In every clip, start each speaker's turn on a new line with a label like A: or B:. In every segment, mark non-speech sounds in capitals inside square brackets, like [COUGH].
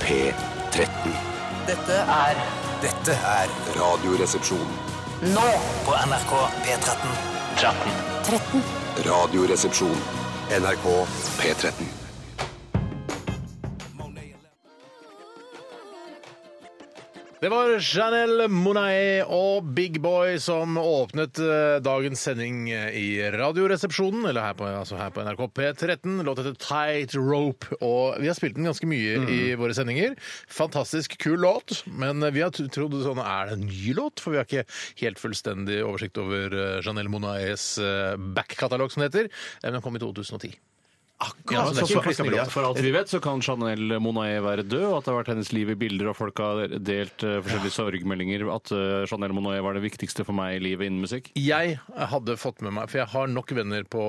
A: P13.
B: Dette er
C: Dette er
A: Radioresepsjon.
B: nå
C: på NRK P13.
A: Radioresepsjon. NRK P13.
D: Det var Janelle Monae og Big Boy som åpnet eh, dagens sending eh, i Radioresepsjonen, eller her på, altså her på NRK P13. Låt heter Tight Rope, og vi har spilt den ganske mye i våre sendinger. Fantastisk kul låt, men vi har t- trodd sånn Er det en ny låt? For vi har ikke helt fullstendig oversikt over eh, Janelle Monaes eh, backkatalog, som det heter. Eh, Men den kom i 2010.
E: Ja,
D: Ja,
E: så det
D: så-
E: er ikke en
D: så-
E: flisning, for alt vi vet, så kan Chanel Monae være død, og at det har vært hennes liv i bilder, og folk har delt eh, forskjellige sorgmeldinger. At eh, Chanel Monae var det viktigste for meg i livet innen musikk.
D: Jeg hadde fått med meg, for jeg har nok venner på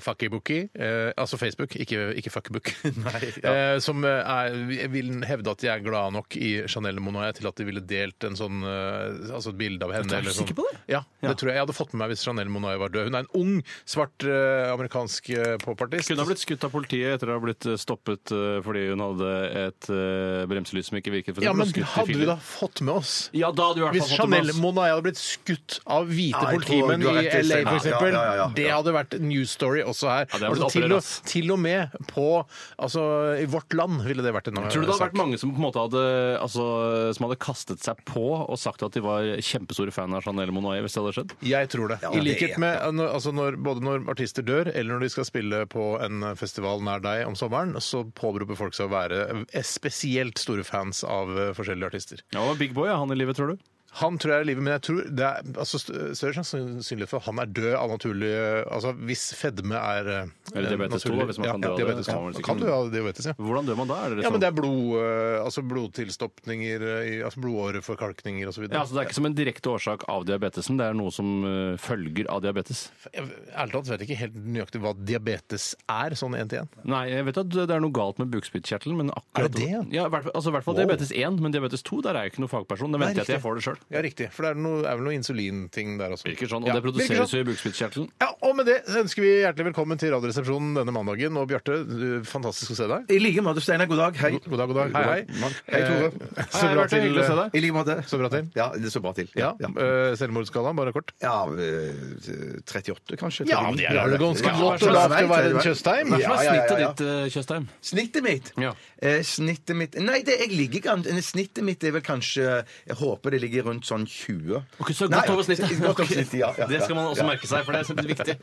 D: Fuckybookie, eh, altså Facebook, ikke, ikke
E: [LAUGHS]
D: Fuckybook, eh, som eh, er, jeg vil hevde at de er glad nok i Chanel Monoy til at de ville delt en sånn, eh, altså et bilde av henne.
E: du
D: eller
E: sikker
D: sånn.
E: på det?
D: Ja, det
E: Ja.
D: tror jeg jeg hadde fått med meg hvis Chanel Monoy var død. Hun er en ung, svart eh, amerikansk eh, popartist.
E: Kunne ha blitt skutt av politiet etter å ha blitt eh, stoppet eh, fordi hun hadde et eh, bremselys som ikke virket. for
D: ja,
E: eksempel, og
D: men
E: skutt i
D: hadde vi
E: filler.
D: da fått med oss?
E: Ja, da hadde du i hvert
D: Hvis
E: fall fått det
D: Chanel
E: med oss.
D: Monae hadde blitt skutt av hvite
F: Ja, jeg tror
D: politimenn
F: du
D: i
F: har rett, Øystein.
D: LA, for
F: Ja,
D: eksempel,
F: ja, ja, ja, ja.
D: det hadde vært en news story også her.
E: hadde vært
D: altså, til,
E: opprør,
D: og,
E: ass.
D: til og med på altså, i vårt land ville det vært en
E: Tror du det hadde
D: sak.
E: vært mange som på en måte hadde, altså, som hadde kastet seg på og sagt at de var kjempestore fan av Chanel Monae hvis det hadde skjedd?
D: Jeg tror det. I
F: det-
D: likhet med eh, når, altså når, både når artister dør, eller når de skal spille på en festival nær deg om sommeren, så påberoper folk seg å være eh, spesielt store fans av eh, forskjellige artister.
E: Ja, og Big Boy er han i livet, tror du?
D: Han tror jeg er i livet, men jeg tror det er altså, st- større sannsynlighet for at han er død av naturlig Altså hvis fedme er eh,
E: Eller diabetes
D: naturlig-
E: to, hvis man kan dø
D: ja,
E: av det,
D: diabetes
E: så
D: 2.
E: kan man vel
D: Kan
E: sikkert-
D: du ha diabetes, ja.
E: Hvordan dør man da? Er det
D: Ja, men
E: sånn-
D: det er blod, eh, altså blodtilstoppninger, eh, i- altså blodåreforkalkninger osv.
E: Ja, altså Det er ikke som en direkte årsak av diabetesen, det er noe som eh, følger av diabetes.
D: Ærlig talt vet jeg ikke helt nøyaktig hva diabetes er, sånn én til én.
E: Nei, jeg vet at det er noe galt med bukspyttkjertelen, men
D: Er
E: akkurat
D: det det, ja?
E: Ja, i hvert fall- altså, I hvert fall
D: Wow.
E: diabetes 1, men diabetes 2 der er jeg ikke noen fagperson. Det venter jeg
D: riktig.
E: til jeg får det sjøl.
D: Ja, riktig. For det er, noe, er vel noe insulinting der også.
E: Virker sånn. Og
D: Ja,
E: det
D: virker
E: produseres
D: sånn.
E: jo i bukspyttkjertelen.
D: Ja, og med det så ønsker vi hjertelig velkommen til Radioresepsjonen denne mandagen. Og Bjarte, du- fantastisk å se deg.
F: I like måte, Steinar. God dag. Hei.
D: God dag, god dag. Hei, hei.
F: Hei, Tore.
D: Eh, Så bra til
E: hyggelig å se deg.
F: I like måte.
D: Så bra til.
F: Ja, det så bra til.
D: Ja,
F: ja.
D: eh, Selvmordsskalaen, bare kort.
F: Ja, eh, 38, kanskje?
D: Ja, men det er jo ganske
F: Ja,
D: godt
F: det
D: og
F: er
D: lavt å
F: greit,
D: være
F: det er
D: en
F: greit.
D: Tjøstheim.
E: Hva
F: Ja,
E: er
F: ja, ja,
E: snittet
F: ja.
E: ditt, eh, Tjøstheim?
F: Snittet mitt?
E: Ja.
F: Eh, snittet mitt Nei, det, jeg ligger ikke an- Snittet mitt er vel kanskje Jeg håper det ligger rundt sånn 20.
E: Ok, så
F: Nei,
E: godt over snittet.
F: [LAUGHS] godt over snittet, ja,
E: [LAUGHS]
F: ja,
E: Det skal man også
F: ja.
E: merke seg, for det er simpelthen viktig.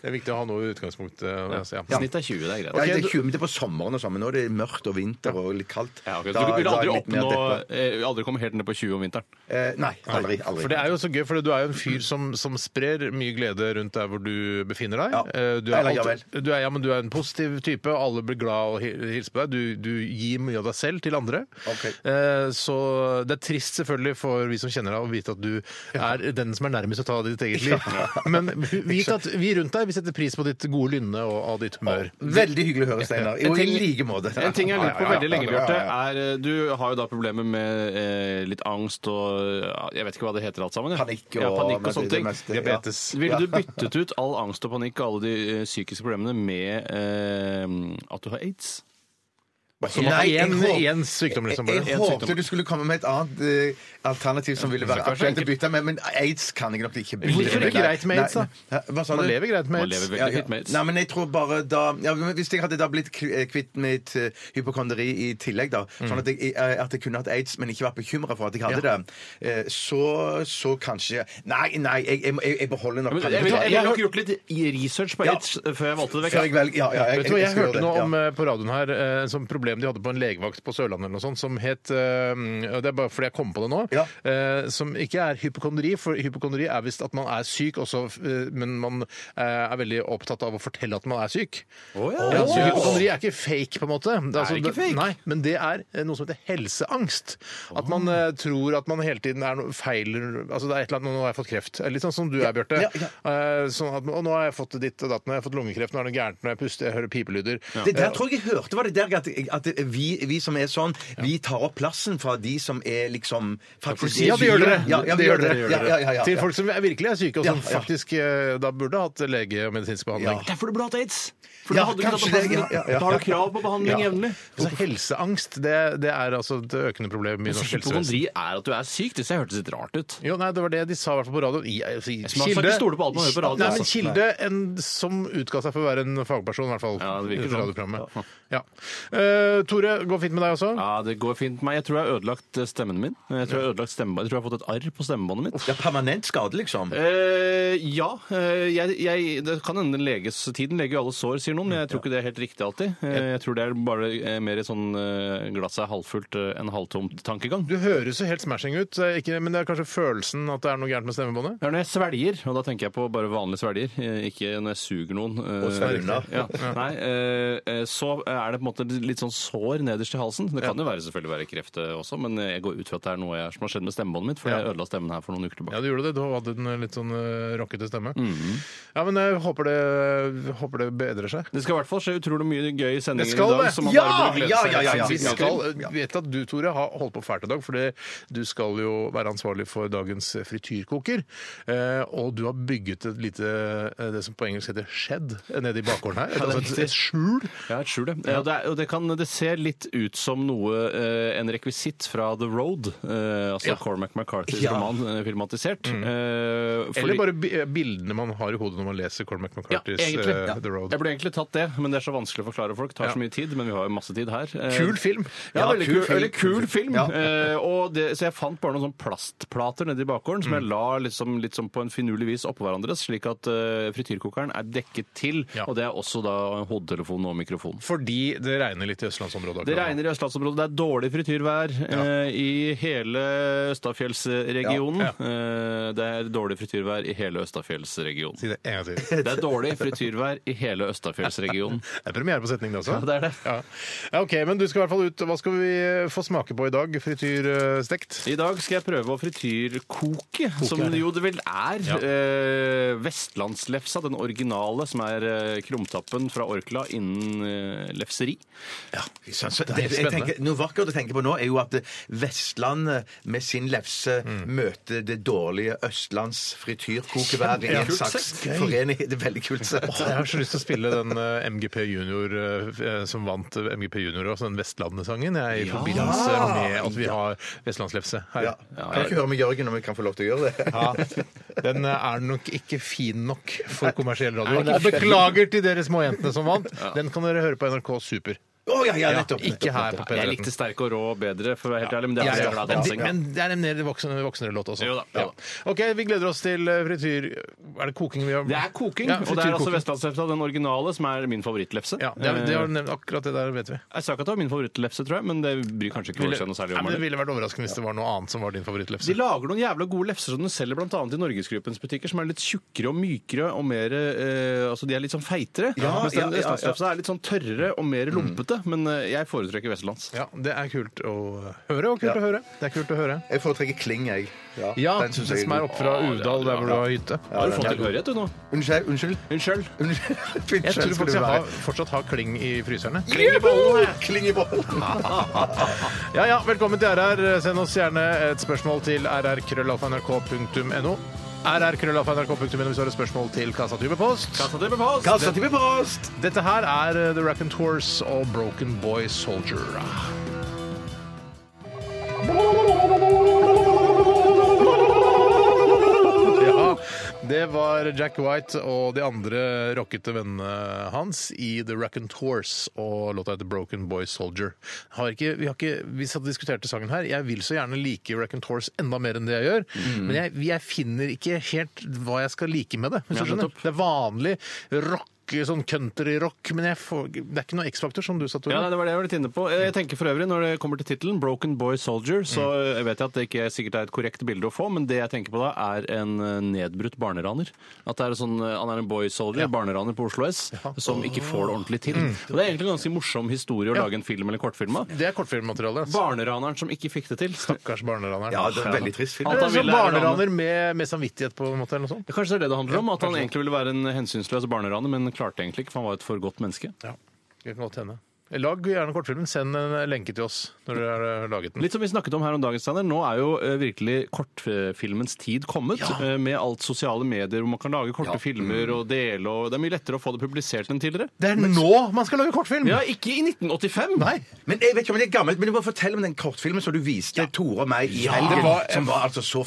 D: Det er viktig å ha noe i utgangspunktet. altså, ja.
E: Snitt er 20, det er greit.
F: Ja, det er 20 minutter på sommeren og sånn, men nå er det mørkt og vinter og litt kaldt.
E: Ja, ok.
F: Da-
E: Du vil
F: da er
E: aldri
F: jeg litt mer
E: oppnå
F: deppa.
E: eh, Aldri komme helt ned på 20 om vinteren.
F: Eh, Nei, aldri. aldri.
D: For det er jo så gøy, for du er jo en fyr som, som sprer mye glede rundt der hvor du befinner deg.
F: Ja.
D: Eh, Du, er
F: Eller, ja
D: alltid- du, er, ja, men du er en positiv type, og alle blir glad og hi- hilser på deg. Du, du gir mye av deg selv til andre.
F: Ok.
D: Eh, Så det er trist selvfølgelig for vi som kjenner deg, å vite at du er den som er nærmest å ta ditt eget liv. [LAUGHS] Men vit at vi rundt deg vi setter pris på ditt gode lynne og av ditt humør.
F: Veldig hyggelig å høre, Steinar. Jo, i
E: ting-
F: like måte.
E: En ting jeg har lurt på
F: Ja, ja, ja.
E: veldig lenge,
F: Ja, ja,
E: Bjarte,
F: ja.
E: er eh, Du har jo da problemer med eh, litt angst og ja, Jeg vet ikke hva det heter alt sammen. ja.
F: Panikk og-
E: ja, panikk
F: det
E: og sånne
F: det
E: ting.
F: meste, ja.
D: Diabetes.
E: Ville du byttet ut all angst og panikk og alle de eh, psykiske problemene med eh, at du har aids?
F: Nei, jeg
D: Én
F: håper-
D: én sykdom, liksom.
F: Jeg,
D: Bare.
F: jeg
D: Én
F: håpte
D: sykdom.
F: du skulle komme med et annet eh, alternativ som ville være
E: Det er kanskje
F: aktuelt å bytte med, men aids kan jeg nok ikke bytte
D: Hvorfor
F: med.
D: ikke greit med aids, da?
F: Nei, nei. Hæ, Hva sa
D: Man
F: du?
D: lever greit
E: Man
D: med
E: lever
D: aids.
E: veldig fint med aids.
F: Nei, men jeg tror bare da ja, men Hvis jeg hadde da blitt kv- eh, kvitt mitt eh, hypokonderi i tillegg, da,
D: Mm.
F: sånn at jeg, eh, at jeg kunne hatt aids, men ikke vært bekymra for at jeg hadde det, eh, så, så kanskje Nei, nei, jeg, jeg, jeg jeg beholder nok
E: Jeg, jeg, jeg,
F: Ja,
E: jeg,
F: ja,
E: har nok gjort litt i- research på
F: Ja.
E: aids eh, før jeg valgte det vekk.
F: før jeg velger- ja, ja, jeg-
D: Vet du hva, Jeg
F: skal gjøre
D: hørte
F: det,
D: noe
F: ja.
D: om eh, på radioen her eh, en sånn problem de hadde på en legevakt på Sørlandet eller noe sånt, som het eh, og Det er bare fordi jeg kom på det nå.
F: Ja.
D: eh, Som ikke er hypokondri, for hypokondri er visst at man er syk også, eh, men man eh, er veldig opptatt av å fortelle at man er syk. Ja, så hypokondri er ikke fake, på en måte. Det er, altså-
E: ikke fake.
D: Nei, men det er eh, noe som heter helseangst. At man eh, tror at man hele tiden er noe feil Altså det er et eller annet Nå har jeg fått kreft. Eh, Litt sånn som du er, Bjarte.
F: ja, ja.
D: Eh, Sånn at, og nå har jeg fått ditt og datt, nå har jeg fått lungekreft, nå er det gærent når jeg puster, jeg hører pipelyder.
F: Det der tror jeg jeg hørte var det der at, at det- vi, vi som er sånn, vi tar opp plassen fra de som er liksom faktisk
D: Ja, det gjør dere.
F: Ja, ja, vi
D: Det gjør
F: gjør
D: dere.
F: det. Ja, ja, ja, ja,
D: Til
F: ja.
D: folk som er- virkelig er syke, og som
F: Ja, ja.
D: faktisk eh, da burde hatt lege og medisinsk behandling.
F: Ja.
E: Derfor du burde hatt aids! For
F: Ja,
E: da hadde du ikke tatt
F: kanskje
E: plassen
F: det, ja,
E: din.
F: ja, ja.
E: Da har du krav på behandling
D: Ja.
E: jevnlig.
D: Altså, helseangst det, det er altså et økende problem i norsk helsevesen.
E: Hypokondri er at du er syk. Det ser- hørtes litt rart ut.
D: Jo, nei, Det var det de sa i hvert fall på radioen. I- altså, i-
E: skal ikke stole på alt man hører på radio,
D: Nei, men
E: altså.
D: Kilde en, som utga seg for å være en fagperson, i hvert fall.
E: Ja, det virker
D: i
E: sånn.
D: radioprogrammet. Ja. Eh, Tore, går fint med deg også?
E: Ja, det går fint med meg. Jeg tror jeg har ødelagt eh, stemmen min. Jeg tror jeg har ødelagt stemme... Jeg tror jeg har fått et arr på stemmebåndet mitt.
F: Ja, permanent skade, liksom.
E: Eh, ja. eh, jeg, jeg, det kan hende den leges Tiden leger jo alle sår, sier noen. Men jeg tror ikke det er helt riktig alltid. Eh, jeg tror det er bare eh, mer sånn eh, glasset er halvfullt eh, enn halvtomt-tankegang.
D: Du høres jo helt smashing ut, eh, ikke, men det er kanskje følelsen at det er noe gærent med stemmebåndet?
E: Det er når jeg svelger, og da tenker jeg på bare vanlige svelger, eh, ikke når jeg suger noen. eh,
F: Og svelger.
E: Ja. Nei, eh, eh, så er det på en måte litt sånn sår nederst i halsen. Det kan jo være, selvfølgelig være kreft eh, også, men jeg går ut fra at det er noe jeg, som har skjedd med stemmebåndet mitt, for jeg ødela stemmen her for noen uker tilbake.
D: Ja, du gjorde det. Du hadde den litt sånn eh, rockete stemme.
E: Mhm.
D: Ja, men jeg håper det, håper det bedrer seg.
E: Det skal i hvert fall skje utrolig mye gøy
D: Det
E: sendinger i
D: skal
E: dag.
D: det.
E: som man
F: Ja!
E: bare burde glede
F: Ja,
E: seg
F: ja, ja, ja.
D: Vi
E: sinnssykt mye
D: skal,
E: til.
D: jeg vet at du, Tore, har holdt på fælt i dag, for det- du skal jo være ansvarlig for dagens frityrkoker. Eh, og du har bygget et lite, eh, det som på engelsk heter shed, eh, nede i bakgården her. Et, altså et, et skjul.
E: Ja, et skjul, ja. Ja, det, er, og det, kan, det ser litt ut som noe, eh, en rekvisitt fra The Road, eh, altså Cormac McCarthys
F: Ja.
E: roman eh, filmatisert. Eh, fordi-
D: Eller bare bi- eh, bildene man har i hodet når man leser Cormac
E: ja,
D: McCartys
E: egentlig.
D: eh,
E: Ja.
D: The Road.
E: Jeg burde egentlig tatt det, men det er så vanskelig å forklare folk. Det tar
D: Ja.
E: så mye tid, men vi har jo masse tid her. Eh,
D: Kul film.
E: Ja,
F: Ja,
E: veldig
F: kul
E: kul,
F: film.
E: veldig kul film.
F: Ja.
E: Eh, og det, så jeg fant bare noen sånne plastplater nede i bakgården som
D: Mm.
E: jeg la liksom, litt sånn på en finurlig vis oppå hverandre, slik at eh, frityrkokeren er dekket til.
D: Ja.
E: Og det er også da hodetelefonen og mikrofonen.
D: Fordi det regner litt i østlandsområdet.
E: Det
D: akkurat nå.
E: regner i østlandsområdet. Det er dårlig frityrvær eh, i hele Østafjellsregionen. Eh, det er dårlig frityrvær i hele
D: [LAUGHS]
E: Østafjellsregionen.
D: Si det en gang til.
E: Det er dårlig frityrvær i hele Østafjellsregionen.
D: Det er premiere på setningen, det også.
E: [LAUGHS] Ja, det er det.
D: Ja. Ja, ok, men du skal i hvert fall ut. Hva skal vi eh, få smake på i dag? Frityrstekt?
E: I dag skal jeg prøve å frityrkoke, som
D: er det.
E: jo det vel er.
D: Ja.
E: Eh, vestlandslefsa, den originale som er eh, krumtappen fra Orkla innen eh, lefseri.
F: Ja, så, så,
D: er
F: det, jeg
D: spennende.
F: tenker, noe vakkert å tenke på nå er jo at Vestlandet med sin lefse
D: Mm.
F: møter det dårlige Østlands frityrkokeværet i en
E: Kjempekult
F: slags
E: sett. Gøy.
F: forening. Det er veldig kult sett.
D: Åh, jeg har så lyst til å spille den eh, MGP Junior eh, f- eh, som vant eh, MGP Junior, også den Vestlandet-sangen, jeg, i forbindelse med at vi har vestlandslefse her.
F: Ja. Kan jeg ikke høre med Jørgen om vi kan få lov til å gjøre det?
D: Ja, den eh, er nok ikke fin nok for kommersiell radio. Og beklager til dere småjentene som vant. Den kan dere høre på NRK Super.
F: Å, ja, ja,
D: Ja,
F: nettopp.
D: ikke
F: nettopp,
D: her
F: nettopp.
D: på
E: Jeg
D: P13.
E: likte sterk og rå bedre, for å være helt ærlig, men det er fordi jeg er glad i
D: Men de-
E: dansing.
D: Men det er en mer voksen, voksnere låt også.
E: Jo da, jo da.
D: Ja. OK, vi gleder oss til eh, frityr... Er det koking vi har
E: Det er koking,
D: Ja,
E: og det er altså
D: frityrkoking.
E: vestlandslefsa, den originale, som er min favorittlefse.
D: Ja, det, er, det
E: Eh.
D: har du nevnt, akkurat det der vet vi.
E: Jeg sa ikke at det var min favorittlefse, tror jeg, men det bryr kanskje ikke folk seg noe særlig
D: Nei,
E: om.
D: men det
E: eller?
D: ville vært overraskende hvis det var noe annet som var din favorittlefse.
E: De lager noen jævla gode lefser som de selger bl.a. i Norgesgruppens butikker, som er litt tjukkere og mykere og mer eh, Altså, de er litt sånn feitere.
F: Ja,
E: mens den
F: ja, Mm. ja, ja.
E: vestlandslefsa er litt sånn tørrere og mer lumpete. Men eh, jeg foretrekker vestlands.
D: Ja, Det er kult å høre, og kult å høre. Det er kult å høre.
F: [LAUGHS] Jeg foretrekker Kling, jeg. Ja,
D: Ja,
F: den
D: den
F: synes jeg
D: som er
F: er god.
D: oppe fra
E: Å, det er
D: Uvdal, der hvor du har hytte.
E: Har du
F: den
E: fått
F: er
E: tilhørighet, du nå?
F: Unnskyld? Unnskyld? [LAUGHS]
E: Unnskyld.
F: unnskyld.
D: Jeg tror
F: Unnskyld skal
D: faktisk
F: du
D: jeg
F: være.
D: har, fortsatt har kling i fryserne.
F: Juhu! Kling i bollen.
D: Ja, ja, Velkommen til RR. Send oss gjerne et spørsmål til rrkrøllalfa.nrk.no. rrkrøllalfa.nrk.no hvis du har et spørsmål til Kassa Type Post.
E: Kassa til med post!
F: Kassa til med post!
D: Dette her er eh, The Raconteurs og Broken Boy Soldier. Ja, det var Jack White og de andre rockete vennene hans i The Raconteurs og låta heter Broken Boy Soldier. Har ikke, vi har ikke, vi satt og diskuterte sangen her. Jeg vil så gjerne like Raconteurs enda mer enn det jeg gjør,
E: Mm.
D: men jeg, jeg finner ikke helt hva jeg skal like med det. Hvis du
E: Ja,
D: skjønner?
E: nettopp.
D: Det er vanlig rock, sånn country-rock, men jeg får, det er ikke noe X-faktor som du sa, Tore.
E: Ja, nei, det var det jeg var litt inne på. Eh, Jeg tenker for øvrig, Når det kommer til tittelen, 'Broken Boy Soldier', så eh, vet jeg at det ikke er- sikkert er et korrekt bilde å få, men det jeg tenker på da, er en eh, nedbrutt barneraner. At det er sånn, eh, Han er en boy soldier, barneraner på Oslo S, som ikke får det ordentlig til. Og Det er egentlig en ganske morsom historie å
D: Ja.
E: lage en film eller kortfilm av.
D: Det er kortfilmmateriale. altså.
E: Barneraneren som ikke fikk det til.
D: Stakkars barneraneren.
F: Ja, det er en veldig trist film.
E: Alt
D: Eller
E: han
D: sånn
E: ville er å
D: barneraner med, med samvittighet, på en måte, eller noe sånt.
E: Kanskje det er det det handler om? At han egentlig ville være en hensynsløs barneraner, men klarte egentlig ikke, for han var et for godt menneske.
D: Ja, det kan godt hende. Lag gjerne kortfilmen. Send en lenke til oss når dere har eh, laget den.
E: Litt som vi snakket om her om dagen, Steiner, nå er jo eh, virkelig kortfilmens tid kommet. eh, Med alt sosiale medier hvor man kan lage korte filmer
D: Mm.
E: og dele. og Det er mye lettere å få det publisert enn tidligere.
D: Det er nå man skal lage kortfilm!
E: Ja, ikke i 1985!
D: Mm. Nei.
F: Men jeg vet ikke om det er gammelt, men du må fortelle om den kortfilmen som du viste Tore og meg i helgen,
D: det var-
F: som var altså så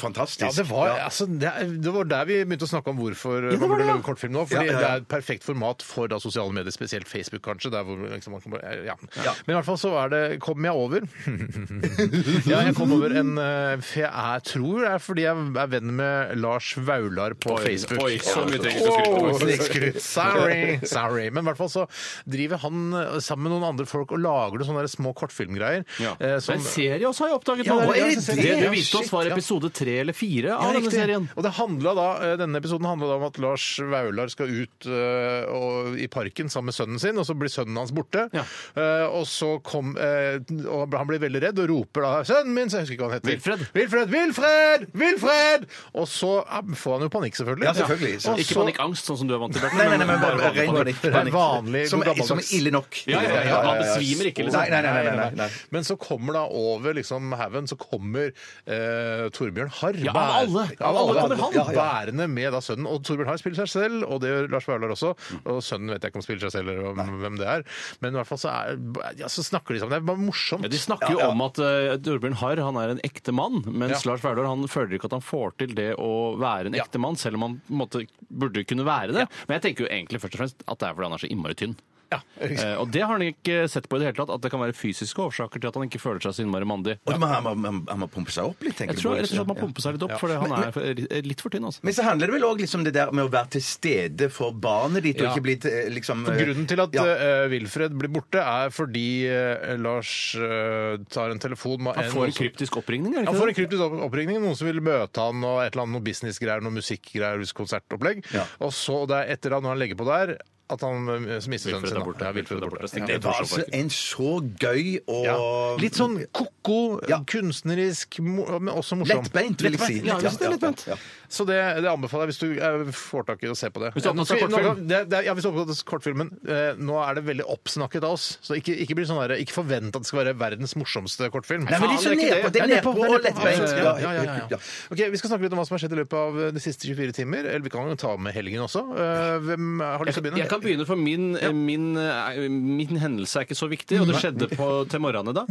D: Ja,
F: fantastisk.
D: det var,
F: Ja.
D: altså, det, er- det var der vi begynte å snakke om hvorfor man
F: var
D: burde
F: det, ja.
D: lage kortfilm nå. Fordi
F: Ja, ja, ja.
D: det er et perfekt format for da, sosiale medier, spesielt Facebook kanskje. Der hvor, liksom, man kan bare, ja. Men i hvert fall så er det, kom jeg over [LAUGHS] Ja, jeg kom over en eh, For jeg er, tror det er fordi jeg er venn med Lars Vaular på Facebook.
E: Oi, så mye trenger ikke å skryte
D: Åh,
E: av.
D: snikskryt. Sorry. Sorry. Men i hvert fall så driver han eh, sammen med noen andre folk og lager noen sånne der små kortfilmgreier.
E: Ja.
D: eh,
E: Det er en serie også, har jeg oppdaget.
D: Ja,
E: nå.
D: hva er
E: det,
D: det?
E: du viste oss, var
D: Shit, ja.
E: episode tre eller fire
D: Ja,
E: av denne
D: riktig.
E: serien.
D: Og det handla da, eh, Denne episoden handla da om at Lars Vaular skal ut eh, og, i parken sammen med sønnen sin, og så blir sønnen hans borte.
E: Ja.
D: Eh, og så kom eh, og Han blir veldig redd og roper da 'Sønnen min!' Så jeg husker ikke hva han heter.
E: Wilfred.
D: Wilfred! Wilfred! Wilfred! Og så eh, får han jo panikk, selvfølgelig.
F: Ja, selvfølgelig. Så-
D: Og
E: Ikke
D: så-
E: panikkangst, sånn som du er vant til. Bjarte,
F: Nei, nei, nei, men bare
E: vanlig
F: ren
E: panikk.
F: panikk. panikk.
D: Vanlig,
F: som,
D: god
F: er,
D: gammeldags.
F: som er ille nok.
E: Ja, ja, ja, man besvimer ikke, liksom.
F: Nei, nei, nei, nei, nei, nei.
D: Men så kommer da over liksom haugen, så kommer eh, Torbjørn Harr.
E: Ja, av
D: bæ-
E: alle.
D: Av
E: Av alle
D: alle
E: kommer han.
D: Ja, ja. Bærende med da sønnen. Og Torbjørn Harr spiller seg selv, og det gjør Lars Vaular også.
E: Mm.
D: Og sønnen vet jeg ikke om spiller seg selv, eller om, hvem det er. Men i hvert fall så, er, ja, så snakker de sammen. Det er bare morsomt.
E: Ja, de snakker jo om at eh, Torbjørn Harr han er en ekte mann, mens Lars Vaular han føler ikke at han får til det å være en ekte mann, selv om han på en måte burde kunne være det. Men jeg tenker jo egentlig først og fremst at det er fordi han er så innmari tynn.
D: Ja, ikke sant?
E: Eh, og det har han ikke sett på i det hele tatt, at det kan være fysiske årsaker til at han ikke føler seg så innmari mandig.
F: Og man, man, man, man må pumpe seg opp litt, tenker
E: Jeg tror
F: du?
E: rett og slett man pumper seg litt opp, for han er for- litt for tynn, altså.
F: Men så handler det vel òg liksom det der med å være til stede for barnet ditt,
D: Ja.
F: og ikke bli til, eh, liksom eh,
D: Grunnen til at
F: ja.
D: eh, Wilfred blir borte, er fordi eh, Lars eh, tar en telefon med
E: Han får en
D: som-
E: kryptisk oppringning, er det
D: Han får en
E: ikke det?
D: kryptisk opp- oppringning. Noen som vil møte han og et eller annet noe businessgreier, noe musikkgreier, konsertopplegg.
F: Ja.
D: Og så det er etter han, når han legger på der, at han eh, mister sønnen
E: Wilfred
D: sin.
E: er
D: da.
E: borte.
D: Ja, Wilfred er borte.
E: Det er
F: Det var altså
E: morsomt, faktisk.
F: en så gøy og
D: Ja. Litt sånn ko-ko,
F: Ja.
D: kunstnerisk, mo- men også morsom.
F: lettbeint, vil jeg si.
E: Ja, jeg synes det er lettbeint.
F: Ja, ja,
D: Så det, det anbefaler jeg hvis du eh, får tak i å se på det.
E: Hvis du er opptatt
D: Nå skal
E: av
D: vi- nå-
E: kortfilm.
D: det- det- Ja, hvis du er opptatt av kortfilmen. eh, Nå er det veldig oppsnakket av oss, så ikke, ikke, bli sånn der, ikke forvent at det skal være verdens morsomste kortfilm.
F: Nei, men det er så
E: Faen, det er ikke
F: nedpå.
E: det.
F: Det
D: Ja,
F: er nedpå og lettbeint.
D: Ja, ja, ja, ja.
F: Ja.
D: Ok, Vi skal snakke litt om hva som har skjedd i løpet av de siste 24 timer. Eller vi kan jo ta med helgen også. Eh, Hvem har lyst til å begynne?
E: Jeg kan begynne, for min, min, eh, min hendelse er ikke så viktig, og det skjedde på, til morgenen i dag. [LAUGHS]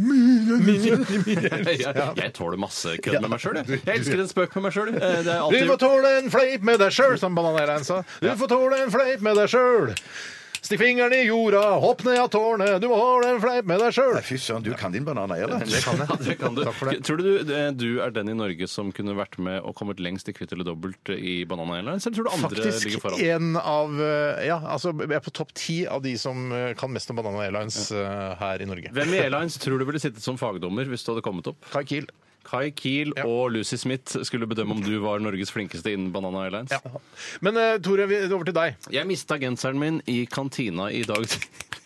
E: Jeg, jeg tåler masse kødd med meg sjøl, jeg. Jeg elsker en spøk med meg sjøl. Det er
D: Du får
E: alltid
D: tåle en fleip med deg sjøl, som Bananeirein sa. Du får tåle en fleip med deg sjøl. Stikk fingeren i jorda, hopp ned av tårnet, du må tåle en fleip med deg sjøl.
F: Nei, Fy søren, du kan din banan, eier det.
E: Ja, det kan du.
D: Takk for det.
E: Tror du du eh, du er den i Norge som kunne vært med og kommet lengst i Kvitt eller dobbelt i Banana Airlines, eller tror du andre
D: Faktisk
E: ligger foran?
D: en av eh, Ja, altså, jeg er på topp ti av de som eh, kan mest om Banana Airlines eh, her i Norge.
E: Hvem i Airlines tror du ville sittet som fagdommer hvis du hadde kommet opp?
D: Kai Kiel.
E: Kai Kiel
D: Ja.
E: og Lucy Smith skulle bedømme om du var Norges flinkeste innen Banana Airlines.
D: Ja. Men eh, Tore, vi- over til deg.
E: Jeg mista genseren min i kantina i dag.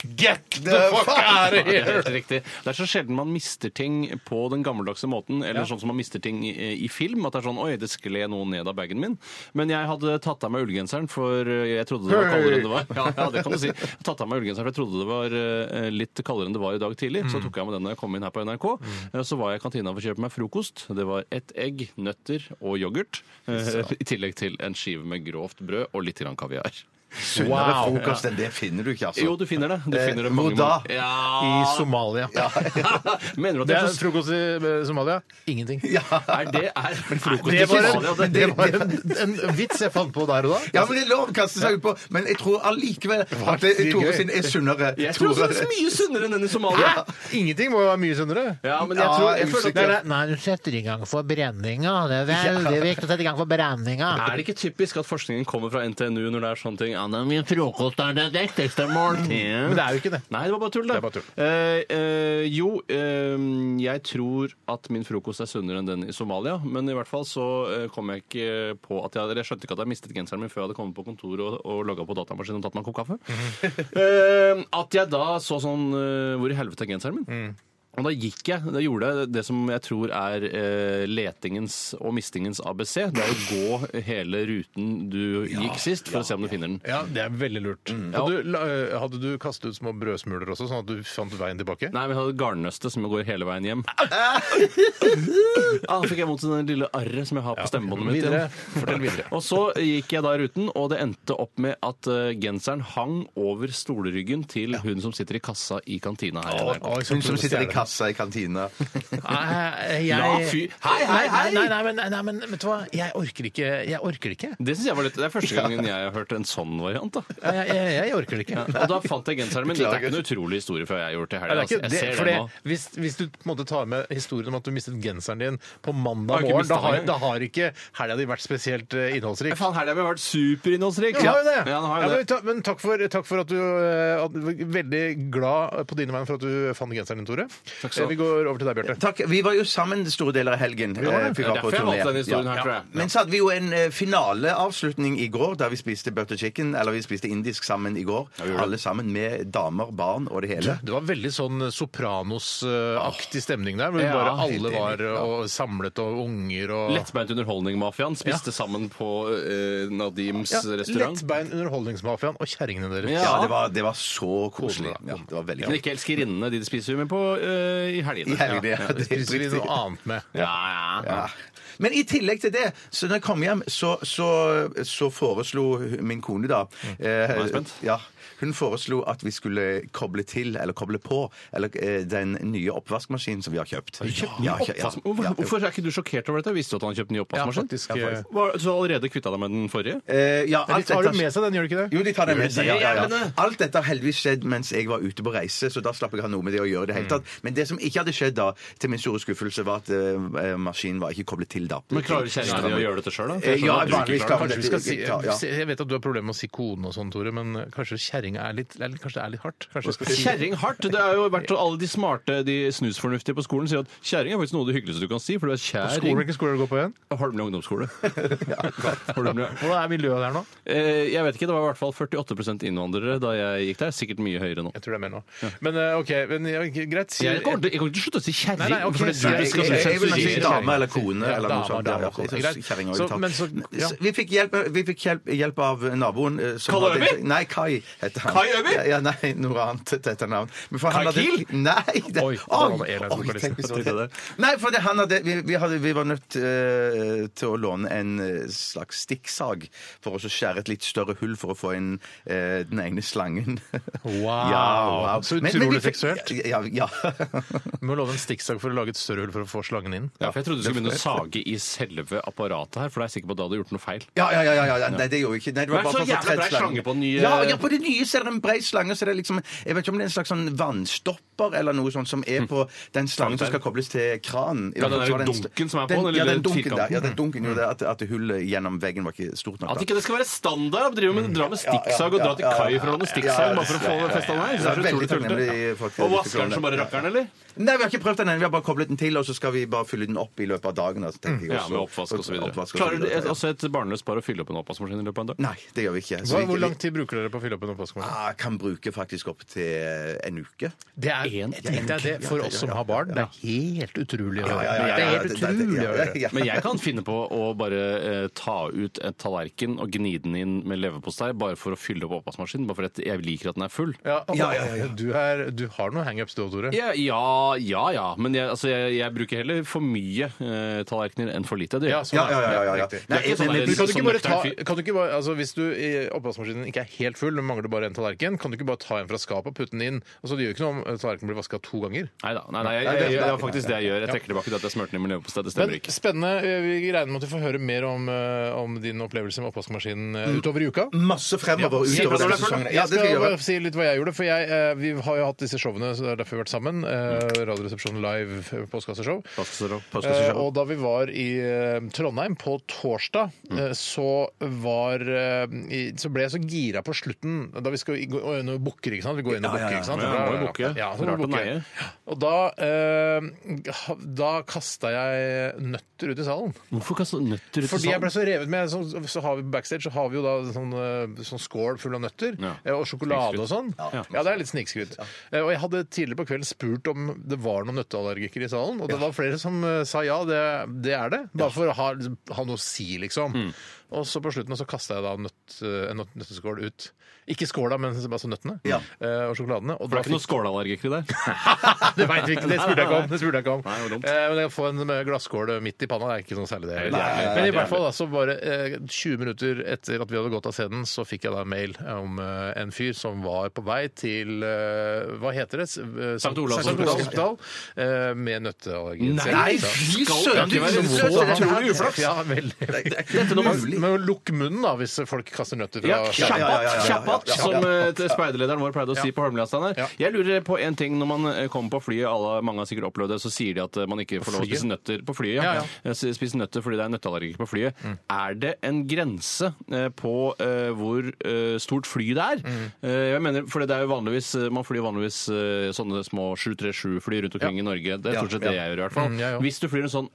D: Get the fuck out of
E: Det er
D: here!
E: helt riktig. Det er så sjelden man mister ting på den gammeldagse måten, eller sånn som man mister ting i, i film. At det er sånn Oi, det skled noe ned av bagen min. Men jeg hadde tatt av meg ullgenseren, for eh, jeg trodde det var kaldere enn det var. Ja, ja det kan du si. Jeg hadde tatt av meg ullgenseren, for jeg trodde det var eh, litt kaldere enn det var i dag tidlig. Så tok jeg med den da jeg kom inn her på NRK. Eh, Så var jeg i kantina for å kjøpe meg frokost. Det var ett egg, nøtter og yoghurt. eh, I tillegg til en skive med grovt brød og litt grann kaviar.
F: [LAUGHS] Sunnere frokost enn det finner du ikke, altså.
E: Jo, du finner det. Du
F: Eh,
E: finner det
F: hvor
E: mange
F: da?
E: [LAUGHS] Ja.
D: I Somalia.
E: Mener du
D: Det
E: at det
D: er
E: er så
D: frokost i eh, Somalia. Ingenting.
E: Er det er [LAUGHS] frokost
D: Det
E: i
D: var
E: Somalia?
D: en, det var en, en vits jeg fant på der og da.
F: Ja, men det er lov å kaste seg ut på, men jeg tror allikevel at det-
D: Faktisk
F: Tore
D: gøy.
F: sin er sunnere.
E: Jeg tror også
F: Tore-
E: det er mye sunnere enn den i
D: Hæ?
E: Somalia.
D: Ingenting må jo være mye sunnere.
E: Ja, men jeg tror, jeg
F: Ja,
E: føler at
F: usikker.
E: det,
C: Nei, du setter i gang for brenninga. Det er veldig viktig å sette i gang for brenninga.
E: er det ikke typisk at forskningen kommer fra NTNU når det er sånne ting? Ja, nei, min frokost er det viktigste måltidet.
D: Men det er jo ikke det.
E: Nei, det var bare tull, det.
D: Det er bare tull.
E: Eh, eh, jo, eh, jeg tror at min frokost er sunnere enn den i Somalia. Men i hvert fall så eh, kom jeg ikke på at jeg, eller jeg skjønte ikke at jeg mistet genseren min før jeg hadde kommet på kontoret og, og logga på datamaskinen og
D: Mhm.
E: tatt
D: Mm.
E: meg en kopp kaffe. eh, at jeg da så sånn eh, Hvor i helvete er genseren min? Og da gikk jeg, da gjorde jeg det som jeg tror er eh, letingens og mistingens ABC. Det er å gå hele ruten du gikk sist, for å se om du finner den.
D: Ja, det er veldig lurt. Og du, la- øh, hadde du kastet ut små brødsmuler også, sånn at du fant veien tilbake?
E: Nei, men jeg hadde garnnøste som går hele veien hjem. Ah, da fikk jeg vondt i den lille arret som jeg har på stemmebåndet mitt.
D: Videre.
E: igjen.
D: Fortell videre.
E: Og så gikk jeg da ruten, og det endte opp med at eh, genseren hang over stoleryggen til hun som sitter i kassa i kantina her. i NRK.
D: Oi, så
F: Hun [LAUGHS] som
D: prøvde [LAUGHS] å
F: sitter i
D: stjele.
F: kassa i
E: [LAUGHS]
F: kantina.
D: Nei, Ah, eh, jeg...
E: La fyr- Hei, hei, hei!
D: Nei, nei, nei, nei, nei, men vet du hva? Jeg orker ikke. Jeg orker ikke.
E: Det synes jeg var litt, det er første gangen jeg har hørt en sånn variant. da.
D: Jeg, jeg, jeg orker det ikke.
E: Ja, Og da fant jeg genseren min. Dette er ikke en utrolig historie fra jeg har gjort i
D: Nei,
E: helga.
D: det er
E: altså.
D: ikke det,
E: Jeg ser
D: fordi
E: det nå.
D: hvis, hvis du på en måte tar med historien om at du mistet genseren din på
E: Har
D: mandag
E: ikke
D: morgen,
E: mistet
D: da har,
E: den.
D: da har ikke helga di vært spesielt eh, innholdsrik.
E: Faen, helga mi har vært superinnholdsrik!
D: Ja, den har jo det.
E: Ja, den har
D: Ja,
E: jo
D: men,
E: det.
D: ta, men takk for, takk for at du eh, at, du var Veldig glad på dine vegne for at du fant genseren din, Tore.
E: skal du
D: Eh, Vi går over til deg, Bjarte.
F: Takk. Vi var jo sammen store deler av helgen. eh, Vi
E: det. Det er derfor jeg valgte denne historien her, tror jeg.
F: Men så hadde vi jo en eh, finaleavslutning i går, der vi spiste butter chicken, eller vi spiste indisk sammen i går. Alle sammen med damer, barn og det hele.
D: Det var veldig sånn Sopranos-aktig stemning der, hvor
E: Ja,
D: bare alle
F: helt
D: var
F: enig, ja.
D: og samlet og unger
F: Ah.
D: og
E: Lettbeint underholdning-mafiaen spiste sammen på eh, Nadims
D: ja,
E: restaurant.
D: Lettbein underholdningsmafiaen og kjerringene deres.
E: Ja.
F: Ja, det var, det var så koselig. Ja, det var veldig
E: Men
F: koselig.
E: ikke elskerinnene, de de spiser jo med på eh, i helgene.
F: I helgene, ja.
D: Det
F: Det er
D: spiser de
F: riktig.
D: noe annet med.
E: Ja, ja. ja.
F: Ja. Men i tillegg til det, så når jeg kom hjem, så, så, så foreslo min kone da eh,
E: Mm. jeg spent.
F: ja, Hun foreslo at vi skulle koble til, eller koble på, eller, eh, den nye oppvaskmaskinen som vi har kjøpt. Har
E: Kjøpt ny oppvaskmaskin? Hvorfor, hvorfor er ikke du sjokkert over dette? Visste du at han kjøpte ny oppvaskmaskin?
D: Ja, faktisk, eh.
E: Var, så du har allerede kvitta deg med den forrige?
F: Eh, ja,
D: De
F: alt
D: tar
F: dette-
D: jo med seg den, gjør de ikke det?
F: Jo, de tar den med seg. Ja, ja, ja.
E: Jævlene!
F: Alt dette har heldigvis skjedd mens jeg var ute på reise, så da slapp jeg å ha noe med det å gjøre. i det
E: Mm.
F: hele tatt. Men det som ikke hadde skjedd da, til min store skuffelse, var at eh, maskinen var ikke koblet til da.
E: Men klarer kjerringa di å gjøre dette sjøl, da? For
F: Eh,
E: jeg skjønner
F: ja,
E: at du ikke
F: vanligvis
E: klarer det.
F: klarer
D: Kanskje vi skal si,
F: Ja, ja.
D: Jeg vet at du har problemer med å si kone og sånn, Tore, men kanskje kjerringa er litt eller Kanskje det er litt hardt? Kanskje vi skal si
E: Kjerring hardt. Det er jo vært Alle de smarte, de snusfornuftige på skolen sier at kjerring er faktisk noe av det hyggeligste du kan si, for du er
D: Skolen,
E: kjerring.
D: hvilken skole du går på igjen?
E: Holmlia
F: [LAUGHS]
E: ungdomsskole. Holmlia.
D: Hvordan er miljøet der nå?
E: Eh, Jeg vet ikke, det var i hvert fall 48 innvandrere da jeg gikk der. Sikkert mye høyere nå.
D: Jeg tror det er mer nå. Men eh, OK, men, ja, greit. Si
E: Jeg kommer til- jeg kommer ikke til å slutte å si kjerring.
D: Nei, nei, ok,
E: for
D: nei,
E: det er du
F: Jeg,
E: som
F: jeg, jeg,
E: skal
F: vil nok si
E: sensurere.
F: dame eller kone.
D: Ja,
F: eller
D: dame,
F: noe sånt.
D: dame,
F: Ja, ja,
D: ok,
F: ja.
D: greit.
F: Kjerring har
D: Så-
F: jo tatt.
D: men så- ja.
F: Så Vi fikk hjelp, vi fikk hjelp, hjelp av naboen. eh, som
E: Karl
F: hadde-
E: Øyvind?
F: Nei, Kai heter han.
E: Kai Øyvind?
F: Ja, Ja, nei, noe annet til dette navn. Men for han
E: Kai
F: hadde-
E: Kiel?
F: Nei! Det,
D: Oi,
F: oi,
D: det var med Elans
F: oi,
D: vokalist.
F: tenk hvis det var
E: Jeg tenkte
F: det. Nei, for det, han hadde, vi, vi, hadde, vi var nødt eh, til å låne en eh, slags stikksag for å så skjære et litt større hull for å få inn eh, den ene slangen. [LAUGHS]
D: Wow. Så
F: Men- men vi
D: utrolig
F: fikk-
D: seksuelt.
F: Ja, ja.
D: Du må love en stikksag for å lage et større hull for å få slangen inn.
E: Ja, for jeg trodde du skulle begynne å sage i selve apparatet her, for da er jeg sikker på at da hadde du gjort noe feil.
F: Ja, ja, ja, ja, ja. Nei, det gjorde jeg ikke. Nei, det var
E: Men
F: bare
E: så
F: for
E: jævla
F: tredje
E: brei
F: slangen.
E: slange på den nye-
F: Ja, ja, på det nye så er det en brei slange, så det er liksom Jeg vet ikke om det er en slags sånn vannstopper eller noe sånt som er på den slangen som skal kobles til kranen.
E: Hm.
F: I
E: Ja,
F: hvert
E: den
F: fall så
E: der
F: var det en st-
E: dunken som er på,
F: den,
E: den
F: ja,
E: lille
F: den dunken der.
E: firkanten.
F: Ja, den dunken gjorde at, at hullet gjennom veggen var ikke stort nok.
E: At
F: da.
E: ikke det skal være standard å drive med, dra med stikksag og dra til
F: Ja, ja, ja,
E: kai for å låne stikksag bare for å få festa den her.
F: ja,
E: Så er det
F: veldig
E: utrolig
F: takknemlig for
E: tullete. Og
F: at du fikk låne
E: vaskeren som bare
F: den.
E: rakkeren, eller?
F: Nei, vi har ikke prøvd den ennå. Vi har bare koblet den til, og så skal vi bare fylle den opp i løpet av dagen. Altså, tenker jeg
E: Hm. Ja,
F: også.
E: med oppvask og så videre.
F: Oppvask og så
E: Klarer du Altså-
F: videre,
E: et,
F: ja.
E: også et barnløst par å fylle opp en oppvaskmaskin i løpet av en dag?
F: Nei, det gjør vi ikke. Så
D: Hva,
F: vi-
D: hvor lang tid bruker dere på å fylle opp en oppvaskmaskin?
F: Ah, Kan bruke faktisk opp til en uke.
D: Det er
E: En-
D: jeg tenkte jeg det for oss som har barn. Det er helt utrolig å høre. Det er helt
F: det- det-
D: utrolig å
F: ja,
D: høre.
F: ja.
E: Men jeg kan finne på å bare eh, ta ut en tallerken og gni den inn med leverpostei bare for å fylle opp oppvaskmaskinen. Bare fordi jeg liker at den er full.
D: Ja, å,
F: Ja, ja, ja.
D: Du, er, du har noen hangups du òg, Tore.
E: Ja, ja, ja. ja. Men jeg, altså, jeg, jeg bruker heller for mye eh, tallerkener enn for lite. Det. gjør jeg.
D: sånn
F: Ja,
D: er
F: ja,
D: det.
F: ja. ja, ja.
D: Riktig.
F: Nei,
E: Det er ikke
F: men-
E: sånn
F: men-
E: der-
D: Men kan du
E: som
D: ikke bare ta,
E: nøktern fyr.
D: kan du ikke bare, altså Hvis du i oppvaskmaskinen ikke er helt full, men mangler bare en tallerken, kan du ikke bare ta en fra skapet og putte den inn? Altså, det gjør jo ikke noe om tallerkenen blir vaska to ganger.
E: Neida, nei da. Jeg, jeg, jeg, det er faktisk det jeg gjør. Jeg trekker tilbake det at jeg smurte den inn med leverpostei. Det
D: Men
E: stemmer ikke.
D: spennende. Eh, Vi regner med at vi får høre mer om, eh, om din opplevelse med oppvaskmaskinen
E: Mm.
D: eh, utover i uka.
F: Masse fremover
E: si
F: utover
E: fra når det
F: denne
E: er full,
F: sesongen.
E: da.
F: Ja,
D: Jeg
F: det skal jeg
D: skal
F: gjøre.
D: bare si litt hva jeg gjorde. For jeg, eh, vi har jo hatt disse showene, så det er derfor vi har vært sammen. Eh,
F: Mm.
D: Radioresepsjonen live, eh, postkasseshow. Eh, og da vi var i eh, Trondheim
G: Mm.
D: på torsdag, eh, så var eh, i, Så ble jeg så gira på slutten da vi skal gå inn og bukker, ikke sant? Vi går inn og
F: Ja, ja,
D: bukker,
F: ja.
D: ikke sant?
G: Ja,
D: Da-
G: må jo bukke.
D: Ja, så må
G: Rart
D: vi
G: å
D: bukke.
G: neie.
D: Og da, eh, da kasta jeg nøtter ut i salen.
G: Hvorfor kaste nøtter ut i
D: Fordi jeg ble
G: salen?
D: så revet med. Så, så har vi backstage så har vi jo da sånn, eh, sånn skål full av nøtter
G: Ja.
D: eh, og sjokolade og sånn.
G: Ja.
D: Ja, det er litt snikskryt. Eh, Og jeg hadde tidligere på kvelden spurt om det var noen nøtteallergikere i salen, og det var flere som eh, sa ja, det, det er det. Bare for å ha, ha noe å si, liksom.
G: Mm.
D: Og så på slutten så kasta jeg da nøtt, eh, en nøtt, nøtteskål ut. Ikke skåla, men altså nøttene
F: Ja.
D: eh, og sjokoladene. Og
G: For det
D: da
G: er ikke noen skåleallergikere der?
D: fikk- [LAUGHS] det vet vi ikke, det spurte jeg ikke om. Det spurte jeg ikke om.
G: Nei, det var dumt.
D: Eh, men å få en med glasskål midt i panna det er ikke noe særlig det.
G: nei,
D: men i
G: nei,
D: hvert fall da, så bare eh, 20 minutter etter at vi hadde gått av scenen, så fikk jeg da mail om eh, en fyr som var på vei til eh, Hva heter det? S- eh,
G: Sankt Olavs
D: Sankt Olavs
G: hospital.
D: hospital. eh, Med nøtteallergi.
G: Nei,
D: Så-
G: fy
F: søren,
G: ikke være
F: du-
G: så
F: søren,
G: utrolig
F: dette her-
G: uflaks.
D: Ja, veldig.
G: Dette når man
D: Men lukk munnen, da, hvis folk kaster nøtter fra
G: Ja,
F: ja, ja, ja, ja,
G: kjappat,
F: ja.
G: kjappat,
F: Ja, ja,
G: som eh, til speiderlederen vår pleide å si på Holmlia. Steinar.
D: Ja.
G: Jeg lurer på en ting når man eh, kommer på flyet, alle, mange har sikkert opplevd det, så sier de at eh, man ikke får lov å
D: flyet?
G: spise nøtter på flyet.
D: Ja, ja.
G: Eh, s- Spise nøtter fordi det er nøtteallergiker på flyet.
F: Mm.
G: Er det en grense eh, på eh, hvor eh, stort fly det er?
F: Mm.
G: Eh, Jeg mener, for det er jo vanligvis, eh, Man flyr vanligvis eh, sånne små 737-fly rundt omkring i Norge. Det er stort sett det jeg gjør, i hvert fall.
D: Mm, jeg òg.
G: Hvis du flyr en sånn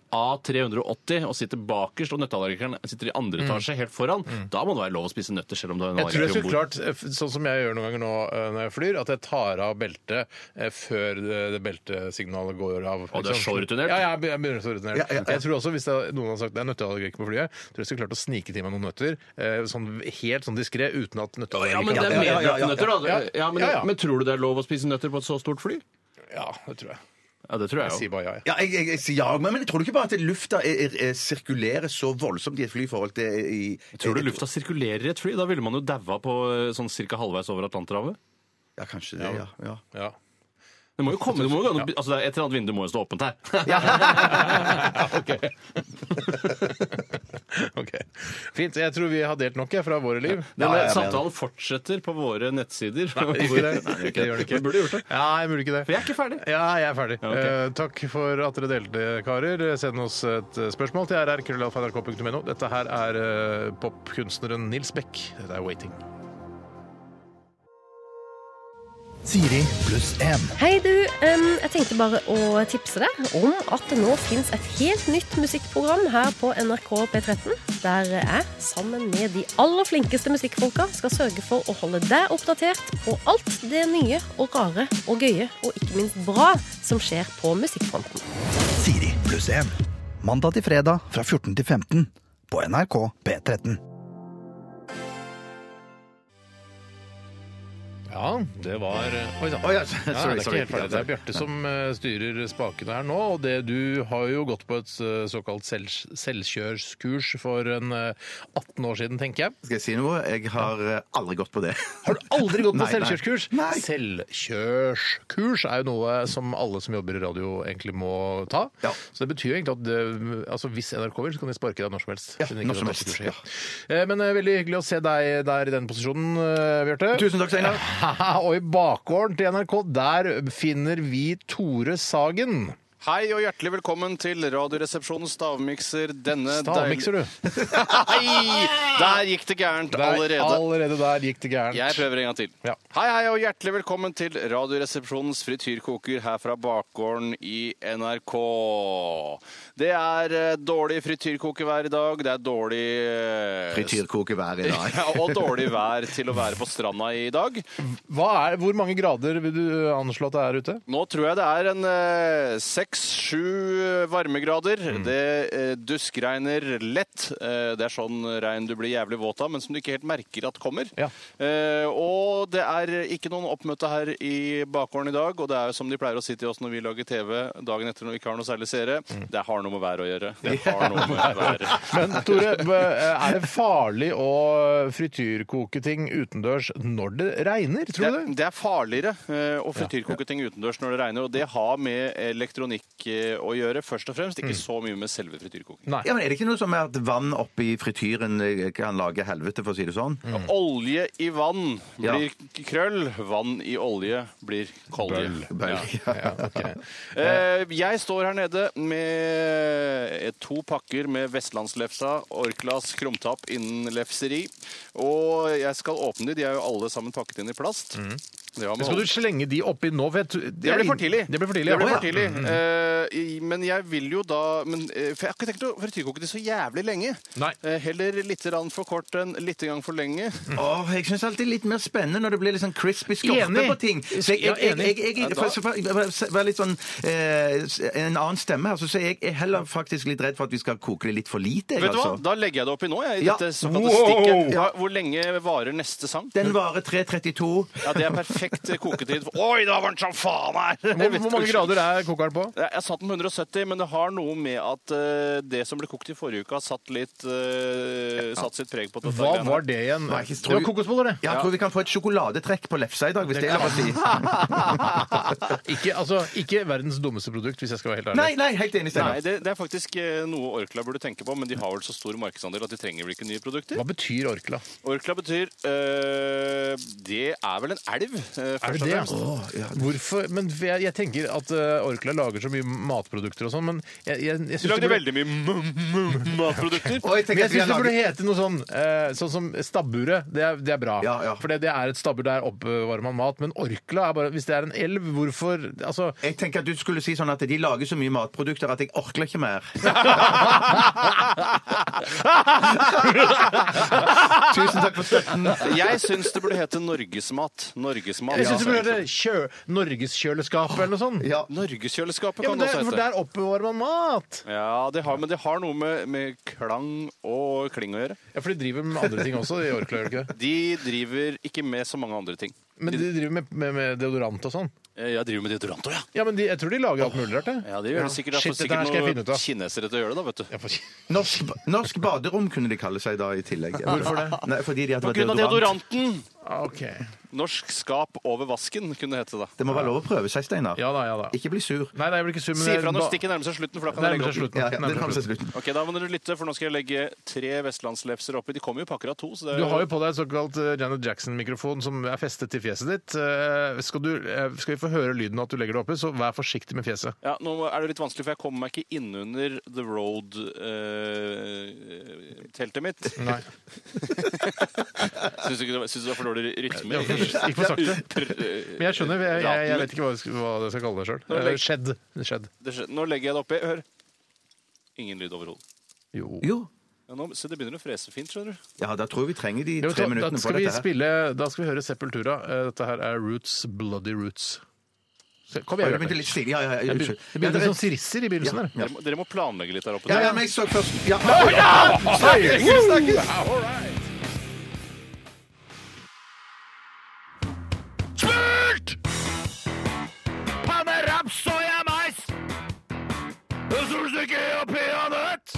G: A380 og sitter bakerst, og nøtteallergikeren sitter i andre etasje helt foran, da må det være lov å spise nøtter selv om du har en
D: Mm. Jeg tror jeg
G: allergiker
D: skulle
G: om bord.
D: klart, eh, f- sånn som jeg gjør noen ganger nå eh, når jeg flyr, at jeg tar av beltet eh, før det, det beltesignalet går av.
G: Og du er så rutinert.
D: Ja, jeg be- jeg begynner å så rutinert.
F: Ja, ja, ja.
D: Jeg tror også, hvis det, noen hadde sagt det er nøtteallergiker på flyet, tror jeg skulle klart å snike til meg noen nøtter, eh, sånn helt sånn diskré, uten at
G: Ja, men det
D: nøtteallergiker
F: Ja,
G: er
F: ja, ja, ja, ja.
G: medbragte nøtter, da.
D: Ja.
G: Ja, men,
D: Ja, ja.
G: men tror du det er lov å spise nøtter på et så stort fly?
D: Ja, det tror jeg.
G: Ja, det tror
D: Jeg
G: jeg
D: sier
G: jo.
D: bare ja, jeg.
F: Ja, jeg, jeg, jeg sier ja, men, men tror du ikke bare at lufta er, er, er sirkulerer så voldsomt i et fly i forhold til i,
G: Tror du lufta sirkulerer i et fly? Da ville man jo daua på eh, sånn cirka halvveis over Atlanterhavet.
F: Ja, kanskje det, ja. ja.
G: [LAUGHS]
D: Ja.
G: Det må jo komme, det må jo gå an å- altså det er Et eller annet vindu må jo stå åpent [LAUGHS] her.
D: OK. Fint. Jeg tror vi har delt nok jeg, fra våre liv.
G: Denne
F: ja, ja, ja.
G: eh, samtalen fortsetter på våre nettsider. Nei, [LAUGHS]
D: det gjør ikke det. Det gjør det ikke.
G: Vi burde gjort det.
D: Ja, jeg burde ikke det.
G: For jeg er ikke ferdig.
D: Ja, jeg er ferdig.
G: Ja, ok.
D: Eh, takk for at dere delte, karer. Send oss et eh, spørsmål til rr.krøllalfa.nrk.no. Dette her er eh, popkunstneren Nils Beck. Dette er 'Waiting'.
H: Siri pluss en.
I: Hei du, em, jeg tenkte bare å tipse deg om at det nå finnes et helt nytt musikkprogram her på NRK P13, der jeg, sammen med de aller flinkeste musikkfolka, skal sørge for å holde deg oppdatert på alt det nye og rare og gøye, og ikke minst bra, som skjer på musikkfronten.
J: Siri pluss 1. Mandag til fredag fra 14 til 15 på NRK P13.
D: Ja, det var eh, Oi sann.
F: Å,
D: Ja,
F: ja,
D: det er
F: sorry,
D: ikke
F: sorry.
D: helt ferdig. Det er Bjarte som eh, styrer spakene her nå. Og det du har jo gått på et eh, såkalt selv, selvkjørskurs for en eh, 18 år siden, tenker jeg.
F: Skal jeg si noe? Jeg har eh, aldri gått på det.
D: Har du aldri gått på
F: Nei, nei.
D: selvkjørskurs?
F: Nei.
D: Selvkjørskurs er jo noe som alle som jobber i radio egentlig må ta.
F: Ja.
D: Så det betyr jo egentlig at det, altså hvis NRK vil, så kan de sparke deg når som helst.
F: Ja,
D: siden ikke du
F: når som
D: har tatt
F: helst,
D: kurset. Eh, Men eh, veldig hyggelig å se deg der i den posisjonen, eh, Bjarte.
F: Tusen takk, [LAUGHS] Steinar.
D: [LAUGHS] Og i bakgården til NRK, der finner vi Tore
E: Eh,
D: Sagen.
E: Hei og hjertelig velkommen til Radioresepsjonens stavmikser. Denne
D: Stavmikser,
E: [LAUGHS]
D: du.
E: Hei! Der gikk det gærent
D: Der,
E: allerede.
D: allerede der gikk det gærent.
E: Jeg prøver en gang til.
D: Ja.
E: Hei, hei og hjertelig velkommen til Radioresepsjonens frityrkoker her fra bakgården i NRK. Det er eh, dårlig frityrkokevær i dag. Det er dårlig eh,
F: Frityrkoke hver i dag.
E: [LAUGHS] Ja, og dårlig vær til å være på stranda i dag.
D: Hva er, hvor mange grader vil du anslå at det er ute?
E: Nå tror jeg det er en eh, seks-sju eh, varmegrader. Det eh, duskregner lett. Eh, det er sånn regn du blir jævlig våt av, men som du ikke helt merker at kommer.
D: Ja.
E: Eh, og det er ikke noen oppmøte her i bakgården i dag, og det er jo som de pleier å si til oss når vi lager TV dagen etter når vi ikke har noe særlig seere, det har noe med været å gjøre. Det har noe med været.
D: Men Tore, b- er det farlig å frityrkoke ting utendørs når det regner, tror
E: det,
D: du det?
E: det er farligere eh, å frityrkoke ting utendørs når det regner, og det har med elektronikk teknikk eh, å gjøre, først og fremst. Ikke så mye med selve frityrkoking.
D: Nei.
F: Ja, men Er det ikke noe som er at vann oppi frityren eh, kan lage helvete, for å si det sånn?
E: Mm. Olje i vann
F: Ja.
E: blir k- krøll, vann i olje blir kolje.
F: Bøll.
D: Ja, [LAUGHS] ok.
E: Eh, Jeg står her nede med to pakker med vestlandslefsa, Orklas krumtapp innen lefseri. Og jeg skal åpne de, de er jo alle sammen pakket inn i plast. Det var med
D: Mm. Skal du slenge de oppi nå? For jeg, tror-
E: Det blir for tidlig.
D: Det blir for tidlig, ja.
E: Det
D: Mm.
E: blir for tidlig. Eh, i- men jeg vil jo da men, eh, For jeg har ikke tenkt å frityrkoke de så jævlig lenge.
D: Nei.
E: Eh, heller litt rann for kort enn litt gang for lenge.
F: Åh, jeg syns alltid litt mer spennende når det blir litt sånn crispy skorpe
D: Enig.
F: på ting. Så jeg,
D: Ja,
F: jeg, jeg,
D: enig.
F: jeg, jeg, jeg, for- for- for- for litt sånn eh, en annen stemme her, så så jeg er heller faktisk litt redd for at vi skal koke det litt for lite. jeg,
E: Vet du hva?
F: altså.
E: Da legger jeg det oppi nå. Jeg, i
F: Ja.
E: dette såkalte
F: Wow!
E: stikket. Hva- Hvor lenge varer neste sang?
F: Den varer 3.32.
E: Ja, Det er perfekt koketid. Oi, da var den som faen her! Jeg
D: Hvor,
E: vet
D: hvor mange
E: ikke.
D: grader er kokeren på?
E: Jeg jeg satt den på 170, men det har noe med at eh, det som ble kokt i forrige uke, har satt, litt, eh, satt sitt preg på dette.
D: Hva
E: greiene.
D: var det igjen?
F: Nei, ikke-
D: Det var kokosboller, det.
F: Ja, jeg tror vi kan få et sjokoladetrekk på lefsa i dag, hvis det er lov å si.
D: Ikke, altså, ikke verdens dummeste produkt, hvis jeg skal være helt ærlig.
F: Nei, nei, helt enig,
E: Nei,
F: Steinar.
E: det, det er faktisk eh, noe Orkla burde tenke på, men de har vel så stor markedsandel at de trenger vel ikke nye produkter.
D: Hva betyr Orkla?
E: Orkla betyr eh, Det er vel en elv, eh, først
D: Er det
E: og
D: det?
E: fremst.
D: Åh, ja. Hvorfor? Men for jeg, jeg tenker at eh, Orkla lager så mye matprodukter og sånn, men jeg, jeg, jeg
E: De
D: synes det
E: lagde
D: burde-
E: veldig mye m- m- matprodukter.
F: Og
D: Men
F: jeg tenker
D: jeg
F: at vi
D: syns
F: har
D: det burde
F: laget
D: hete noe sånn eh, Sånn som stabburet. Det er, det er bra.
F: Ja, ja.
D: For det, det er et stabbur der oppbevarer man mat. Men Orkla er bare Hvis det er en elv, hvorfor Altså
F: jeg tenker at du skulle si sånn at de lager så mye matprodukter at jeg orker ikke mer. Tusen takk for støtten. [LAUGHS]
E: Jeg syns det burde hete Norgesmat. Norgesmat.
D: Jeg syns det burde hete kjø, Norgeskjøleskapet eller noe sånt.
F: Ja.
E: Norgeskjøleskapet
D: Ja,
E: kan
D: men det,
E: det også
D: for
E: hete.
D: der oppbevarer man mat!
E: Ja, det har, men det har noe med, med klang og kling å gjøre.
D: Ja, For de driver med andre ting også, de Orkla, gjør de ikke det?
E: De driver ikke med så mange andre ting.
D: Men de driver med, med, med deodorant og sånn.
E: Eh, Jeg driver med deodorant òg, ja.
D: Ja, men de, jeg tror de lager alt mulig rart, jeg.
E: Ja, det gjør det sikkert. Det er
D: Shit,
E: for
D: dette her skal jeg
E: sikkert
D: finne ut av.
E: noen kinesere til å gjøre det, da, vet du.
D: Ja, for-
F: Norsk, norsk baderom kunne de kalle seg da i tillegg. Hvorfor det? Nei, fordi de hadde
E: På
F: vært
E: grunn av
F: deodorant.
E: deodoranten!
D: Ah, OK.
E: Norsk skap over vasken, kunne det hete da.
F: Det må være lov å prøve seg, Steinar.
D: Ja da, ja da.
F: Ikke bli sur.
D: Nei, nei, jeg blir ikke sur. men
E: Si ifra
D: ba-
E: når stikket nærmer seg slutten, for da kan
D: Nei, det
E: jeg
D: blir
E: legge opp.
D: slutten.
F: Ja, ja,
D: Nei, det
F: det nærmer
D: blir
F: seg
D: slutten.
F: slutten.
E: Ok, Da må dere lytte, for nå skal jeg legge tre vestlandslefser oppi. De kommer jo i pakker av to. så det
D: Du har jo på deg et såkalt eh, Janet Jackson-mikrofon som er festet til fjeset ditt. Eh, Skal, du, eh, skal vi få høre lyden av at du legger det oppi, så vær forsiktig med fjeset.
E: ja, nå er det litt vanskelig, for jeg kommer meg ikke innunder The Road-teltet mitt.
D: Nei.
E: Syns du ikke det var, syns du det var for dårlig
D: [LAUGHS]
E: rytme? eh,
D: Ja, for- ikke for
E: [LAUGHS]
D: sakte. Men jeg skjønner, jeg, jeg, jeg vet ikke hva jeg skal- hva jeg skal kalle det
E: Nå legg-
D: sjøl. Skjedd. Skjedd.
E: Det skjer- Nå legger jeg det oppi. Hør. Ingen lyd overhodet.
D: Jo.
F: Jo.
E: Ja, nå- se, det begynner å frese fint, skjønner du.
F: Ja, da tror jeg vi trenger de
D: Ja, vet du
F: tre
D: hva, da,
F: minuttene på
D: skal vi
F: dette. her.
D: spille, da skal vi høre Sepultura. Eh, Dette her er Roots, Bloody Roots. Så, kom
F: Oi,
D: igjen.
F: Det begynte
D: Bjarte.
F: litt stille. Ja, ja, ja,
D: Det
F: unnskyld. Ja,
D: begynte
F: det-
D: som sirisser i begynnelsen der.
F: Ja.
E: Dere må, dere må planlegge litt der oppe.
F: Ja, ja, men jeg så først Ja, ja! Snakkes! snakkes.
D: Smurt! Panne, raps, soya, mais. Solstykke og peanøtt.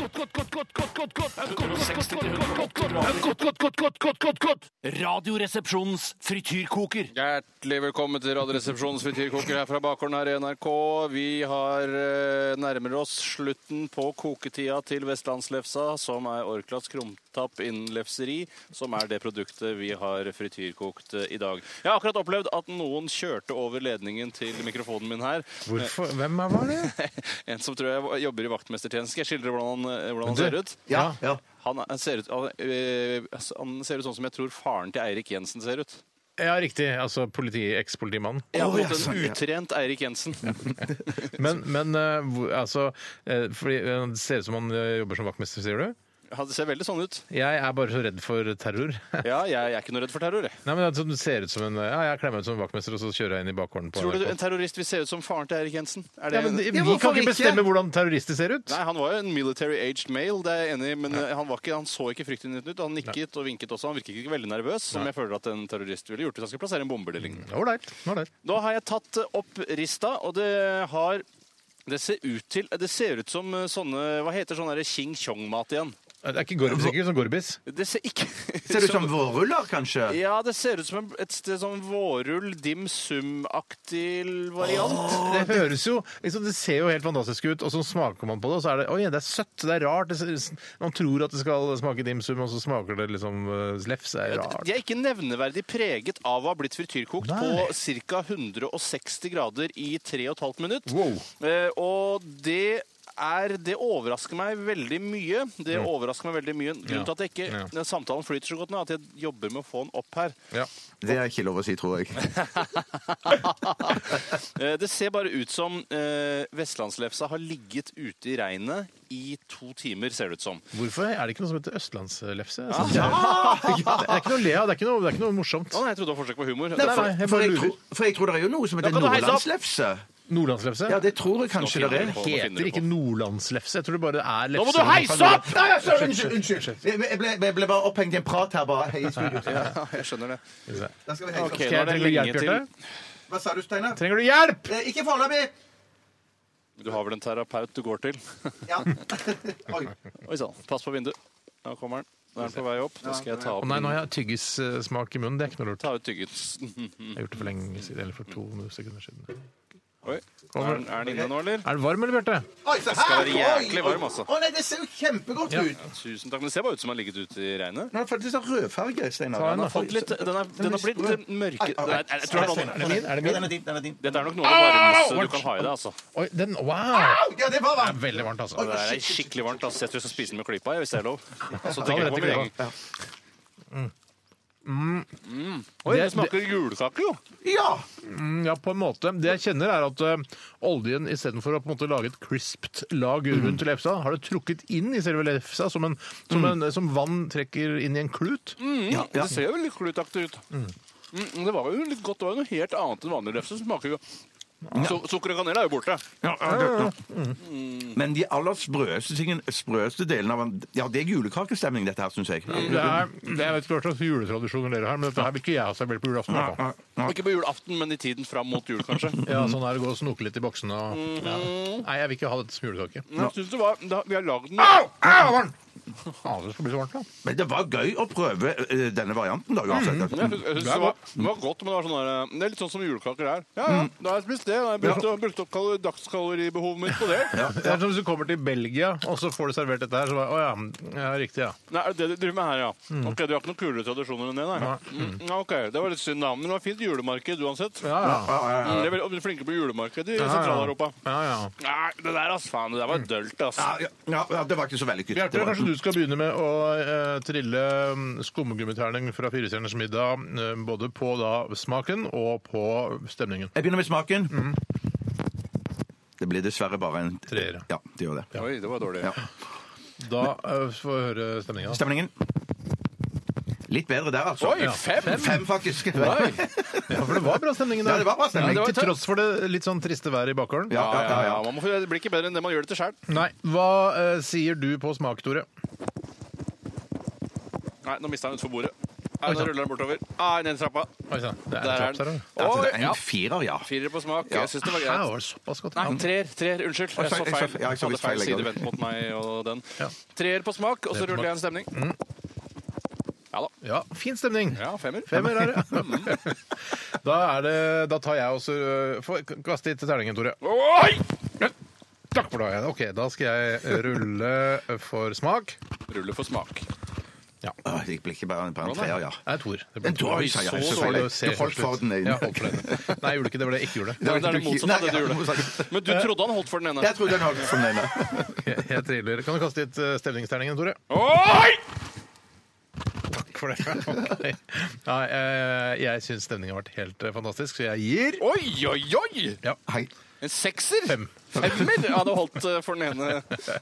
D: Godt, godt, godt, godt, godt, godt, godt. Godt, godt, godt, godt, godt, godt, godt, godt, godt, godt.
K: Radioresepsjonens frityrkoker.
E: Hjertelig velkommen til Radioresepsjonens frityrkoker her fra bakgården her i NRK. Vi har eh, nærmer oss slutten på koketida til Vestlandslefsa, som er Orklas krumtapp innen lefseri, som er det produktet vi har frityrkokt eh, i dag. Jeg har akkurat opplevd at noen kjørte over ledningen til mikrofonen min her. [LAUGHS]
D: Hvorfor? Hvem er- var det?
E: En som tror jeg jobber i vaktmestertjenesten. Skal jeg skildre hvordan han, eh, hvordan han
D: Men
E: ser
D: du-
E: ut?
F: Ja, ja.
E: Han, er- ser ut han, eh, han ser ut sånn som jeg tror faren til Eirik Jensen ser ut.
D: Ja, riktig. Altså politi, ekspolitimannen.
E: Jeg har
F: Å, ja,
E: fått en
F: sånn, ja.
E: utrent Eirik Jensen.
F: [LAUGHS]
D: Men, men eh, hvor- altså eh, fordi Det ser ut som han eh, jobber som vaktmester, sier du?
E: Han ser veldig sånn ut.
D: Jeg er bare så redd for terror. [LAUGHS]
E: Ja, jeg, jeg er ikke noe redd for terror. Jeg.
D: Nei, men altså, det ser ut som en Ja, jeg klemmer ut som en vaktmester, og så kjører jeg inn i bakgården på
E: Tror du
D: NRK.
E: en terrorist vil se ut som faren til Erik Jensen?
D: Ja,
E: Er det
D: men de-
E: en...
D: Vi
F: hvorfor
D: kan ikke bestemme hvordan terrorister ser ut.
E: Nei, Han var jo en military aged male, det er jeg enig i, men eh, han, var ikke, han så ikke fryktinngytende ut. Han nikket og vinket også. Han virket ikke veldig nervøs, som jeg føler at en terrorist ville gjort hvis han skulle plassere en bombe eller lignende.
D: Ålreit. ålreit.
E: Nå har jeg tatt eh, opp rista, og det har det ser ut til Det ser ut som eh, sånne Hva heter sånn der Ching Chong-mat igjen?
D: Det er ikke Gorb, sikkert, som Gorbis.
E: Det ser ikke
F: Ser det ut som vårruller, kanskje?
E: [LAUGHS] Ja, det ser ut som en- et sted sånn vårrull, dim sum-aktig variant.
D: Det høres jo, liksom, det ser jo helt fantastisk ut, og så smaker man på det, og så er det oi, det er søtt, det er rart. Det ser, man tror at det skal smake dimsum, og så smaker det liksom eh, lefs. Det er jo rart.
E: De er ikke nevneverdig preget av å ha blitt frityrkokt
D: Nei.
E: på ca. 160 grader i 3,5 minutt.
D: Wow.
E: Eh, og det er, det overrasker meg veldig mye. Det overrasker meg veldig mye. Grunnen til at jeg ikke,
D: Ja.
E: den samtalen flyter så godt nå, er at jeg jobber med å få den opp her.
D: Ja.
F: Det er ikke lov å si, tror jeg.
E: Eh, det ser bare ut som eh, vestlandslefsa har ligget ute i regnet i to timer, ser det ut som.
D: Hvorfor er det ikke noe som heter østlandslefse? Jeg synes Det, er, det er ikke noe å le av, det er ikke noe, det er ikke noe morsomt.
E: Å nei, jeg trodde det var forsøk på humor.
D: Nei, nei, jeg
F: For
D: bare
F: jeg,
D: lurer.
F: tror, for jeg tror det er jo noe som heter
E: kan du heise opp.
F: nordlandslefse.
D: Nordlandslefse?
F: Ja, det tror jeg kanskje det er.
E: Hva finner
D: Heter
E: du
D: ikke
E: på?
D: nordlandslefse. Jeg tror det bare er lefse.
E: Nå må du heise opp!
F: Nei, altså, unnskyld! unnskyld. Jeg, jeg, ble, jeg ble bare opphengt i en prat her, bare. Hei, i [LAUGHS] studio.
E: [LAUGHS] Ja, jeg skjønner det.
F: Da skal vi heise opp.
E: Ok, nå er
D: Trenger
E: det
D: du
E: lenge
D: hjelp,
E: til.
D: Bjarte?
F: Hva sa du, Steinar?
D: Trenger du hjelp?
F: Eh, Ikke foreløpig!
E: Du har vel en terapeut du går til?
F: Ja. Oi.
E: Oi sann. Pass på vinduet. Nå kommer den. Nå er den på vei opp. Da skal jeg ta
D: Å
E: opp
D: nei,
E: den.
D: nå har jeg tyggissmak i munnen. Det er ikke noe lurt.
E: Ta ut tyggisen.
D: Jeg har gjort det for lenge siden, eller for to sekunder siden.
E: [LAUGHS] Oi. Er den, er den inne nå, eller?
D: Er den varm, eller, Bjarte?
F: Oi, se her!
E: skal være jæklig
F: Oi, oi.
E: varm, altså.
F: Å nei, det ser jo kjempegodt ut!
E: Tusen takk. Men det ser bare ut som den har ligget ute i regnet.
F: Den er faktisk sånn rødfarge, Steinar.
D: Ta en,
E: Den
D: da.
E: har, fått litt, den er, den har blitt litt mørke...
F: Ai, ai,
E: Nei,
F: ai.
E: jeg tror det er vann.
F: Er det min? Er det min? Ja, den er din. Den er din.
E: Dette er nok noe av det varmeste du kan ha i deg. altså.
D: Oi, den Wow!
F: Ja, det var
D: Det
F: varmt!
D: er veldig varmt, altså.
E: Det er skikkelig varmt. altså. Jeg tror jeg skal spise den med klypa, jeg, hvis det er lov. Så
D: Ta
E: tenker jeg
D: rett
E: på
D: i
E: min
D: klypa.
E: egen. Oi, Mm. det smaker julekake, jo!
F: Ja!
D: Mm, Ja, på en måte. Det jeg kjenner, er at ø, oljen istedenfor å på en måte lage et crispt lag rundt lefsa, har det trukket inn i selve lefsa, som, en, som, en, som vann trekker inn i en klut.
E: Mm, Det ser jo veldig klutaktig ut. Mm, men det var jo litt godt. Det var jo noe helt annet enn vanlig lefse. som smaker jo... Så, sukker og kanel er jo borte.
F: Men de aller sprøeste, tingene- sprøeste delene av Ja, det er julekakestemning, dette her, syns jeg.
D: Det er, det, jeg vet ikke hva slags juletradisjoner dere har, men dette her vil ikke jeg ha servert på julaften. i hvert fall.
E: Ikke på julaften, men i tiden fram mot jul, kanskje.
D: Ja, sånn er det å gå og snoke litt i boksene og ja. Nei, jeg vil ikke ha dette som julekake.
E: Men Jeg synes det var, det, vi har lagd den
D: Faen, det skal bli så varmt, da.
F: Men det var gøy å prøve eh, denne varianten, da. uansett.
E: Jeg synes- jeg synes det, var, det var godt, men det var sånn der, eh, Det er litt sånn som julekaker er. Ja, ja, da har jeg spist det. Da har jeg brukt, brukt opp kal- dagskaloribehovet mitt på det.
D: Det er som hvis du kommer til Belgia, og så får du servert dette her, så bare Å ja, ja riktig, ja.
E: Nei, er det det du driver med her, ja. Ok, Du har ikke noen kulere tradisjoner enn det, nei? Mm, ja, ok, Det var litt synd, da. Men det var fint julemarked uansett.
D: Ja ja.
E: Mm, de er veldig og de er flinke på julemarked i Sentral-Europa.
D: ja, ja.
E: Nei, det der, ass, Mm. faen. Det der var dølt, ass.
F: Ja, ja, ja, det var ikke så vellykket.
D: Bjarte,
F: Det var-
D: kanskje du skal begynne med å eh, trille mm, skummegummiterning fra Firestjerners middag, eh, både på da smaken og på stemningen.
F: Jeg begynner med smaken.
E: Mm.
F: Det blir dessverre bare en
D: Treer,
F: Ja, det gjør det.
E: Oi, det var dårlig.
F: Ja.
D: Da eh, får vi høre stemninga.
F: Stemningen? Litt bedre der, altså.
E: Oi, fem!
F: Fem, faktisk.
D: Ja, for det var bra stemning i
F: Ja, det var bra stemning.
D: Til tross for det litt sånn triste været i bakgården.
F: Ja,
E: Ja, ja, ja. Man må, det blir ikke bedre enn det man gjør det til sjøl.
D: Nei, hva eh, sier du på smak, Tore?
E: Nei, nå mista han utfor bordet. Nei,
D: Oi,
E: nå
D: sant.
E: ruller han bortover. Nei, ned i trappa.
D: Oi sann, det er
E: Der er
D: klaps her
E: den.
D: òg.
F: Altså, det
E: Oi,
F: er
E: ja.
F: en firer, ja.
E: Fire på smak. Jeg syns det var
D: Her
E: greit.
D: var det såpass godt.
E: Nei, treer. treer, Unnskyld.
F: Oi,
E: Jeg så
F: sorry,
E: feil.
F: sorry,
E: Jeg
F: jeg så
E: hadde
F: litt
E: feil
F: feil, jeg
E: side
F: også.
E: vendt mot meg og den.
D: Ja.
E: Treer på smak, og så
D: Treer på
E: ruller jeg en stemning. Ja da.
D: Ja, fin stemning.
E: Ja, Mm. femmer.
D: Femmer
E: [LAUGHS]
D: er det. da er det Da tar jeg også eh, få- Kast litt terningen, Tore.
E: Oi!
D: Takk for det. Ok, da skal jeg eh, rulle for smak.
E: Ruller for smak.
F: Åh, Det blir ikke bare en, bare en treer, ja.
D: Nei, toer. Det
F: En toer, sa jeg,
D: så
F: selvfølgelig.
D: dårlig.
F: Du holdt for den ene.
D: Ja, holdt for den ene. Nei, jeg gjorde ikke det. Det var det jeg ikke gjorde.
E: Det er det
F: ikke-
E: motsatte av det du
F: Nei, ja,
E: gjorde.
F: motsatt.
E: Men du trodde han holdt for den ene.
F: Jeg trodde den holdt som den ene.
D: Jeg, jeg triller. Kan du kaste litt eh, stemningsterningen, Tore?
E: Oi!
D: Takk for det. [LAUGHS] Ok. Nei, eh, jeg syns stemningen har vært helt eh, fantastisk, så jeg gir
E: Oi, oi, oi!
F: Hei.
E: En sekser?
D: Fem.
E: Femmer? Ja, det holdt eh, for den ene.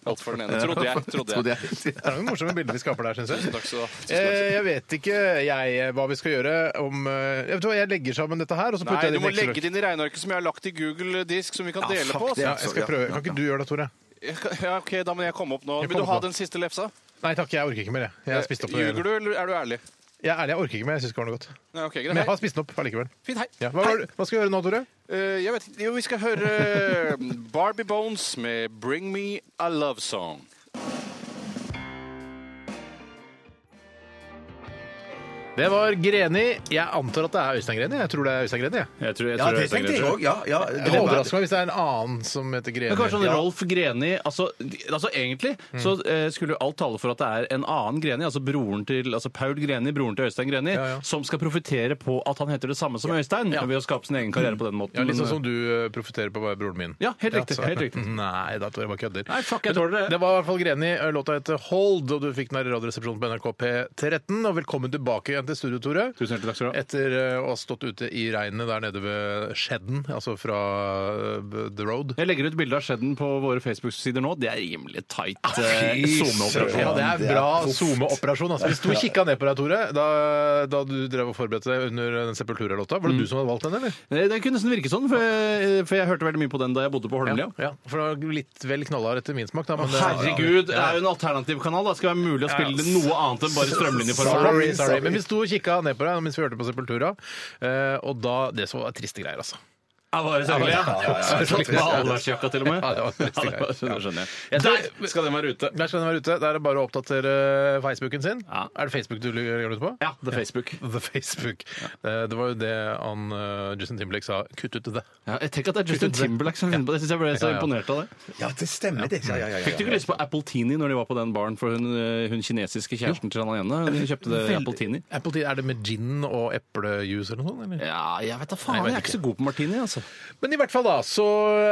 E: Holdt for den ene. Trodde jeg. Trodde jeg.
D: Det er noen morsomme bilder vi skaper der, syns jeg.
E: Takk skal du ha.
D: Eh, jeg vet ikke jeg eh, hva vi skal gjøre om eh, Jeg vet hva, jeg legger sammen dette her, og så putter
E: Nei,
D: jeg
E: du
D: det
E: må
D: i
E: legge
D: Excel.
E: det inn i regnearket som jeg har lagt i Google Disk, som vi kan dele
F: fuck
E: på.
F: det,
D: Ja,
E: Altså.
D: jeg skal prøve. Kan ikke du gjøre det, Tore?
E: Jeg kan- Ja, ok, da må jeg komme opp nå.
D: Jeg
E: Vil du
D: kommer
E: ha
D: på.
E: den siste lefsa?
D: Nei takk, jeg orker ikke mer. Jeg, jeg har spist opp det.
E: Eh, Ljuger du, eller er du ærlig?
D: Jeg er ærlig, jeg orker ikke mer. Jeg syns ikke det var noe godt.
E: Nei, ok,
D: Men jeg
E: greit.
D: har spist den opp allikevel.
E: Fint, hei.
D: Ja. Hva, var det- hva skal vi gjøre nå, Tore?
E: Eh, jeg vet ikke. Jo, vi skal høre eh, Barbie Bones med 'Bring Me A Love Song'.
D: Det var Greni. Jeg antar at det er Øystein Greni. Jeg tror det er Øystein Greni. jeg.
G: Jeg tror,
F: Ja,
G: jeg tror
F: det
G: jeg tenker
F: tenkte jeg
G: det.
F: òg. Ja, ja,
D: Det overrasker meg hvis det er en annen som heter Greni.
G: Men kanskje sånn Rolf Greni altså, de- altså Egentlig så eh, skulle jo alt tale for at det er en annen Greni, altså broren til altså Paul Greni, broren til Øystein Greni,
D: Ja, ja.
G: som skal profittere på at han heter det samme som Øystein, ved å skape sin egen karriere på den måten.
D: Ja, litt sånn som
G: Men,
D: du eh, profitterer på å være broren min.
G: Ja, helt riktig,
D: så-
G: helt
D: [LAUGHS]
G: riktig.
D: Nei, da tror jeg bare kødder.
G: Nei, fuck, jeg tåler det.
D: Det var i hvert fall Greni. eh, Låta heter Hold, og du fikk den her i Radioresepsjonen på NRK P13. Og velkommen tilbake igjen til studio, Tore.
G: Tusen hjertelig takk skal du ha.
D: Etter eh, å ha stått ute i regnet der nede ved Skjedden, altså fra eh, The Road.
G: Jeg legger ut bilde av skjedden på våre Facebook-sider nå. Det er rimelig tight eh,
F: fy
G: zoneoperasjon.
F: søren.
D: Ja, det er
F: det er
D: bra
F: proft.
D: SoMe-operasjon. Altså. Vi sto og kikka ned på deg, Tore, da, da du drev og forberedte deg under den Sepultura-låta.
G: Mm.
D: Var det du som hadde valgt den, eller?
G: Eh, Det kunne nesten virke sånn, for jeg, for jeg hørte veldig mye på den da jeg bodde på Holmlia.
D: Ja, for det var litt vel knallhard etter min smak, da. Men det-
G: Herregud, det er jo en alternativkanal. Da skal det være mulig å spille noe annet enn bare strømlinjeforhold.
D: Sorry, sorry. Men vi sto og kikka ned på deg mens vi hørte på Sepultura, eh, og da Det så var triste greier, altså.
G: Ja, bare sørgelig, ja. Med allværsjakka til og med.
D: Ja, det var trist,
G: Ja, det var- det skjønner jeg. Jeg
D: Der-
G: tror- skal den være ute?
D: Der skal den være ute. Der er det bare å oppdatere eh, Facebooken sin.
G: Ja.
D: Er det Facebook du gjør det på?
G: Ja, det er Facebook.
D: The Facebook. Eh, Det var jo det han eh, Justin Timberlake sa. Kutt ut det.
G: Ja, jeg tenker at det er Justin Timberlake som finner på det. Jeg synes jeg ble så
D: Ja, ja.
G: imponert av det.
F: Ja, det stemmer, det. Ja, ja, ja, ja,
G: Fikk du ikke lyst på Appletini når de var på den baren, for hun, eh, hun kinesiske kjæresten til han ene hun kjøpte det Appletini?
D: Appletini, Er det med gin og eplejuice eller noe sånt? Eller?
G: Ja, jeg vet
D: Nei, jeg
G: da faen.
D: vet
G: Jeg er ikke så god på martini, altså.
D: Men i hvert fall da, så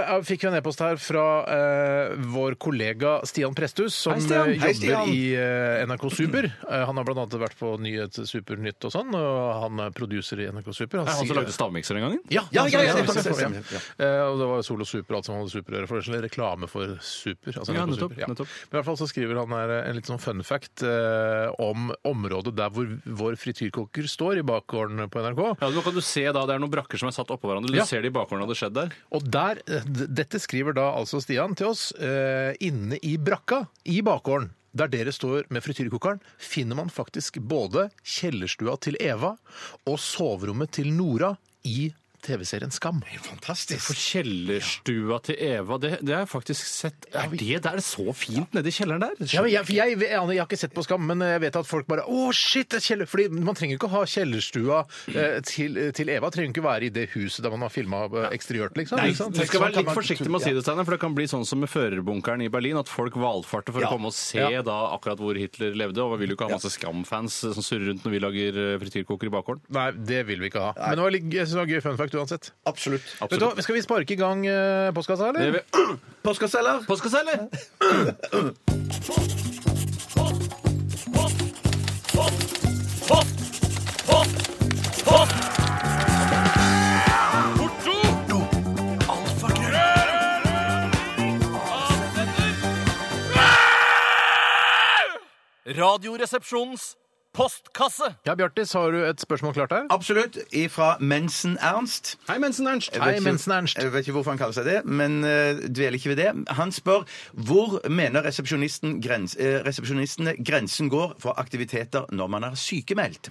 D: eh, fikk vi en e-post her fra eh, vår kollega Stian Presthus, som
F: Hei, Stian.
D: eh,
F: Hei,
D: jobber
F: Stian.
D: i eh, NRK Super. Eh, han har blant annet vært på Nyhet eh, Supernytt og sånn, og han er producer i NRK Super.
G: Er det han som
D: sier-
G: lagde stavmikser en gang?
D: ja,
F: Ja,
D: han
F: ja, ja,
D: som
F: ja,
D: lagde
F: ja,
D: Super,
F: ja, ja.
D: Eh, og det var jo Solo Super og alt som hadde superøre for det. er en Reklame for Super. altså
G: Ja,
D: NRK
G: nettopp,
D: Super, ja.
G: nettopp.
D: Men i hvert fall så skriver han her eh, en litt sånn fun fact eh, om området der hvor vår frityrkoker står i bakgården på NRK.
G: Ja, nå kan du se da, Det er noen brakker som er satt oppå hverandre. Du
D: Ja.
G: ser det i bakgården hadde skjedd der.
D: Og der, eh, d- Dette skriver da altså Stian til oss. Eh, inne i brakka i bakgården, der dere står med frityrkokeren, finner man faktisk både kjellerstua til Eva og soverommet til Nora i TV-serien Skam.
F: Fantastisk.
G: For kjellerstua til Eva, det, det har jeg faktisk sett. Er det der så fint nede i kjelleren der?
D: Ja, men jeg, for jeg, jeg, aner- jeg har ikke sett på Skam, men eh, jeg vet at folk bare Å, shit! det er Kjeller, fordi man trenger jo ikke å ha kjellerstua eh, til, til Eva. Trenger ikke være i det huset der man har filma eksteriørt, liksom.
G: Nei,
D: ikke sant?
G: du skal
D: Sånn
G: være
D: kan
G: litt
D: man-
G: forsiktig med å si det, Steinar, for det kan bli sånn som med førerbunkeren i Berlin, at folk valfarter for
D: Ja.
G: å komme og se
D: Ja.
G: da akkurat hvor Hitler levde. Og man vil jo ikke ha masse Skam-fans som surrer rundt når vi lager eh, frityrkoker i bakgården.
D: Nei, det vil vi ikke ha. Men det var, litt- jeg synes det var gøy fun fact uansett.
F: Absolutt.
D: Vet du hva, skal vi sparke i gang eh, postkassa, eller?
F: Postkasseller?
G: Påskasse, eller?
K: Radioresepsjonens postkasse.
D: Ja, Bjartis, har du et spørsmål klart der?
F: Absolutt. Ifra Mensen-Ernst.
G: Hei, mensen Ernst!
F: Jeg vet
D: Hei,
F: ikke-
D: Mensen-Ernst.
F: Jeg vet ikke hvorfor han kaller seg det, men uh, dveler ikke ved det. Han spør hvor mener resepsjonisten grens, eh, resepsjonistene grensen går for aktiviteter når man er sykemeldt.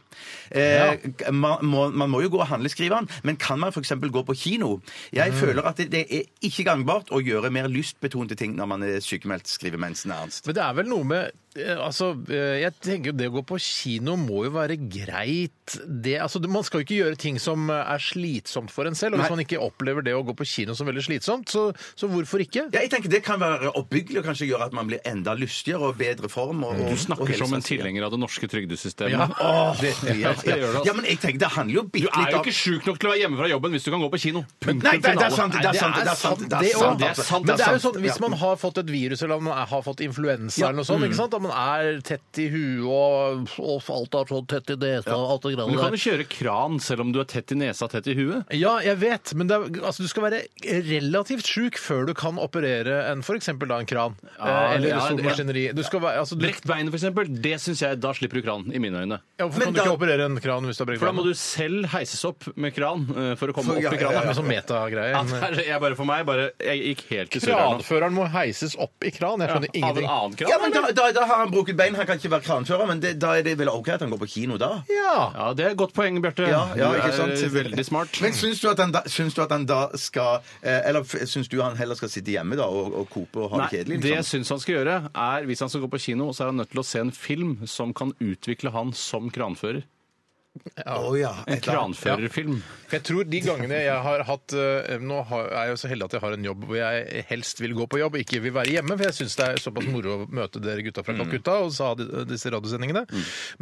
F: Eh, man, må, man må jo gå og handle, skriver han, men kan man f.eks. gå på kino? Jeg
G: Mm.
F: føler at det, det er ikke gangbart å gjøre mer lystbetonte ting når man er sykemeldt, skriver Mensen-Ernst.
D: Men det er vel noe med eh, Altså, eh, jeg tenker jo det å gå på kino må jo være greit. Det, altså, det- man skal jo ikke gjøre ting som eh, er slitsomt for en selv. Og hvis
F: Nei.
D: man ikke opplever det å gå på kino som veldig slitsomt, så, så hvorfor ikke?
F: Ja, jeg tenker Det kan være oppbyggelig og kanskje gjøre at man blir enda lystigere og bedre form. Og, og,
G: Du snakker
F: og
G: som en
F: helsen stiger.
G: tilhenger av det norske trygdesystemet.
F: Åh, det, ja, ja.
G: det gjør det, altså.
F: ja, men jeg tenker det handler jo
G: Du
F: bitte
G: er
F: litt
G: jo
F: om
G: ikke sjuk nok til å være hjemme fra jobben hvis du kan gå på kino. Punktum
F: Nei, det, det er
G: finale.
F: sant! Det er sant! Det er sant!
D: det
F: er sant,
D: også.
G: det er sant,
D: Men det er jo
F: sant.
D: sånn, hvis
F: Ja.
D: man har fått et virus eller man er, har fått influensa
F: Ja.
D: eller noe sånt, ikke sant? at man er tett i huet og, og alt er sånn tett i nesa og alt det
G: Men
D: greiene
G: du
D: der.
G: kan jo kjøre kran selv om du er tett i nesa, tett i huet.
D: Ja, jeg vet, men det er, altså, du skal være relativt sjuk før du kan operere en f.eks. da en kran
G: Ja,
D: eh, eller
G: ja,
D: solmaskineri. Du skal være, altså, du,
G: Brekt beinet, for eksempel, det syns jeg Da slipper du kran, i mine øyne.
D: ja, hvorfor
F: Men
D: kan du
F: da-
D: ikke operere en kran hvis du har brekt
G: For da må
D: beinet?
G: du selv heises opp med kran eh, for å komme
F: For- ja,
G: opp i
F: ja,
G: krana.
F: ja, ja.
D: Med sånn metagreie.
G: Ja, [LAUGHS] det er, jeg bare, for meg, bare, jeg gikk helt til surreren.
D: Kranføreren må heises opp i kran. Jeg skjønner
G: Av en
D: ingenting.
G: annen kran?
F: Ja, men da, da, da har han brukket bein. Han kan ikke være kranfører, men det, da er det vel OK at han går på kino da?
D: Ja.
G: Ja, det er et godt poeng, Bjarte.
F: Ja, ja, ikke sant?
G: Du er veldig smart.
F: Men syns du at han da, syns du at han da skal eh, Eller f- syns du han heller skal sitte hjemme da og, og kope og ha
G: Nei,
F: det kjedelig?
G: det jeg
F: Liksom?
G: syns han skal gjøre, er hvis han skal gå på kino, så er han nødt til å se en film som kan utvikle han som kranfører.
F: Å ja.
G: En
F: et eller annet.
G: kranførerfilm.
D: For jeg tror de gangene jeg har hatt eh, Nå har, er jeg jo så heldig at jeg har en jobb hvor jeg helst vil gå på jobb, ikke vil være hjemme, for jeg syns det er såpass moro å møte dere gutta fra Calcutta og sa de, disse radiosendingene.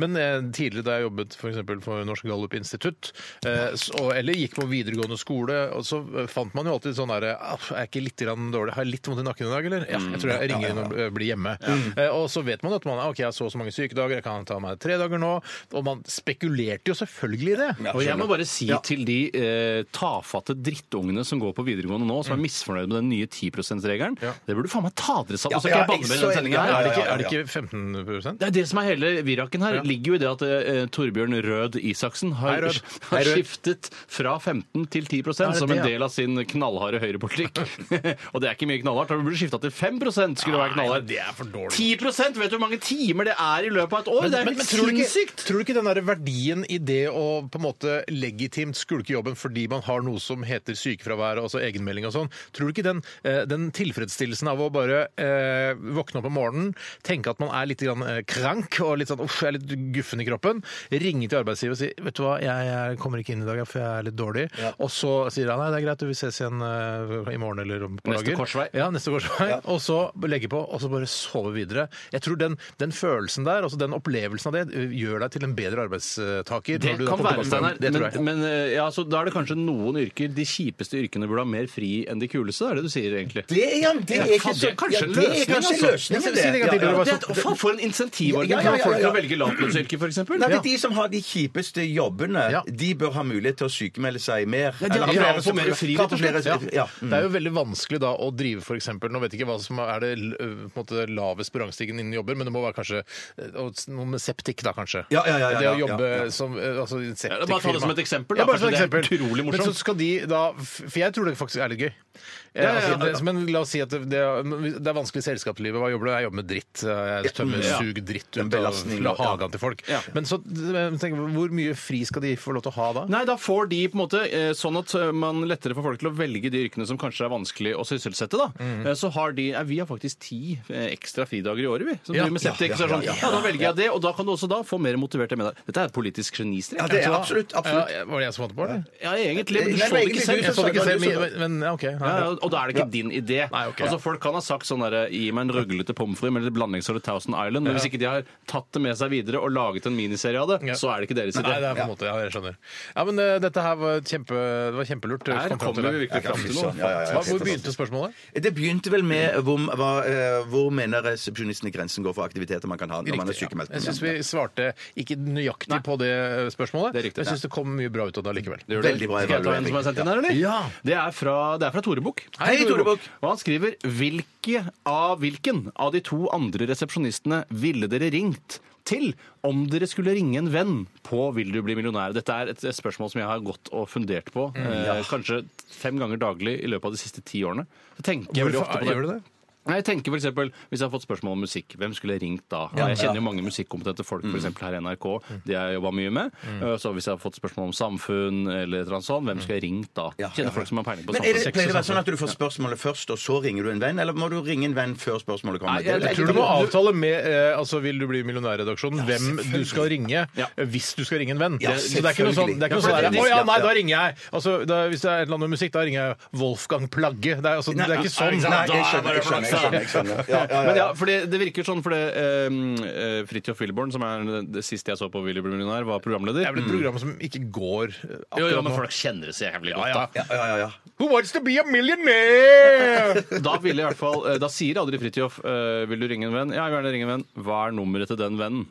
D: Men eh, tidligere da jeg jobbet f.eks. For, for Norsk Gallup Institutt, eh, s- og, eller gikk på videregående skole, og så eh, fant man jo alltid sånn derre Er jeg ikke litt grann dårlig? Har jeg litt vondt i nakken i dag, eller? Ja, jeg tror jeg ringer inn og eh, blir hjemme. Eh, og så vet man at man ok, jeg har så og så mange sykedager, jeg kan ta meg tre dager nå. Og man spekulerte jo selvfølgelig i det.
G: Og jeg må bare si til de eh, tafatte drittungene som går på videregående nå,
F: Mm.
G: som er misfornøyd med den nye 10 %-regelen.
D: Ja.
G: Det burde du faen meg ta dere sammen!
F: Ja,
G: og så
F: ja,
G: ikke banne
F: jeg
G: med
F: så
G: den
F: enig.
G: sendingen
F: Ja,
G: her.
F: ja,
D: Er det
F: ja.
D: ikke, er det ikke 15
G: Det er det som er hele viraken her.
D: Ja.
G: ligger jo i det at eh, Torbjørn Rød Isaksen har,
D: Hei, Rød.
G: har skiftet fra 15 til 10
D: det
G: som en
D: det, ja?
G: del av sin knallharde høyrepolitikk. [LAUGHS] og det er ikke mye knallhardt. Han burde skifta til 5 skulle det være
D: Ah,
G: knallhardt.
D: det er for dårlig.
G: 10 Vet du hvor mange timer det er i løpet av et år? det er helt sinnssykt!
D: tror du ikke den der verdien i det å på en måte legitimt skulke jobben fordi man har noe som heter sykefravær, altså egenmelding og sånn, tror du ikke den, eh, den tilfredsstillelsen av å bare eh, våkne opp om morgenen, tenke at man er litt grann, eh, krank og litt sånn uff, jeg er litt guffen i kroppen, ringe til arbeidsgiver og si vet du hva, jeg, jeg kommer ikke inn i dag for jeg er litt dårlig, og så sier han nei, det er greit, vi ses igjen eh, i morgen eller om et par
G: Neste
D: dager.
G: korsvei.
D: Ja, neste korsvei. Og så legge på, og så bare sove videre. Jeg tror den, den følelsen der, altså den opplevelsen av det, ø, gjør deg til en bedre arbeidstaker.
G: Det
D: når du da
G: kan
D: kommer
G: være,
D: tilbake
G: Steinar.
D: til jobben. Det tror
G: Men,
D: jeg.
G: men eh, ja, så da er det kanskje noen yrker De kjipeste yrkene burde ha mer fri enn de kuleste, er det du sier egentlig?
F: Det er, ja, det er ikke
G: faen,
F: så
G: det er kanskje en
F: det er
G: løsning,
F: kanskje en
G: altså.
F: løsning
D: Ja,
F: med
D: men si det en gang til,
F: Ja,
D: det var
F: ja.
G: Det er, faen, for en insentivorordning
F: Ja, ja, ja, ja,
G: for folk til å
F: ja.
G: velge lavlønnsyrker, f.eks.
F: Nei, men De som har de kjipeste jobbene,
D: Ja.
F: de bør ha mulighet til å sykemelde seg mer.
G: Ja, de har
F: Eller ha
G: krav på mer frihet,
F: krav på
G: rett og
F: flere-
G: slett.
F: Ja.
D: Det er jo veldig vanskelig da å drive for eksempel, nå vet jeg ikke hva som er det ø, på en måte, lavest på rangstigen innen jobber, men det må være kanskje ø, og noe med septik da, kanskje.
F: Ja, ja, ja, ja,
D: det å
F: ja,
D: jobbe
F: ja, ja.
D: som ø, altså, i en
G: Ja, bare ta det som et eksempel, da,
D: Ja, bare som et
G: kanskje det er
D: eksempel.
G: utrolig morsomt.
D: Men så skal de da, for jeg tror det faktisk er litt gøy.
G: ja, ja.
D: Altså, det, men la oss si at det, det er- det er vanskelig i selskapslivet. Hva jobber du? Jeg jobber med dritt. Eh, Jeg tømmer
G: Ja.
D: sug dritt ut
F: Den
D: av
F: belastningen,
D: la
F: ja.
D: hagen til folk.
G: Ja.
D: Men så tenk, hvor mye fri skal de få lov til å ha da?
G: Nei, da får de på en måte eh, sånn at eh, man lettere får folk til å velge de yrkene som kanskje er vanskelig å sysselsette, da. Eh, Så har de eh, Vi har faktisk ti eh, ekstra fridager i året, vi. Som
D: Ja.
G: driver med septik.
F: Ja,
G: så er det sånn,
F: ja,
G: ja,
F: ja,
G: da velger jeg det, og da kan du også da få mer motiverte med deg. Dette er et politisk genistrek.
F: ja, det er absolutt. absolutt.
D: Ja, var det jeg som fant på det?
G: Ja, egentlig. Men du
F: Nei,
G: så det
F: egentlig,
G: ikke
F: du
G: selv.
D: Jeg så det ikke selv,
F: Ja,
D: men, men ja, OK. Nei,
G: Ja,
D: bra.
G: ja, og da er det ikke din idé.
D: Nei, ok.
G: altså, folk kan ha sagt sånn derre Gi meg en røglete pommes frites med litt blandings av Thousand Island, men hvis ikke de har tatt det med seg videre og laget en miniserie av det,
D: Ja.
G: så er det ikke deres idé.
D: Nei, det er på en måte, ja, jeg skjønner. Ja, men eh, dette her var, kjempe, det var kjempelurt.
G: Her
D: Kom fram til
G: kommer
D: det.
G: vi virkelig fram til
F: Ja,
G: noe.
F: ja, ja,
D: Hva, hvor begynte spørsmålet?
F: Det begynte vel med hvor, hva, eh, hvor mener resepsjonistene grensen går for aktiviteter man kan ha når man er sykemeldt.
D: Jeg syns vi svarte ikke nøyaktig på det eh, spørsmålet.
G: Det er riktig.
D: men Jeg syns det kom mye bra ut av det likevel.
G: Det gjør det.
F: Veldig bra
G: Skal jeg ta en som er sendt inn her, eller?
D: Ja.
G: Det er fra, det er fra Tore Bukk.
F: Hei, Tore Bukk.
G: Og han skriver Hvilke av, Hvilken av de to andre resepsjonistene ville dere ringt til om dere skulle ringe en venn på Vil du bli millionær? Dette er et spørsmål som jeg har gått og fundert på
F: Mm,
G: eh, kanskje fem ganger daglig i løpet av de siste ti årene. Så tenker jeg veldig ofte på det.
D: Gjør du det?
G: Nei, jeg tenker for eksempel, Hvis jeg har fått spørsmål om musikk, hvem skulle jeg ringt da? jeg kjenner jo mange musikkompetente folk
F: Mm.
G: for eksempel her i NRK. De har jeg jobba mye med. Eh, Så hvis jeg har fått spørsmål om samfunn, eller et eller annet sånt, hvem skulle jeg ringt da?
F: Mm. Ja, ja,
G: Kjenner
F: ja.
G: folk som har peiling på
F: Men er det,
G: samfunn.
F: pleier det å være sånn at du får spørsmålet først, og så ringer du en venn? Eller må du ringe en venn før spørsmålet kommer?
G: Nei, jeg-
D: Jeg
F: Det er vel-
D: tror du må avtale med eh, altså Vil du bli millionærredaksjonen hvem du skal ringe
G: Ja.
D: eh, hvis du skal ringe en venn.
F: Ja,
D: så det er ikke noe sånn, det er ikke noe sånn der,
F: selvfølgelig. Ja, for det-
D: Å ja, nei,
F: ja.
D: da ringer jeg! Altså, da, hvis det er et eller annet med musikk, da ringer jeg Wolfgang Plagge. Det er, altså, det er ikke sånn.
F: Nei, jeg skjønner, jeg skjønner. Jeg skjønner, jeg skjønner. Ja, ja, ja.
G: Men ja, for det, det virker sånn, for det eh, eh, Fridtjof Wilborn, som er det siste jeg så på Willy Blir millionær, var
D: Det er
G: programleder.
D: vel et program som ikke går eh,
G: Jo, jo,
D: akkurat
G: men
D: nå.
G: folk kjenner det så jævlig godt, da.
F: Ja, ja, ja, ja.
D: Who wants to be a millionaire?
G: Da, ville i hvert fall, eh, da sier aldri Fridtjof eh, 'Vil du ringe en venn?' Ja, jeg vil gjerne ringe en venn. Hva er nummeret til den vennen?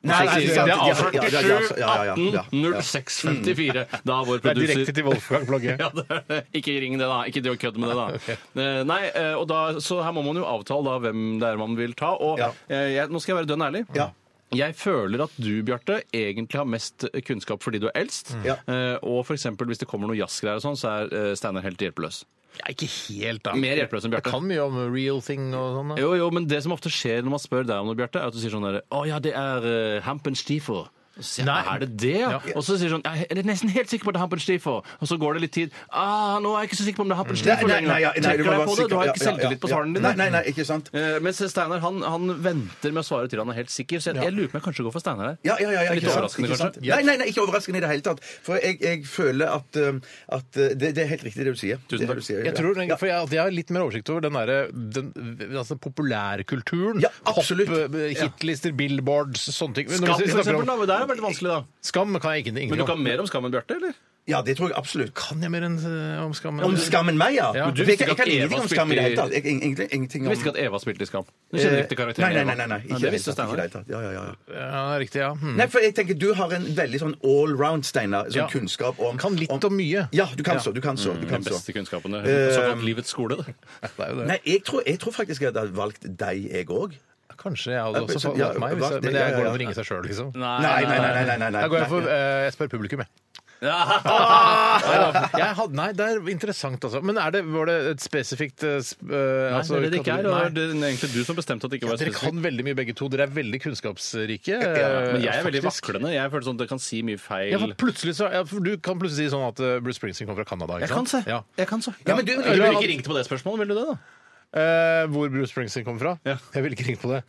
F: Nei,
G: Nei,
F: det
G: det
F: er
G: er
F: avslørt. Ja, ja, ja, ja, ja, ja.
G: 0654. Da vår
D: Det er
G: produser
D: direkte til Wolfgang Plagge.
G: ja, det er det. Ikke ring det, da. Ikke det å kødde med det, da. Eh, Nei, eh, og da, Så her må man jo avtale da hvem det er man vil ta. Og
F: Ja.
G: eh, jeg, nå skal jeg være dønn ærlig.
F: Ja.
G: Jeg føler at du, Bjarte, egentlig har mest kunnskap fordi du er eldst.
F: Ja.
G: Eh, Og for eksempel, hvis det kommer noe jazzgreier og sånn, så er eh, Steinar helt hjelpeløs.
D: Jeg er ikke helt, da.
G: Mer hjelpeløs enn Bjarte.
D: Jeg kan mye om real thing og sånn. da.
G: Jo, jo, men det som ofte skjer når man spør deg om noe, Bjarte, er at du sier sånn derre Å ja, det er uh, eh, Hampen Stiefel. Og så sier jeg,
D: Nei.
G: er det det, ja? Og så sier de sånn, jeg er nesten helt sikker på at det er Hampelstiefo. Og så går det litt tid. Ah, nå er jeg ikke så sikker på om det er
F: Nei,
G: Hampelstiefo
F: nei,
G: lenger.
F: nei, ja, nei, du må
G: Trekker deg
F: være
G: på det,
F: sikker.
G: du har
F: Ja,
G: ikke
F: ja,
G: selvtillit på
F: ja.
G: svaren din.
F: Nei, nei, nei, ikke sant.
G: Eh, Mens Steinar han, han venter med å svare til han er helt sikker, så jeg, jeg lurer på om jeg kanskje går for Steinar der.
F: Ja, ja, ja, ja,
G: Litt
F: ikke sant,
G: overraskende,
F: ikke
G: kanskje?
F: sant. Nei, nei, nei, ikke overraskende i det hele tatt. For jeg, jeg føler at, um, at uh, det, det er helt riktig det du sier.
G: Tusen
F: Det er det
G: takk.
F: du sier,
D: Jeg
F: ja.
D: tror den,
F: Ja.
D: for jeg, jeg har litt mer oversikt over den, der, den altså populærkulturen.
F: Ja, absolutt.
D: Pop, eh, hitlister, billboards, sånne ting. Men når
G: Skam,
D: vi
G: for
D: snakker om-
G: eksempel, da. men Det er jo veldig vanskelig, da.
D: Skam kan jeg ikke ingenting
G: Men du
D: om.
G: kan mer om skammen, Bjarte, eller?
F: ja, det tror jeg absolutt.
D: Kan jeg mer enn eh, om skam?
F: Om skammen meg, ja.
D: Ja.
F: For
G: Du
F: Jeg,
G: visste
F: jeg, kan
G: ikke at Eva
F: ingenting om skam i det hele
G: spilte i-
F: tatt. Jeg, egentlig ingenting
G: Du
F: om
G: visste ikke at Eva spilte i Skam. Du kjenner ikke til
F: Eh,
G: karakteren
F: Nei, nei,
G: Eva.
F: nei. nei, nei.
G: Ja,
F: Ikke,
G: det visste
F: Ikke i
G: Steinar. Mm.
F: det hele tatt. Ja, ja, ja.
D: Ja, riktig, ja. Hmm.
F: Nei, for jeg tenker Du har en veldig sånn allround, Steinar, sånn
D: Ja.
F: kunnskap om
D: Kan litt om mye.
F: Ja, du kan så. Du kan så. Du kan
G: Den
F: så.
G: beste kunnskapen. Mm, det er Såkalt livets skole. det.
D: Det er jo det.
F: Nei, jeg tror, jeg tror faktisk jeg hadde valgt deg, jeg òg.
D: Kanskje jeg hadde også
F: Ja,
D: valgt meg, hvis jeg,
F: valgt det,
D: men det
F: ja, ja,
D: går
F: ja.
D: an å ringe seg sjøl, liksom.
F: [LAUGHS] Nei, nei, nei. nei, nei, nei, Ah! nei.
D: Da går jeg for eh, Jeg spør publikum, jeg. Neida. Jeg hadde, nei, det er interessant, altså. Men er det, var det et spesifikt eh, sp- eh,
G: Nei,
D: altså,
G: det er det det ikke er.
D: kategori-
G: og
D: Nei.
G: Det er egentlig du som bestemte at det ikke
D: Ja,
G: var
D: dere
G: spesifikt.
D: kan veldig mye begge to. Dere er veldig kunnskapsrike. eh,
G: Men jeg er veldig
D: faktisk.
G: vaklende. Jeg føler sånn at jeg kan si mye feil.
D: Ja, for plutselig så, ja, for du kan plutselig si sånn at eh, Bruce Springsteen kommer fra Canada. Ikke
G: Jeg kan
D: sant?
G: se.
D: Ja.
G: Jeg kan se.
F: Ja, men du-
G: du ville ikke ringt på det spørsmålet, ville du det? da?
D: Eh, hvor Bruce Springsteen kommer fra?
G: Ja.
D: Jeg ville ikke ringt på det.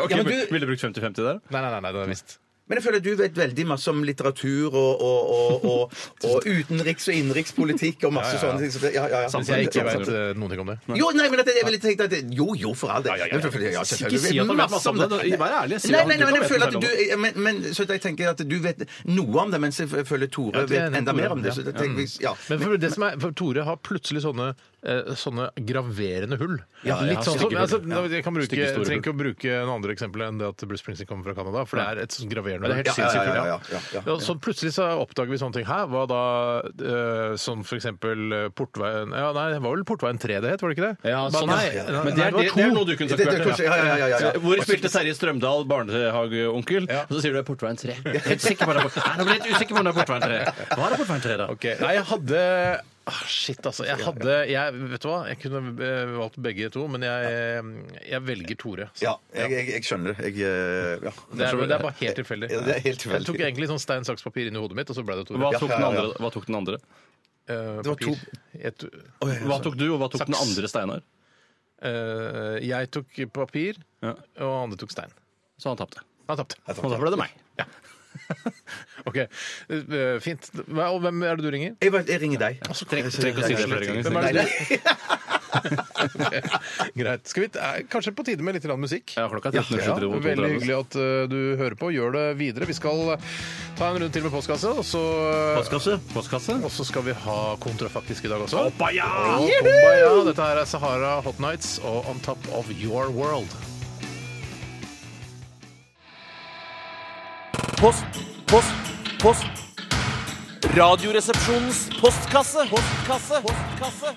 G: Ok,
F: Ja, men
G: vil-
F: du-
G: Ville du brukt 50-50 der?
D: Nei, nei, nei, nei det er visst.
F: Men jeg føler du vet veldig masse om litteratur og, og, og, og, og utenriks- og innenrikspolitikk og masse
D: Ja, ja, ja.
F: sånne ting. Så det, ja, ja, ja.
D: Mens jeg ikke
F: Sant,
D: vet
F: sant.
D: eh, noen ting om det.
F: Jo, nei, men at jeg ville tenkt at det- Jo, jo, for all del. Men for- ja, selvfølgelig.
G: Ikke si at han vet masse om det. da. Vær ærlig. Si
F: Nei,
G: at
F: nei, nei, men
G: du kan
F: jeg
G: vite
F: føler
G: mer
F: at
G: om
F: du
G: det.
F: men, men, Så jeg tenker at du vet noe om det, mens jeg føler Tore
D: det er
F: vet enda
D: Tore,
F: mer om det.
D: ja.
F: Så jeg tenker, hvis- ja.
G: Mm.
D: Men for det som er, for Tore har plutselig sånne, eh, sånne graverende hull.
F: Ja, jeg
D: litt
F: har
D: sånn som,
G: stygge
D: altså,
G: hull, ja.
D: jeg kan bruke,
G: Stygge,
D: jeg
G: store
D: trenger ikke å bruke en andre eksempel enn det at Bruce Springsteen kommer fra Canada, for det er et sånt graverende hull.
F: Ja, ja, ja, ja, ja, ja, ja.
D: Ja, så plutselig så oppdager vi sånne ting. Hæ, hva da eh, som for eksempel eh, Portveien Ja, nei, det var vel Portveien 3 det het, var det ikke det?
G: Ja, sånn,
D: nei,
G: ja.
D: nei,
G: Men det er,
D: var
G: det,
D: to.
G: det er noe du kunne
F: Det-
G: sagt,
F: det-
G: Bjarte.
F: ja, ja, ja, ja, ja.
G: Hvor spilte Terje Strømdal barnehageonkel?
D: Ja.
G: Og så sier du det er Portveien 3. Helt sikker på det er Port- Nei, nå ble jeg litt usikker på om det er Portveien 3. Hva er det Portveien 3, da?
D: Ok, Nei, jeg hadde ah, Shit, altså. Jeg hadde jeg, Vet du hva? Jeg kunne eh, valgt begge to, men jeg, eh, jeg velger Tore. så.
F: Ja, jeg, jeg, jeg skjønner det. Jeg, eh, ja.
D: Det, er, det er bare helt tilfeldig.
F: Ja, det er helt
D: Jeg
F: tilfeldig.
D: tok egentlig sånn stein, saks, papir inn i hodet mitt, og så ble det Tore.
G: Hva tok,
F: ja,
G: den
F: ja.
G: andre, hva tok den andre?
D: Eh,
F: var
D: papir.
F: to-
D: Jeg, to-
G: Hva tok du, og hva tok den
D: Saks.
G: andre, Steinar?
D: eh, jeg tok papir,
G: Ja.
D: og han andre tok stein.
G: Så han tapte.
D: Han tapte.
G: Og da ble det meg.
D: OK, eh, fint. Hva, og hvem er det du ringer? Altså,
F: Jeg, vet- jeg ringer deg.
G: Trenger trenger ikke å si det flere ganger.
D: Hvem er
G: Steinar.
D: det du Greit. Skal vi, eh, kanskje på tide med litt grann musikk?
G: Ja, klokka er
D: Ja,
G: 13.23.
D: veldig hyggelig at eh, du hører på. Gjør det videre. Vi skal eh, ta en runde til med postkasse, og så, eh,
G: Postkasse? Postkasse?
D: og så skal vi ha kontrafaktisk i dag også.
G: Oppa, ja!
D: Og Kumbaya. Dette her er Sahara Hot Nights og On Top of Your World.
K: Post, post, post. Radioresepsjonens postkasse. Postkasse. Postkasse.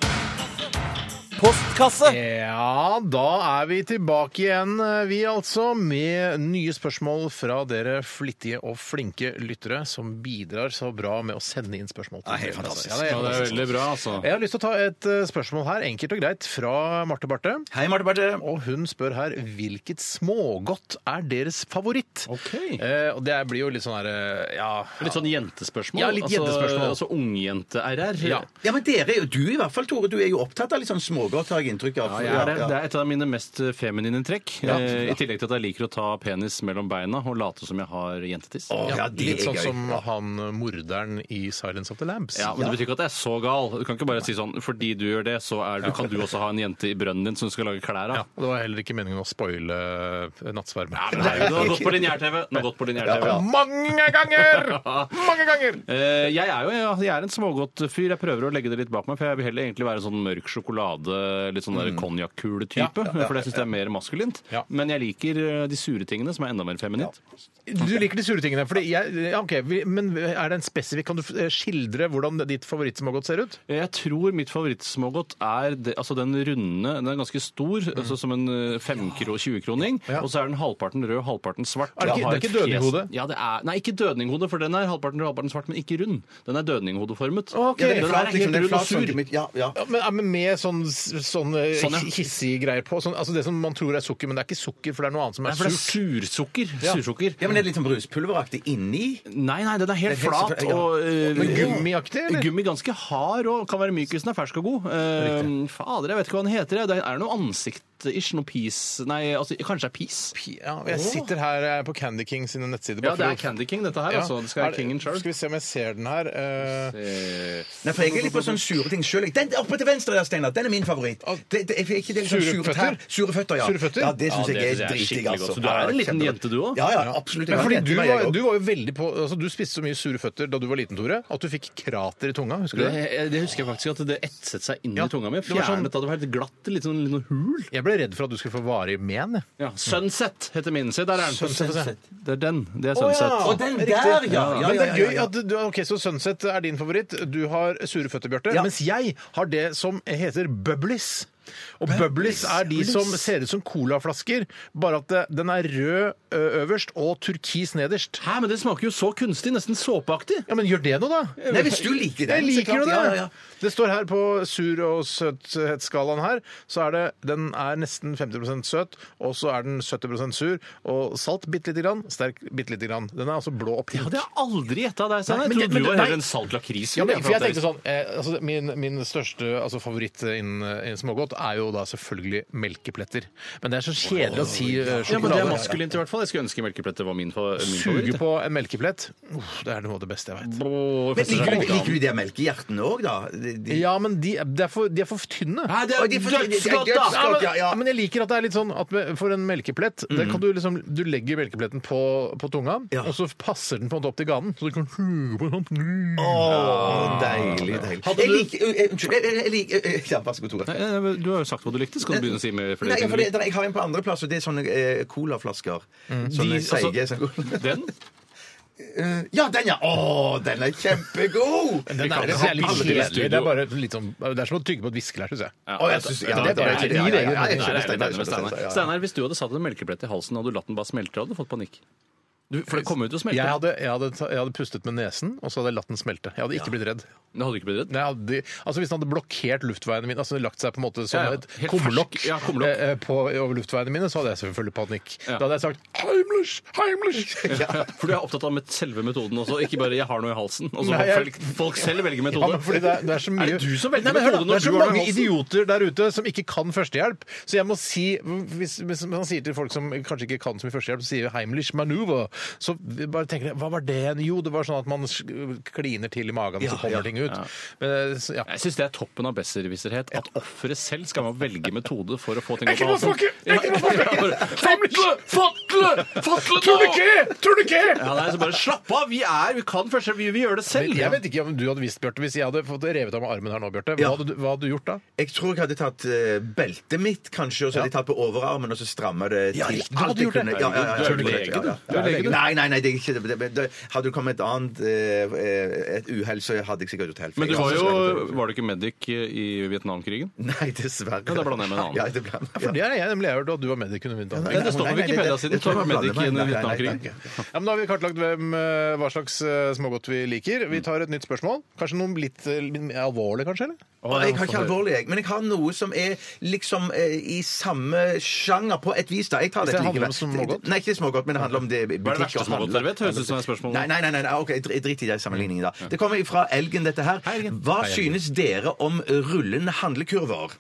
K: Postkasse.
D: Ja, da er vi tilbake igjen, eh, vi altså, med nye spørsmål fra dere flittige og flinke lyttere som bidrar så bra med å sende inn spørsmål. til
F: Ja, helt
D: dere.
F: fantastisk.
D: Ja, det er
G: Ja,
D: helt
G: det er veldig bra, altså.
D: Jeg har lyst til å ta et eh, spørsmål her, enkelt og greit, fra Marte Barthe.
F: Hei, Marte Barthe.
D: Og hun spør her hvilket smågodt er deres favoritt?
G: Ok.
D: Eh, og det blir jo litt sånn her eh, ja,
G: Litt sånn jentespørsmål.
D: Ja, litt jentespørsmål.
G: Altså, altså ungjente-RR.
D: Ja.
F: Ja, men dere er jo Du i hvert fall, Tore. Du er jo opptatt av litt sånn smågodt, har jeg inntrykk av.
G: Ja, jeg er det. det er et av mine mest feminine trekk. Eh, I tillegg til at jeg liker å ta penis mellom beina og late som jeg har jentetiss.
F: Å, ja, det
D: Litt
F: er
D: sånn
F: gøy.
D: som han eh, morderen i 'Silence of the Lambs'.
G: Ja, men Det betyr ikke at jeg er så gal. Du kan ikke bare si sånn fordi du gjør det, så er du, kan du også ha en jente i brønnen din som du skal lage klær
D: Ja,
G: av.
D: og Det var heller ikke meningen å spoile eh, nattsvermen.
G: Nei, men herregud, Den har gått på lineær-TV! Den har gått på lineær-TV.
D: Mange ganger! [LAUGHS] Mange ganger!
G: Eh, jeg er jo ja, jeg er en smågodtfyr. Jeg prøver å legge det litt bak meg, for jeg vil heller egentlig være en sånn mørk sjokolade, litt sånn der konjakkule-type. For det syns jeg er mer maskulint.
D: Ja.
G: Men jeg liker eh, de sure tingene, som er enda mer feminint.
D: Du liker de sure tingene. Fordi jeg, ja, ok, vi- men er det en spesifikk, Kan du eh, skildre hvordan ditt favorittsmågodt ser ut?
G: Eh, Jeg tror mitt favorittsmågodt er det, altså den runde Den er ganske stor, altså som en 5-20-kroning.
D: Mm. Ja.
G: Og så er den halvparten rød, halvparten svart.
D: Er det ikke-
G: Jeg har
D: det er
G: et
D: ikke
G: fjes-
D: dødninghode?
G: Ja, det er, nei, ikke dødninghode, for den er halvparten rød, halvparten svart, men ikke rund. Den er dødninghodeformet.
D: Ok.
G: Den
F: Flat,
G: er
F: liksom,
G: helt
F: det er
G: rund og
F: flat, sånn,
G: sur.
F: mitt- ja, ja.
D: Ja, men, ja, men Med sånn s- sånne
G: Sånn, ja.
D: hissige greier på. Sånn, altså Det som man tror er sukker, men det er ikke sukker, for det er noe annet som
G: Nei,
D: er
G: for det er
D: surt.
G: sursukker.
D: Ja.
G: Sursukker.
F: Ja, men det er litt sånn bruspulveraktig inni.
G: Nei, nei, den er helt
F: Det er helt
G: flat
F: sikkert, ja.
G: og eh,
D: Men gummiaktig, eller?
G: Gummi ganske hard og kan være myk hvis den er fersk og god. Eh, fader, jeg vet ikke hva den heter. jeg. Det er noe ansikt-ish, noe pis Nei, altså, kanskje det er pis?
D: Ja, jeg sitter her eh, på Candy King sine nettsider.
G: Ja,
D: bare
G: det
D: for
G: er
D: å-
G: Candy King, dette her.
D: Ja.
G: altså. Det skal
D: Er
G: være kingen sjøl.
D: Skal vi se om jeg ser den her. eh,
F: Nei, for jeg er litt på sånne sure ting sjøl. Den oppe til venstre der, Steinar, den er min favoritt. Det, det, jeg, ikke det, er sånn
D: Sure
F: sure
D: føtter?
F: tær. Sure føtter, ja.
D: Sure føtter?
F: Ja, det syns
G: Ja, det
F: jeg er
G: synes jeg er
F: dritdigg,
G: skikkelig
F: altså.
G: godt. Så du er
F: Ja,
G: en liten
F: kjempegodt.
G: jente, du også?
F: Ja, ja,
D: men
F: absolutt. Jeg er
D: fordi
F: en
D: du
F: jente, men jeg
D: var,
F: også.
D: du var jo veldig på altså Du spiste så mye sure føtter da du var liten, Tore, at du fikk krater i tunga. Husker du
G: Det, eh,
D: det?
G: det husker jeg faktisk at det etset seg inn
D: Ja.
G: i tunga mi.
D: Det var sånn-
G: Fjernet at det var helt glatt, litt sånn litt noe hul.
D: Jeg ble redd for at du skulle få varig men. jeg.
G: Ja, Sunset heter min. Se, der er den.
D: Sunset, få se.
G: Det er den. Det er Sunset.
K: Og den der, ja! ja,
D: Men det
K: ja,
D: er
K: ja,
D: gøy
K: ja.
D: at du, ok, Så Sunset er din favoritt. Du har sure føtter, Bjarte. Mens jeg har det som heter bubblies. Og bubblies er de som ser ut som colaflasker, bare at det- den er rød ø, øverst og turkis nederst.
G: Hæ, men det smaker jo så kunstig, nesten såpeaktig.
D: Ja, men gjør det noe, da!
F: Nei, hvis du liker den,
D: Jeg
F: så
D: liker
F: klart,
D: jo det!
F: ja, ja, ja.
D: Det står her på sur- og søthetsskalaen her, så er det den er nesten 50 søt, og så er den 70 sur, og salt bitte lite grann, sterk bitte lite grann. Den er altså blå og
G: Det
D: pink.
G: hadde jeg aldri gjetta deg,
D: Nei,
G: Steinar.
D: men
G: Jeg
D: det-
G: trodde
D: men
G: du var
D: det-
G: heller en salt lakrisfyr.
D: Ja, men,
G: jeg,
D: for jeg
G: for at
D: tenkte sånn, eh, altså, min, min største altså, favoritt innen, innen smågodt er jo da selvfølgelig melkepletter. Men det er så kjedelig å si eh,
G: det- ja, men det er
D: sjokolade.
G: maskulint i hvert fall. Jeg skulle ønske melkepletter var min, fa- min favoritt.
D: Suge på en melkeplett, uff, det er noe av det beste jeg vet.
G: Brå,
F: Men
G: fester seg
F: liker du,
G: i magen.
F: liker du de melkehjertene òg, da? De, de,
D: Ja, men de, de, er for, de er for tynne.
G: Nei, det
F: Oi,
G: er
F: de får- de- de- de-
G: dødsgodt, da!
F: dødsgodt, ja, ja.
D: Ja, men jeg liker at det er litt sånn at med- for en melkeplett den kan Du liksom, du legger melkepletten på, på tunga,
F: Ja.
D: og så passer den på en måte opp til ganen. Så du kan suge på sånn den opp.
F: Å, deilig, deilig.
G: Hadde
F: Jeg
G: du-
F: liker eh, Unnskyld. jeg- Jeg jeg liker eh, Ja, vær så god, Tore.
G: Nei, nei, men Du har jo sagt hva du likte. Skal du begynne å si med flere
F: Nei,
G: ting?
F: for
G: du
F: det,
G: likte?
F: jeg har en på andreplass, og det er sånne eh, colaflasker. Sånne
G: De- altså-
F: seige sånn-
G: Den?
F: Eh, Ja, den, ja! Å, den er kjempegod!
D: Den
G: kan
D: er, det
G: ikke ha
D: er litt
G: alle
D: kjedelig.
G: i studio.
D: Det er bare litt sånn, det er som å tygge på et viskelær, syns jeg.
G: Ja,
F: Å, jeg synes- ja,
G: det-
F: det- det-
G: det- det-
F: det- ja,
G: det-
F: jeg skjønner
G: Nei, jeg er
F: Steinar,
G: enig med
F: jeg skjønner
G: Steinar.
F: Steinar, ja.
G: Steinar, hvis du hadde satt en melkeplett i halsen, hadde du latt den bare smelte? Hadde du fått panikk? Du, for det kommer jo til å smelte.
D: Jeg hadde, jeg, hadde, ta- jeg hadde pustet med nesen, og så hadde jeg latt den smelte. Jeg hadde ikke blitt redd.
G: Det hadde du ikke blitt redd?
D: Nei, jeg hadde, altså Hvis den hadde blokkert luftveiene mine, altså lagt seg på en måte som
G: Ja, ja.
D: et
G: Helt
D: kumlokk
G: fersk. Ja, kumlokk.
D: eh, eh, på- over luftveiene mine, så hadde jeg selvfølgelig panikk.
G: Ja.
D: Da hadde jeg sagt 'Heimlich! Heimlich!'
G: Ja. For du er opptatt av med selve metoden også, ikke bare 'jeg har noe i halsen'. Og så
D: Nei,
G: må
D: jeg-
G: folk, folk selv velge
D: Ja,
G: metode.
D: men fordi det er, det er så mye
G: Er det du som velger
D: Nei, men hør da,
G: metode
D: Det
G: når
D: er så
G: du har noe i
D: mange
G: halsen?
D: idioter der ute som ikke kan førstehjelp, så jeg må si Hvis, hvis man sier til folk som kanskje ikke kan så mye førstehjelp, så sier vi 'Heimlich maneuver', så bare tenker jeg Hva var det? Jo, det var sånn at man sk- kliner til i magen, og så kommer ting ut. Men, så, ja.
G: Jeg syns det er toppen av besserwisserhet. At offeret selv skal man velge metode for å få ting
D: Jeg kan
G: opp
D: ikke
G: av halsen.
D: bare
G: [LAUGHS]
D: snakke! Jeg kan ikke bare snakke!
G: Fatle! Fatle! Fatle nå!
D: Turniké! Turniké!
G: Ja, nei, så bare slapp av! Vi er, vi kan først, vi, vi gjør det selv.
D: Men jeg vet ikke om du hadde visst, Bjarte, hvis jeg hadde fått revet av meg armen her nå, Bjarte. Hva,
F: Ja.
D: hadde, du- hva hadde du gjort da?
F: Jeg tror jeg hadde tatt eh, beltet mitt, kanskje, og så hadde jeg tatt på overarmen, og så stramma det til.
D: Ja, ja,
F: alt
D: hadde du
F: jeg
D: gjort det?
F: kunne. Ja, ja, ja,
G: Du er jo
F: selvfølgelig.
G: lege,
F: Ja,
G: du.
F: ja.
G: Du er lege, du.
F: Nei, nei, nei, det er ikke det. det- det- Hadde det kommet et annet eh, eh, et uhell, så hadde jeg sikkert gjort helt feil.
G: Men du
F: Ja,
G: var
F: så
G: jo
F: skulle jeg-
G: Var du ikke medic i Vietnamkrigen?
F: Nei, dessverre.
G: Ja, da blander jeg med en annen.
F: Ja, det blander jeg.
D: For det er jeg nemlig jeg hørt at du var medic under vinterhalvåret.
G: Det står på
F: Nei, nei,
G: Wikipedia
F: det-
G: siden.
F: det
G: Du var
F: tror jeg
G: medic
F: blander meg.
G: i en
F: Nei, nei, nei,
G: Vietnamkrig.
F: nei.
D: Ja, men da har vi kartlagt hvem, eh, hva slags eh, smågodt vi liker. Vi tar et nytt spørsmål. Kanskje noe litt eh, litt mer alvorlig, kanskje? eller?
F: Og jeg har ikke alvorlig, jeg. Men jeg har noe som er liksom eh, i samme sjanger, på et vis. da. Jeg tar
D: Hvis
F: dette
D: det handler
F: likevel.
D: om smågodt?
F: Nei, ikke smågodt, men det handler om det
G: Hva er det verste smågodt dere vet? Høres ut som det er spørsmål.
F: Nei, nei, nei, nei, ok, dr- drit i den sammenligningen,
G: Mm.
F: da. Det kommer fra Elgen, dette her.
D: Hei, Elgen.
F: Hva
D: Hei, Elgen.
F: synes dere om rullende handlekurver?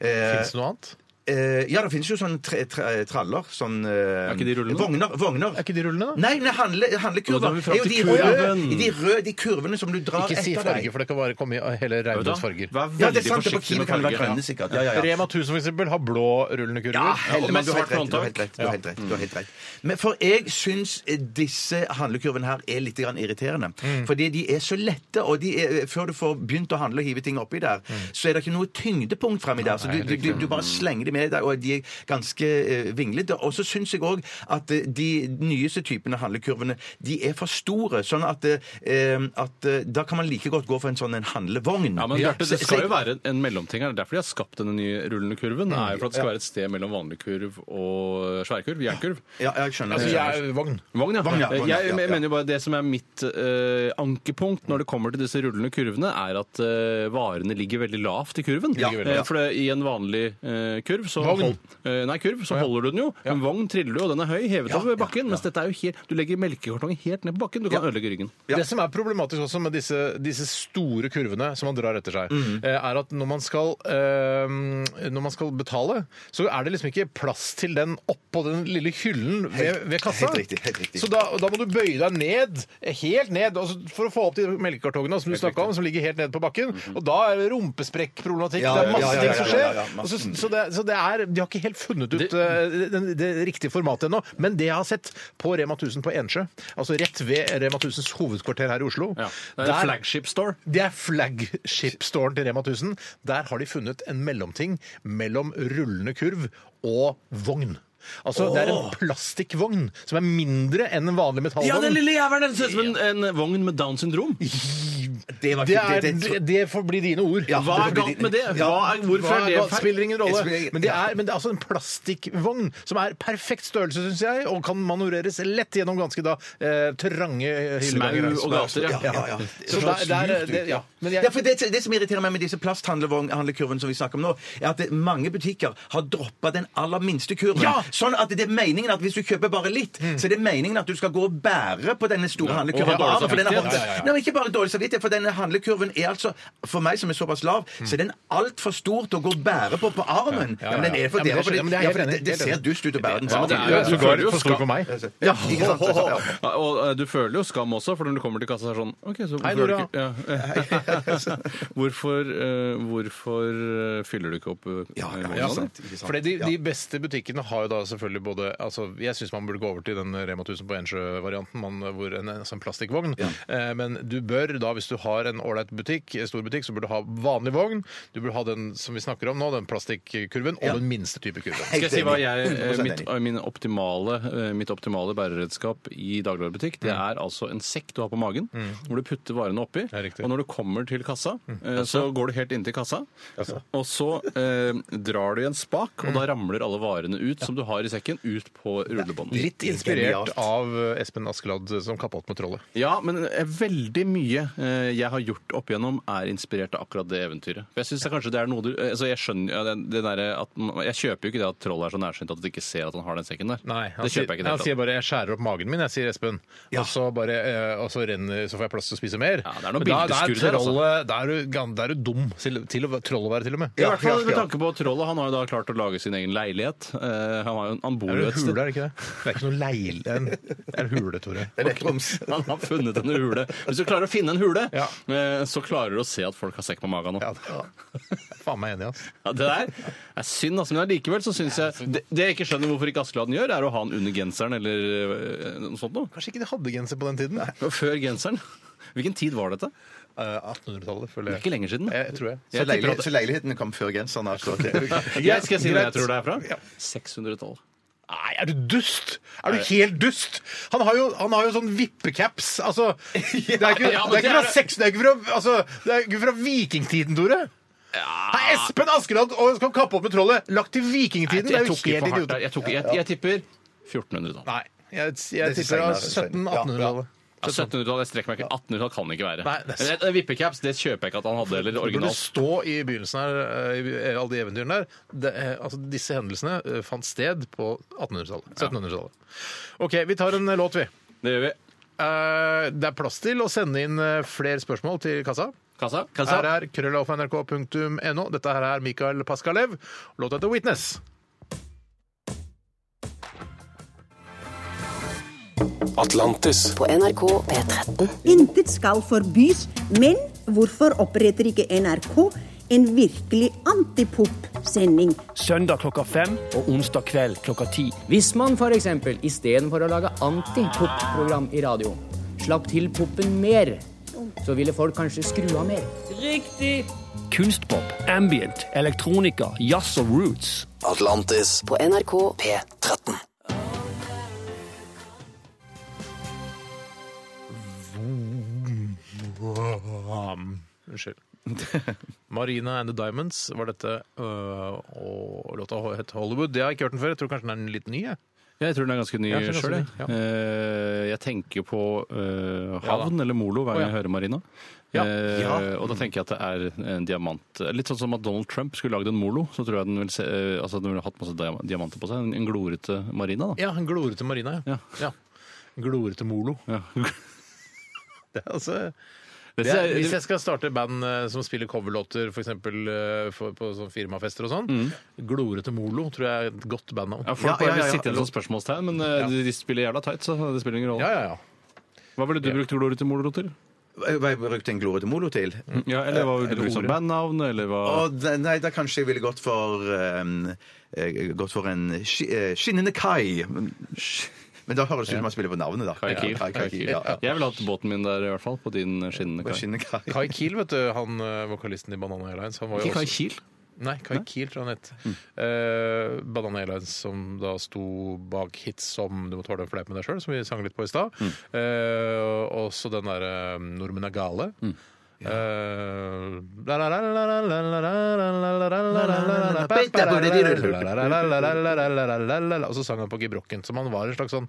D: Fins det noe annet?
F: Eh, ja, det finnes jo sånne tre, tre, traller. Sånn eh,
G: Er ikke de rullende?
F: Vogner. vogner.
D: Er ikke de rullende, da?
F: Nei, nei, handle, handlekurver
G: Nå er vi
F: er
G: frem
F: jo de
G: til
F: røde,
G: kurven.
F: de røde de kurvene som du drar
D: Ikke si
F: etter
D: farge, for det kan bare komme i hele regnbuens farger.
G: Vær
F: Ja, det er
G: veldig
F: sant. det På
G: forsiktig
F: Kiwi
G: med
F: kan det være
G: farger.
F: grønne, sikkert. Ja, ja, ja.
D: Rema 1000 for eksempel har blå rullende
F: Ja,
D: kurver.
G: og
F: Hellemann,
G: med
F: du har
G: svart
F: helt rett. Du har helt rett.
G: håndtak. Mm.
F: Du har helt rett, du har helt rett. Men for jeg syns disse handlekurvene her er litt grann irriterende.
G: Mm.
F: Fordi de er så lette, og de er,
G: Mm.
F: før du får begynt å handle og hive ting oppi der, så er det ikke noe tyngdepunkt fremi der. Så du, du, du, du bare slenger dem med deg, og de er ganske eh, vinglete. Og så syns jeg òg at eh, de nyeste typene handlekurvene de er for store. Sånn at, eh, at eh, da kan man like godt gå for en sånn en handlevogn.
G: Ja, men Bjarte,
F: Så-
G: Det skal
F: så-
G: jo være en mellomting her. Det er Derfor de har skapt denne nye rullende kurven. Det er jo for at det skal være et sted mellom vanlig kurv og sværkurv. Jernkurv.
F: ja, jeg skjønner.
D: Altså,
F: jeg skjønner.
D: jeg er vogn.
G: Vogn, ja.
F: Vogn, ja, vogn, ja,
G: jeg
F: ja, ja.
G: mener jo bare Det som er mitt eh, ankepunkt når det kommer til disse rullende kurvene, er at eh, varene ligger veldig lavt i kurven.
F: Ja.
G: Eh, for det, i en vanlig eh, kurv så,
D: Vogn.
G: hold- eh, nei, kurv, så holder du den jo. En vogn triller du, og den er høy, hevet over bakken. Mens dette er jo helt, du legger melkekartongen helt ned på bakken. Du kan ødelegge ryggen.
D: Det som er problematisk også med disse, disse store kurvene som man drar etter seg,
F: Mhm.
D: eh, er at når man, skal, eh, når man skal betale, så er det liksom ikke plass til den oppå den lille hyllen ved, ved kassa.
F: helt riktig, helt riktig.
D: Så da, da må du bøye deg ned, helt ned, altså for å få opp de melkekartongene som du snakka om, som ligger helt ned på bakken. Og da er det rumpesprekkproblematikk.
F: Mhm. Ja,
D: det er
F: ja,
D: masse
F: ja, ja,
D: ting som
F: ja, ja,
D: skjer.
F: ja, ja, Mhm.
D: Og så,
F: masse.
D: så, det, så det er De har ikke helt funnet ut eh, det, det riktige formatet ennå. Men det jeg har sett på Rema 1000 på Ensjø, altså rett ved Rema 1000s hovedkvarter her i Oslo
G: Det er en
D: der-
G: flagship store.
D: det er flagship-storen til Rema 1000. Der har de funnet en mellomting mellom rullende kurv og vogn. Altså, Det er en plastikkvogn som er mindre enn en vanlig metallvogn.
G: Ja, den lille jævelen! Det ser ut som en, en vogn med Downs syndrom.
F: Det var
D: Det,
F: ikke
D: er,
F: det,
D: det, det får bli dine ord.
F: Ja, det
G: Hva er
F: blir
G: galt
F: din-
G: med det? Hva er, hvorfor
D: Hva
G: er
D: er
G: det
D: galt?
G: feil?
D: spiller ingen rolle.
F: Det spiller ingen-
D: Men det er, men det er altså en plastikkvogn som er perfekt størrelse, syns jeg, og kan manøvreres lett gjennom ganske da eh, trange hylleganger.
G: Smau og gater, ja.
F: ja, ja.
D: Så der, der, det, ja. Men jeg,
F: ja, for det, det som irriterer meg med disse plasthandlekurvene som vi snakker om nå, er at det, mange butikker har droppa den aller minste kurven.
D: Ja!
F: Sånn at det er meningen at hvis du kjøper bare litt, så er det meningen at du skal gå og bære på denne store handlekurven.
G: og ha dårlig
F: Bare, for den er
G: samvittighet.
F: håndte-
G: Ja, ja, ja.
F: Nei, men ikke bare dårlig samvittighet, for denne handlekurven er altså, for meg som er såpass lav, så er den altfor stor til å gå og bære på på armen.
D: Ja, ja, ja.
F: Ja, men den er
D: Ja,
F: for
D: men
F: dere,
D: det skjønner
F: for
D: jeg, men det
F: det,
D: er helt
F: for det,
D: enig.
F: det ser dust ut å bære den
G: Ja, men
F: sammen.
G: det er
D: Ja,
G: jo
D: ja,
G: sågar
D: selvfølgelig
G: jo
D: for stor for meg.
F: Ja, ikke sant? Så- ja.
G: Ja, Og eh, du føler jo skam også, for når du kommer til kassa så er det sånn OK, så hvorfor,
D: Hei,
G: har du
D: Nora.
G: ikke,
D: [LAUGHS]
G: ja. hvorfor, eh, hvorfor eh, fyller du ikke opp eh, vogna
D: Ja,
G: di?
F: sant, ikke sant.
D: Fordi de, de beste butikkene har jo da selvfølgelig både altså, Jeg syns man burde gå over til den Rema 1000 på Ensjø-varianten, man- hvor en, altså en plastikkvogn. Eh, men du bør da, hvis du har en ålreit butikk, eh, stor butikk, så burde du ha vanlig vogn. Du burde ha den som vi snakker om nå, den plastikkurven, og den minste type kurven.
G: Skal jeg si hva jeg,
F: Helt enig.
G: eh, mitt,
F: 100% enig.
G: eh, min optimale, eh, mitt optimale bæreredskap i dagligvarebutikk, det er altså en sekk du har på magen, hvor du putter varene oppi.
D: er riktig.
G: Og når du kommer til kassa, eh, så går du helt inntil kassa,
D: altså.
G: og så eh, drar du i en spak, og da ramler alle varene ut som du har i sekken, ut på rullebåndet.
D: Litt inspirert av eh, Espen Askeladd eh, som kappa opp med trollet.
G: Ja, men eh, veldig mye eh, jeg har gjort opp igjennom, er inspirert av akkurat det eventyret. For Jeg synes det kanskje det er noe du... eh, Altså, jeg skjønner ja, det, det der at, man- Jeg kjøper jo ikke det at trollet er så nærsynt at du ikke ser at han har den sekken der.
D: han,
G: det kjøper jeg ikke. i det hele
D: han
G: tatt.
D: sier bare 'jeg skjærer opp magen min', jeg sier Espen. Og, så bare, eh, og så, renner, så får jeg plass til å spise mer.
G: Ja, det er noe
D: Men da, da er
G: bildeskur der, altså.
D: trollet- Da er du gan- da er du dum til, til å troll å være, til og med.
G: I hvert fall med tanke på trollet. Han har jo da klart å lage sin egen leilighet. Eh, han, har jo, han bor
D: Er
G: jo
D: det
G: et
D: hule,
G: sted.
D: er det ikke det? Det er ikke noe leil... en- Det er hule, Tore.
F: Det er Troms.
G: Han har funnet en hule. Hvis du klarer å finne en hule,
D: Ja.
G: eh, så klarer du å se at folk har sekk på magen nå.
D: Ja, det- faen meg enig, ass.
G: Ja, det der er synd, altså. Men allikevel så syns jeg det, det jeg ikke skjønner hvorfor ikke Askeladden gjør, er å ha den under genseren eller eh, noe sånt noe.
D: Kanskje ikke de hadde genser på den tiden?
G: Før genseren. [LAUGHS] Hvilken tid var dette?
D: Eh, 1800-tallet, føler
G: Det
D: jeg.
G: er ikke lenger siden.
D: Jeg tror jeg.
F: Så, leilighet, så leilighetene kom før genseren?
D: [LAUGHS]
F: Altså.
G: Jeg skal si hvor jeg tror det er fra. 600-tallet.
D: Nei, er du dust? Er du helt dust? Han har jo, han har jo sånn vippecaps. Altså, det er ikke, det
G: [LAUGHS] Ja, men
D: er ikke
G: det er
D: fra
G: det.
D: seks... Det er ikke fra, altså, det er ikke fra vikingtiden, Tore. Har Espen Askeladd og skal kappe opp med trollet lagt til vikingtiden?
G: Jeg
D: det
G: tok
D: er
G: ikke
D: jo
G: for hardt
D: helt
G: der.
D: idiot.
G: Jeg, tok, jeg, jeg tipper 1400-tallet.
D: Nei, jeg, jeg
F: Det er
D: tipper
F: senere, senere.
D: 1700-1800-tallet.
G: Ja, 1700-tallet jeg strekker meg ikke. 1800-tallet kan det ikke være.
D: Nei, det er sant.
G: Men det- Vippecaps det kjøper jeg ikke at han hadde, eller
D: Det burde
G: originalt.
D: stå i begynnelsen her, eh, i eh, alle de eventyrene der. Det, eh, altså, disse hendelsene eh, fant sted på 1800-tallet. 1700-tallet. OK, vi tar en eh, låt, vi.
G: Det gjør vi.
D: Eh, det er plass til å sende inn eh, flere spørsmål til kassa.
G: Kassa?
D: Her er krøllalfa.nrk.no. Dette her er Mikael Paskalev. Låta heter 'Witness'.
A: Atlantis.
L: På NRK P13.
M: Intet skal forbys, men hvorfor oppretter ikke NRK en virkelig antipop-sending?
K: Søndag klokka fem og onsdag kveld klokka ti. Hvis man for eksempel istedenfor å lage antipop-program i radio, slapp til popen mer, så ville folk kanskje skru av mer.
L: Riktig!
K: Kunstpop, ambient, elektronika, jazz og roots.
N: Atlantis på NRK P13.
D: Vroom. [LAUGHS] Unnskyld. Marina and the Diamonds var dette, øh, og låta het Hollywood. Det har jeg ikke hørt den før. Jeg tror kanskje den er en litt ny. jeg.
G: Jeg tror den er ganske ny
D: Ja, jeg tror
G: sjøl.
D: den er
G: Jeg.
D: ganske
G: Eh, jeg tenker på eh, Havn eller Molo hver
D: Å,
G: gang
D: ja.
G: jeg hører Marina.
D: Ja.
G: Eh,
D: Ja.
G: Og da tenker jeg at det er en diamant. Litt sånn som at Donald Trump skulle lagd en Molo. Så tror jeg den ville, se, eh, altså den ville hatt masse dia- diamanter på seg. En, en glorete Marina, da.
D: Ja, en glorete Marina, ja. ja. En Glorete Molo. [LAUGHS] Det er altså... Det er, hvis jeg skal starte band eh, som spiller coverlåter for eksempel, eh, for, på sånn firmafester og sånn, Glorete Molo tror jeg er et godt bandnavn.
G: Ja, folk bare sitter igjen som spørsmålstegn, men eh, de spiller jævla tight, så det spiller ingen
D: Ja,
G: rolle.
D: ja, ja.
G: Hva ville du brukt glorete Molo til?
F: Hva jeg brukte en glorete molo til?
G: Ja, eller hva ville
F: Eller
G: du brukt som
F: ordet.
G: bandnavn, eller hva
F: Og da- nei, da kanskje jeg ville gått for um, eh, Gått for en ski- eh, skinnende kai. Men- Men da høres det ut som man spiller på navnet, da.
G: Kai Kiel.
F: Ja, Kai Kiel, ja, ja.
G: Jeg ville hatt båten min der, i hvert fall. På din skinnende
F: På skinnende kai.
D: Kai Kiel, vet du, han eh, vokalisten i Banana Airlines han var jo
G: Ikke Kai
D: også-
G: Kiel?
D: Nei, Kai Kiel tror jeg han het. Eh, Banana Airlines som da sto bak hits som Du må tåle en fleip med deg sjøl, som vi sang litt på i stad. Eh, også den derre Nordmenn er gale. Eh, Og så sang han på gebrokken. Som han var en slags sånn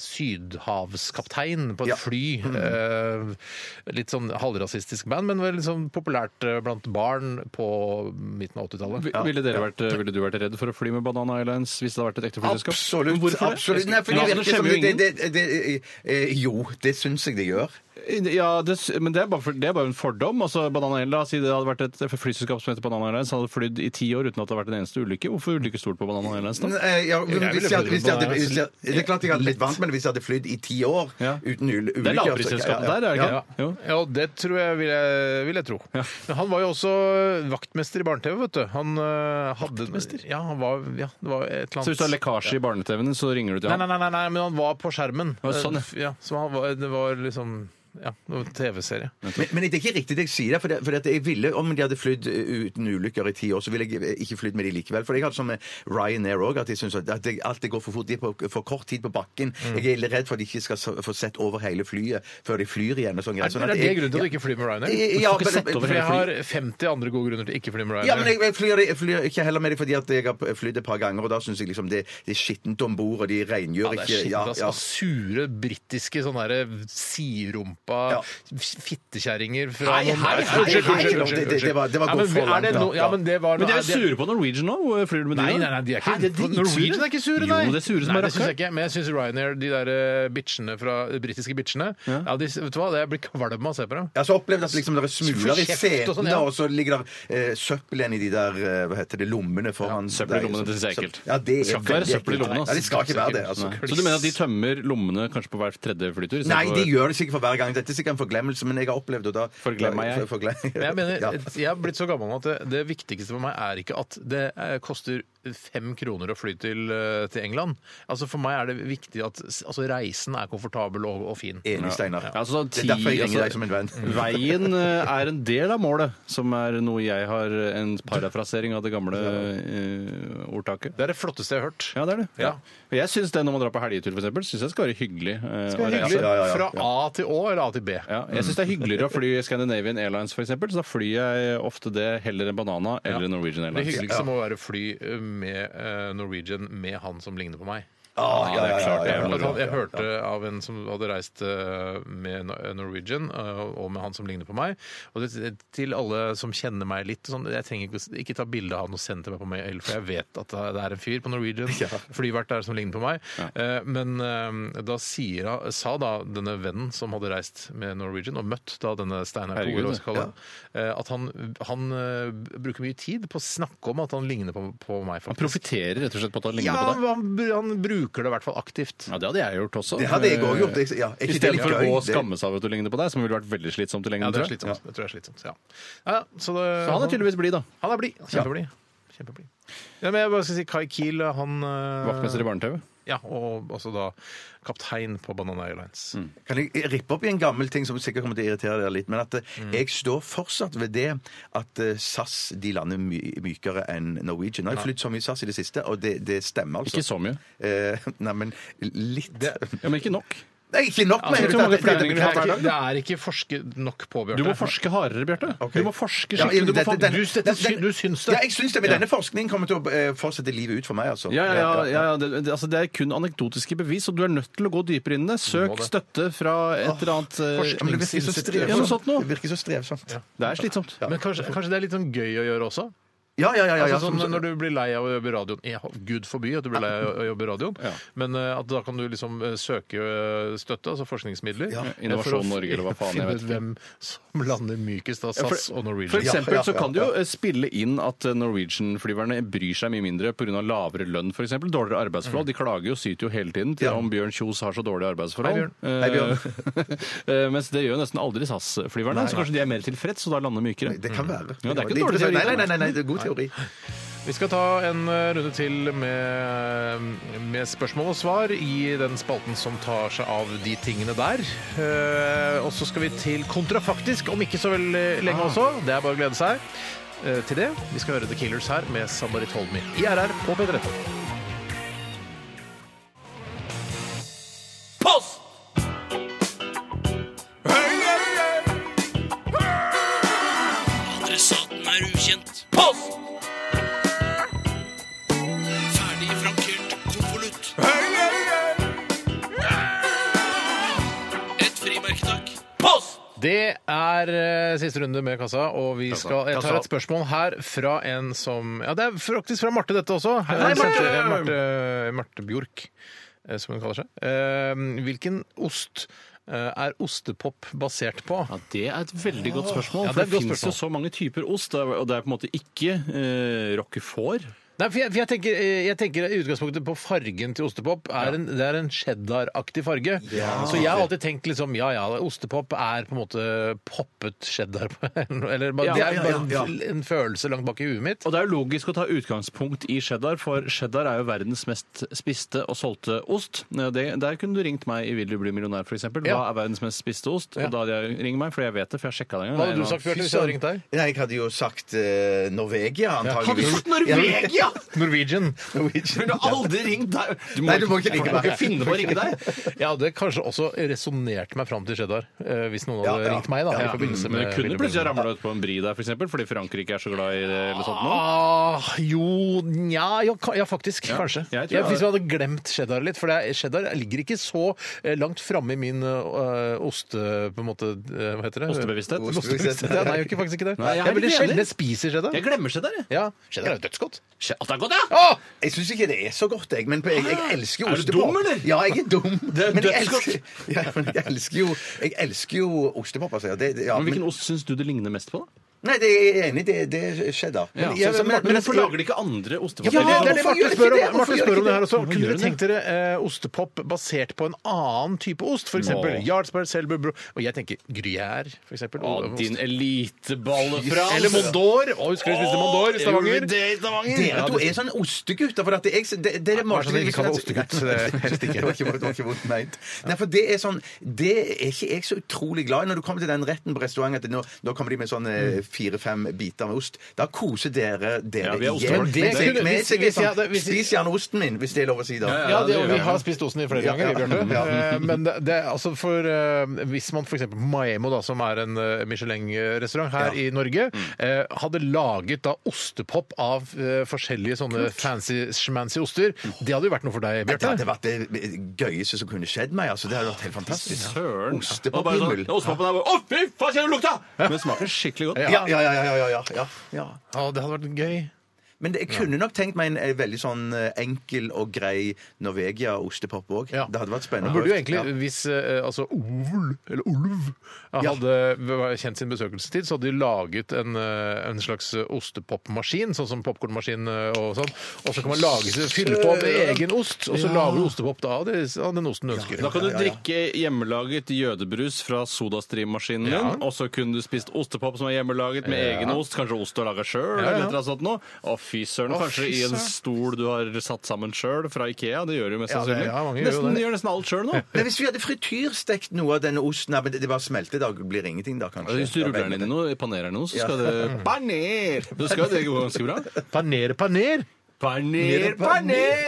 D: sydhavskaptein på et fly. Eh, Litt sånn halvrasistisk band, men veldig sånn populært eh, blant barn på midten av 80-tallet.
G: Vi- Ville, dere vært, ville du vært redd for å fly med Banana Airlines hvis det hadde vært et ekte flyselskap?
F: Absolutt.
G: Hvorfor det?
F: absolutt. Nei, for det
G: Ja,
F: virker som
G: skjemmer jo
F: det,
G: ingen.
F: det, det, det, eh, Jo, det syns jeg det gjør.
G: Ja, det, s- men det er, bare for, det er bare en fordom. Altså, Banana Airlines, Si det hadde vært et flyselskap som heter Banana Airlines, hadde flydd i ti år uten at det hadde vært en eneste ulykke. Hvorfor ulykkestolt på Banana Airlines da?
F: Nei, eh, ja, men
G: Jeg
F: hvis jeg,
G: ville flydd
F: hvis
G: på
F: jeg hadde,
G: Banana
F: hvis jeg,
G: Airlines.
F: det er klart jeg hadde blitt vant, men hvis jeg hadde flydd i ti år uten ul- ulykker
G: Det er lavprisselskapet der, er det ikke?
D: Ja, ja det tror jeg vil jeg, vil jeg tro. Men han var jo også vaktmester i barne-TV, vet du. Han eh, hadde Vaktmester? Ja, han var, ja, det var et eller annet
G: Så hvis du har lekkasje i barne-TV-en, så ringer du til
D: Nei,
G: han?
D: nei, nei, nei, nei, men han var på skjermen.
G: Å, sånn,
D: ja.
G: ja.
D: så han var, det var liksom Ja, det var en TV-serie.
F: Men, men det er ikke riktig det jeg sier, der, for, det, for at jeg ville, om de hadde flydd eh, uten ulykker i ti år, så ville jeg eh, ikke flydd med de likevel. For jeg har det som med Ryanair òg, at jeg synes at det, alt det går for fort. De er på for kort tid på bakken.
D: Mm.
F: Jeg er litt redd for at de ikke skal s- få sett over hele flyet før de flyr igjen. og sånn
D: Er,
F: greier. Sånn
D: er
F: at
D: det
F: jeg-
D: grunnen til at du ikke flyr med Ryanair?
F: Ja, ja, men-
D: for jeg har 50 andre gode grunner til å ikke fly med Ryanair.
F: Ja, men jeg, jeg, flyr, jeg flyr ikke heller med dem fordi at jeg har flydd et par ganger, og da syns jeg liksom det, det er skittent om bord, og de rengjør
D: Ja, det er
F: ikke
D: skittent, altså. ass.
F: ja.
D: Og Sure britiske sånne der siderumpa fittekjerringer fra
F: Hei,
D: noen-
F: hei, hei,
D: Unnskyld,
F: hei,
D: unnskyld,
F: hei.
D: unnskyld,
F: Det- det- det var- det var
D: Ja,
F: gått
D: men
F: for
D: er
F: langt,
D: det no-
F: da.
D: Ja, men det var
G: Men de er
D: det-
G: jo sure på Norwegian nå! Hvor Flyr du med de,
D: Nei,
G: da?
D: nei, nei, de er ikke
G: Hæ, de er dritsure.
D: Norwegian er ikke sure, nei.
G: Jo, det er sure som
D: nei,
G: er
D: det synes jeg
G: rakkeren.
D: ikke. Men jeg syns Ryanair, de der eh, bitchene fra de britiske bitchene ja. de, Vet du hva, det- jeg blir kvalm av å se på dem.
F: Jeg har så opplevd at liksom det er smuler i
D: Kjeft og
F: setene,
D: sånn, ja.
F: og så ligger det eh, søppel igjen i de der eh, hva heter det, lommene foran
G: søppel i
F: der,
G: lommene, det synes jeg er
F: søpp-
G: ekkelt.
F: Ja, det
G: Det skal
F: er
G: ikke være
F: veldig
G: søppel i
F: ekkelt.
G: lommene, ass.
F: Nei, det skal ikke være det. altså.
G: Nei. Så du mener at de tømmer lommene kanskje på hver tredje
F: Nei, de
G: flytur? istedenfor-
F: gjør det sikkert for hver gang. Dette er sikkert en forglemmelse, men jeg har opplevd det da.
G: Forglemmer jeg. [LAUGHS]
F: Forglem-
D: Men jeg mener,
F: Ja.
D: jeg har blitt så gammel nå at det, det viktigste for meg er ikke at det eh, koster fem kroner å fly til, eh, til England. Altså For meg er det viktig at s- altså, reisen er komfortabel og, og fin.
F: Enig, Steinar.
G: Ja, altså,
F: Det er derfor jeg
G: ti-
F: ringer
G: altså,
F: deg som en venn.
G: Veien eh, er en del av målet, som er noe jeg har eh, en parafrasering av det gamle eh, ordtaket.
D: Det er det flotteste jeg har hørt.
G: Ja, det er det.
D: Ja.
G: Og Jeg syns det når man drar på helgetur, for eksempel, synes jeg skal være hyggelig. eh,
D: Det
G: å
D: er
G: reise.
D: hyggelig.
F: Ja, ja, ja, ja.
D: Fra A til Å eller A til B.
G: Ja, jeg syns det er hyggeligere å fly Scandinavian Airlines, for eksempel, så da flyr jeg ofte det heller enn Banana eller Norwegian
D: Det
G: Airlines.
D: hyggeligste må være å fly med eh, Norwegian med han som ligner på meg.
F: Ah, ja, ja, ja,
G: det er
F: ja, ja,
G: klart det
D: Jeg,
G: er
F: ja,
D: jeg
F: ja.
D: hørte av en som hadde reist eh, med No- Norwegian, eh, og med han som ligner på meg. Og det, til alle som kjenner meg litt sånn, Jeg trenger ikke, å- ikke ta bilde av han og sende til meg på mail, for jeg vet at det er en fyr på
G: [LAUGHS]
D: Norwegian flyvert der som ligner på meg. Eh, men eh, da sier, han- sa da denne vennen som hadde reist med Norwegian, og møtt da denne Steinar Koe,
G: Herregud,
D: eller hva vi skal kalle han, eh, at han, han eh, bruker mye tid på å snakke om at han ligner på, på meg.
G: Han
D: faktisk.
G: profitterer rett og slett på at han
D: Ja,
G: ligner på deg.
D: han, han bruker det i hvert fall aktivt.
G: Ja, Det hadde jeg gjort også.
F: Det hadde jeg også gjort. Jeg- ja, er ikke det litt
G: Istedenfor å
F: gøy?
G: gå og
F: Det-
G: skamme seg over at du ligner på deg, som ville vært veldig slitsomt i
D: Ja,
G: lengden.
D: det er
G: tror jeg.
D: slitsomt. Det tror jeg er slitsomt. Ja. Ja, så, det,
G: Så han er tydeligvis blid, da.
D: han er blid. Kjempeblid. Kjempeblid. Ja, men jeg bare skal si Kai Kiel, han eh,
G: Vaktmester i barne-TV.
D: Ja, og altså da kaptein på Banana Airlines.
G: Mm.
F: Kan jeg rippe opp i en gammel ting som sikkert kommer til å irritere dere litt? Men at eh,
G: Mm.
F: jeg står fortsatt ved det at eh, SAS de lander my mykere enn Norwegian. Nå har jeg flyttet så mye SAS i det siste, og det, det stemmer altså.
G: Ikke sånn. så mye.
F: Eh, [LAUGHS] nei, men litt.
G: Ja, men ikke nok.
F: [LAUGHS] Nei, ikke nok,
G: Altså,
F: men
G: hvor mange flyvninger
D: Det er, ikke, det er ikke forsket nok på, Bjarte.
G: Du må forske hardere, Bjarte.
F: Ok.
G: Du må forske
F: Ja,
G: skikkelig. Du, må
F: dette-
G: få-
F: denne-
G: du, dette
F: denne-
G: sy- du syns det.
F: Ja, jeg syns det, men denne forskningen kommer til å eh, fortsette livet ut for meg, altså.
G: Ja, ja, ja, ja, ja. Det, det- altså, det er kun anekdotiske bevis, og du er nødt til å gå dypere inn i det. Søk støtte fra et eller annet eh,
F: Ja, men det virker så
G: Ja, noe sånt
F: strevsomt.
G: noe.
F: Det virker så strevsomt.
G: Det er slitsomt.
D: Men kanskje, kanskje det er litt sånn gøy å gjøre også?
F: Ja, ja, ja. ja, ja.
D: altså, sånn, når du blir lei av å jobbe i radioen jeg, hå- Gud forby at du blir lei av å jobbe i radioen, men eh, at da kan du liksom eh, søke eh, støtte, altså forskningsmidler,
F: Ja.
D: eh, for
G: Innovasjon
D: å fi-
G: Norge, eller hva faen, jeg
D: finne
G: vet
D: ut hvem som lander mykest av
G: Ja,
D: SAS og Norwegian.
G: For eksempel
F: Ja,
G: så
F: ja,
G: kan du jo eh, spille inn at eh, Norwegian-flyverne bryr seg mye mindre pga. lavere lønn, f.eks. Dårligere arbeidsforhold. De klager jo og syter jo hele tiden til
F: Ja.
G: om Bjørn Kjos har så dårlige arbeidsforhold.
D: Hei,
F: Hei, Bjørn.
G: [LAUGHS] Eh, Mens det gjør jo nesten aldri SAS-flyverne, så kanskje de er mer tilfreds og da lander mykere.
F: Det kan være.
G: Mm. Ja, det er ikke en dårlig teori.
F: Nei, nei, nei, nei, nei, det er god teori.
D: Vi skal ta en eh, runde til med, med spørsmål og svar i den spalten som tar seg av de tingene der. Eh, Og så skal vi til kontrafaktisk om ikke så veldig lenge
G: Ah.
D: også. Det er bare å glede seg eh, til det. Vi skal høre The Killers her med Somebody Told Me i RR på P13.
K: Adressaten er ukjent. Post! Ferdig frankert konvolutt. Et frimerke, takk. Post!
D: Det er eh, siste runde med kassa, og vi skal, jeg tar et spørsmål her fra en som Ja, det er faktisk fra Marte, dette også. Hei, Marte! eh, Marte, Marte Bjork, eh, som hun kaller seg. Eh, Hvilken ost eh, er ostepop basert på?
G: Ja, Det er et veldig
F: Ah.
G: godt spørsmål.
D: Ja,
G: for
D: det er et
G: det
D: godt
G: finnes jo så mange typer ost, det er- og det er på en måte ikke eh, roquefort.
D: Nei, for jeg, for jeg, tenker, eh, jeg tenker i utgangspunktet på fargen til ostepop. Er en, det er en cheddaraktig farge. så jeg har alltid tenkt liksom ja ja, ostepop er på en måte poppet cheddar. [LAUGHS] Eller bare,
G: Ja,
D: det er
G: ja,
D: bare
G: ja,
D: en- en følelse langt bak i huet mitt.
G: Og det er jo logisk å ta utgangspunkt i cheddar, for cheddar er jo verdens mest spiste og solgte ost. Det, der kunne du ringt meg i Vil du bli millionær, f.eks. eksempel Hva
D: Ja.
G: er verdens mest spiste ost?
D: Ja.
G: Og da hadde jeg ringt meg, for jeg vet det, for jeg sjekka det en gang.
D: Hva hadde du
G: Nei,
D: sagt,
G: da-
D: Bjarte, hvis jeg hadde ringt deg?
F: Nei, jeg hadde jo sagt eh, Norvegia, antageligvis.
G: Hadde du sagt Norvegia?
F: Ja,
D: [LAUGHS] Norwegian.
G: Jeg
F: Norwegian.
G: ville aldri ringt deg! Du
F: Nei, du må ikke ringe
G: du må
F: meg.
G: finne på å ringe deg!
D: Jeg hadde kanskje også resonnert meg fram til cheddar, eh, hvis noen hadde
F: Ja, ja.
D: ringt meg. da, i
G: Ja,
D: forbindelse
G: men
D: med...
G: du kunne
D: Ville
G: plutselig
D: Bjørnmo.
G: ramla ut på en bri der, f.eks., fordi Frankrike er så glad i det eller sånt nå.
D: Ah, jo Nja, ja, ka- ja faktisk. Kanskje.
G: jeg
D: ja,
G: tror jeg-
D: hvis vi hadde glemt cheddar litt. For det er, cheddar ligger ikke så eh, langt framme i min øh, oste... På en måte, eh, hva heter det?
G: Ostebevissthet.
D: Ostebevissthet. Ja, nei, jeg gjør ikke- faktisk ikke det.
G: Nei, jeg
D: jeg
G: er
D: er veldig
G: helt enig.
D: sjelden jeg spiser cheddar.
G: Jeg glemmer cheddar, jeg.
D: Ja, Cheddar er jo dødsgodt.
G: Che- At det er godt, ja!
D: Åh!
F: Jeg syns ikke det er så godt, jeg. Men jeg, jeg elsker jo
G: Ah, Er du
F: ostepop.
G: dum, eller?
F: Ja, jeg er
G: [LAUGHS]
F: dum.
G: er
F: men jeg
G: dødsgodt.
F: elsker, ja, men jeg elsker jo Jeg elsker jo ostepop. Altså. Ja, det, ja,
G: Men
F: men,
G: hvilken ost syns du det ligner mest på, da?
F: nei, det er jeg enig i. Det, det skjedde.
G: Ja,
F: jeg-
G: så- men, men Hvorfor
F: jeg-
G: lager de ikke andre
D: Ja, men
G: ostevarer?
D: det, det er det
F: Hvorfor
D: Marte
F: gjør ikke
D: spør
F: det?
D: om,
F: Hvorfor
D: Marte
F: gjør
D: spør
F: ikke
D: om det her også.
G: Hvorfor
D: Kunne
G: gjør
D: dere
G: det?
D: tenkt dere eh, ostepop basert på en annen type ost? For eksempel
G: Nå.
D: Jarlsberg, Selbu, Bro Og jeg tenker Gruyère, for eksempel.
G: Å,
D: Og-
G: din eliteballe, Frans!
D: Eller Mondor. Å, husker du vi spiste Mondor i Stavanger?
F: Dere to er sånn ostegutter. For at det, jeg, det, det er
D: Vær så snill,
F: Martin-
D: ikke kall meg ostegutt.
F: Nei, Helst ikke. Det var ikke, vondt- det var ikke vondt meint. Nei, for det er sånn Det er ikke jeg så utrolig glad i. Når du kommer til den retten på restaurant at nå, nå kommer de med sånn eh, fire-fem biter med ost. Da koser dere dere
G: Ja, vi er
F: ihjel.
G: ostefolk.
F: Men
D: Det
F: jeg-
D: kunne-
F: men jeg
D: hvis-
F: tenker
D: hvis
F: sånn,
D: jeg hadde- hvis-
F: Spis gjerne osten min, hvis det er lov å si da.
D: Ja,
G: det
D: det, og
G: gjør
D: vi
G: vi.
D: har spist osten i flere
F: Ja,
D: ganger, vi,
F: ja.
D: Bjarte.
F: Ja.
D: Eh, Men det, det, er altså for, eh, hvis man f.eks. Maemo, da, som er en eh, Michelin-restaurant her i Norge,
G: Mm.
D: eh, hadde laget da ostepop av eh, forskjellige sånne fancy-schmancy oster,
G: Mm.
D: det hadde jo vært noe for deg,
F: Det hadde
D: Bjarte.
F: vært det gøyeste som kunne skjedd meg. altså. Det hadde vært helt fantastisk.
G: Søren.
F: Ostepop
G: Og bare sånn,
F: himmel.
G: Ostepopen er bare Å, fy faen, kjenner du lukta! Men det smaker skikkelig godt.
F: Ja, ja, ja. ja, ja, ja, ja, ja.
D: Ja, det hadde vært gøy.
F: Men det, jeg kunne nok tenkt meg en, eh, veldig sånn eh, enkel og grei Norvegia-ostepop òg.
D: Ja.
F: Det hadde vært
D: Man
F: spennende.
D: burde jo
F: å
D: egentlig,
F: prøve.
D: hvis eh, altså Ovl, eller Ulv, hadde v- kjent sin besøkelsestid, så hadde de laget en, eh, en slags ostepopmaskin, sånn som popkornmaskin eh, og sånn, og så kan man lage, seg- fylle på med egen ost, og så lager du ostepop da, av det- av den osten du ønsker.
G: Da kan du drikke hjemmelaget jødebrus fra sodastream-maskinen din. Og så kunne du spist ostepop som er hjemmelaget med egen ost. Kanskje ost du har laga sjøl.
D: Ja, ja.
G: eller et eller annet sånt noe. Å, fy søren.
E: Å,
G: Kanskje
E: fy
G: i en
E: søren.
G: stol du har satt sammen sjøl fra Ikea. Det gjør du mest
F: Ja, det-
G: sannsynlig.
F: ja, mange gjør jo
G: nesten,
F: det.
G: gjør nesten alt sjøl nå.
F: Men hvis vi hadde frityrstekt noe av denne osten Nei, men det det bare smelter, da blir det ingenting da, kanskje.
G: Hvis du ruller den inn i noe, panerer den i noe, så skal det
F: Paner!
G: Du skal det går ganske bra.
D: Paner, paner!
G: Paner,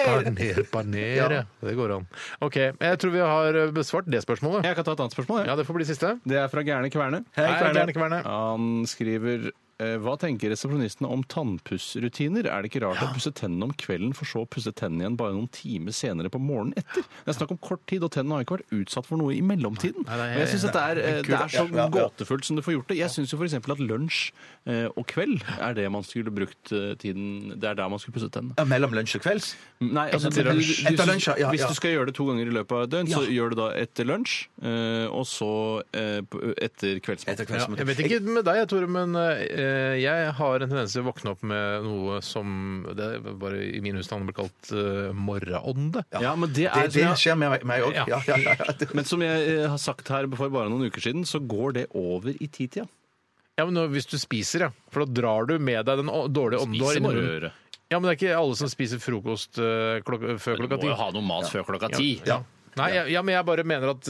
D: Paner, paner, ja. Det går an. OK. Jeg tror vi har eh, besvart det spørsmålet.
G: Jeg kan ta et annet spørsmål.
D: Ja, Det får bli siste.
G: Det er fra Gærne Kverne.
D: Hei, Gærne Kverne.
G: Han skriver eh, hva tenker resepsjonistene om tannpussrutiner? Er det ikke rart å pusse tennene om kvelden, for så å pusse tennene igjen bare noen timer senere på morgenen etter? Det er snakk om kort tid, og tennene har ikke vært utsatt for noe i mellomtiden.
D: nei,
G: Og jeg synes at det er, eh,
D: kult.
G: det er så
D: Ja, ja, ja.
G: gåtefullt som du får gjort det. Jeg syns jo f.eks. at lunsj eh, og kveld er det man skulle brukt eh, tiden Det er der man skulle pusse tennene.
F: Ja, mellom lunsj og kvelds?
G: Nei, altså,
F: Etter
G: du- du-
F: lunsj.
G: du-
F: Etter lunsj, ja, ja,
G: Hvis
F: ja.
G: du skal gjøre det to ganger i løpet av et døgn, så
F: Ja.
G: gjør du da etter lunsj, eh, og så eh, på- etter kveldsmat.
F: Etter
D: Ja, jeg vet ikke med deg, Tore, men eh, jeg har en tendens til å våkne opp med noe som det er bare i min husstand blir kalt eh, morgenånde.
G: Ja, ja, men det
F: Det,
G: sånn er
F: det
G: som jeg,
F: skjer med meg òg.
D: Ja.
F: Ja, ja, ja, ja.
G: Men som jeg eh, har sagt her for bare noen uker siden, så går det over i titida.
D: Ja, men nå- Hvis du spiser, ja. For da drar du med deg den å- dårlige ånden du har
G: Spiser
D: inni
G: bare
D: munnen.
G: øret.
D: Ja, men det er ikke alle som spiser frokost eh, klok før
G: Du
D: klokka
G: må
D: ti.
G: jo ha noe mat før klokka ti.
D: Ja. Nei, jeg, ja, men jeg bare mener at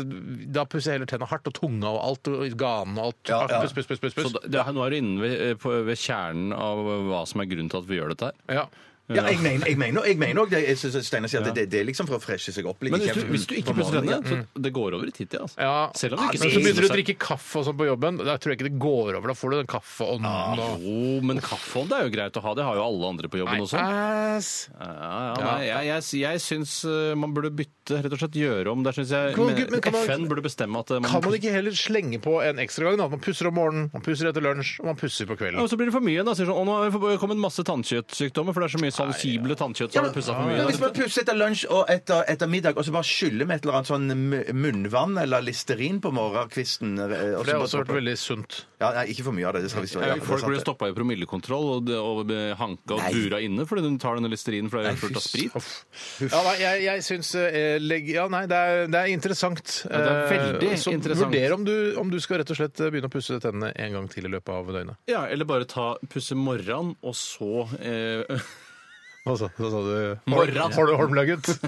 D: da pusser jeg heller tenna hardt, og tunga og alt, og ganen og alt.
F: Ja, ja.
D: Puss, puss, puss, puss,
G: Så
D: puss.
G: da, det er, nå er du inne ved, eh, på, ved kjernen av hva som er grunnen til at vi gjør dette her.
D: Ja.
F: Ja, jeg mener jeg mener- jeg mener òg det. Jeg synes Steinar sier at det, det er liksom for å freshe seg opp litt.
G: Men hvis
F: Ikke-
G: du, hvis du ikke
F: på
G: pusser
F: morgenen,
G: tennene, så det går over i titida. Altså.
D: Ja.
G: Selv om du ikke
D: Men så
G: spiser
D: begynner du å
G: seg-
D: drikke kaffe og sånn på jobben. Da tror jeg ikke det går over. Da får du den kaffeånden og
G: Jo, men kaffeånd er jo greit å ha. Det har jo alle andre på jobben
D: Nei,
G: også.
D: ass.
G: Ja, ja, nei, jeg, jeg, jeg syns eh, man burde bytte, rett og slett gjøre om. Der synes jeg
D: Kan man ikke- men kan man-
G: FN burde bestemme at eh, man,
D: Kan man ikke heller slenge på en ekstra gang? da? At man pusser om morgenen, man pusser etter lunsj, og man pusser på
G: Ja,
D: kvelden.
G: og så blir det for mye. Da. Sier sånn, å, nå har det kommet masse tannkjøttsykdommer, for det er så mye salsible tannkjøtt som har pusset for
F: Men hvis
G: mye.
F: man pusser etter lunsj og etter, etter middag, og så bare skyller med et eller annet sånn mu- munnvann eller Listerin på morgenkvisten eh, og
D: For det
F: så
D: har også
F: bare-
D: vært veldig sunt.
F: ja, nei, Ikke for mye av det. det skal vi stå,
G: Ja,
F: ja, det er
G: Folk
F: sant
G: blir
F: det.
G: stoppa i promillekontroll og, det- og eh, hanka og
F: Nei.
G: bura inne fordi de tar denne listerinen fordi det er fullt av sprit.
D: Ja, nei, jeg, jeg syns eh, legg, Ja, nei, det er, det er interessant.
G: Ja, det er
D: Eh,
G: veldig
D: så
G: interessant.
D: Vurder om du, om du skal rett og slett eh, begynne å pusse tennene en gang til i løpet av døgnet.
G: Ja, eller bare ta pusse morran, og så eh, [LAUGHS]
D: Hva sa, hva sa du?
G: Morran.
D: Har du Holmlia-gutt?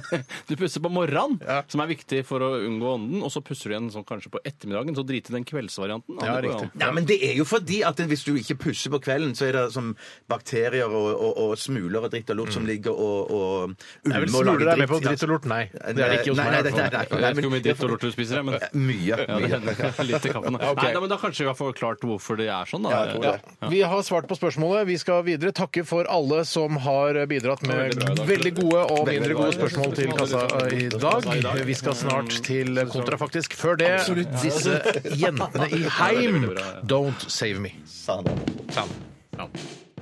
G: Du pusser på morran, som er viktig for å unngå ånden, og så pusser du igjen sånn kanskje på ettermiddagen, så driter den kveldsvarianten.
D: Ja,
G: det går
D: riktig.
G: an.
F: Nei, men det er jo fordi at hvis du ikke pusser på kvelden, så er det som bakterier og, og, og smuler og dritt og lort som ligger og, og
D: Det er vel
F: ulmer og
D: smuler
F: lager
D: deg med på
F: Ja.
D: dritt og lort? Nei.
F: Nei,
D: Det er det ikke hos
F: nei,
D: meg.
F: nei,
D: i hvert fall.
F: nei, nei,
G: Jeg
F: nei,
G: vet ikke hvor mye
F: men-
G: dritt og lort du spiser, jeg, men
F: Mye.
G: ja, det
F: mye.
G: hender litt i kaffen. da.
D: Ok.
G: Nei, nei, men da kanskje vi har forklart hvorfor det er sånn. Da.
F: Ja, jeg tror
G: Ja.
F: det.
D: Vi har svart på spørsmålet. Vi skal videre takke for alle som har bidratt med
G: Veldig bra i dag.
D: veldig gode og
F: Veldig
D: mindre
F: bra.
D: gode spørsmål til kassa i dag. Vi skal snart til kontra, faktisk. Før det, disse jentene i heim, Don't Save Me. [LAUGHS]
F: Sa han.
D: Sånn.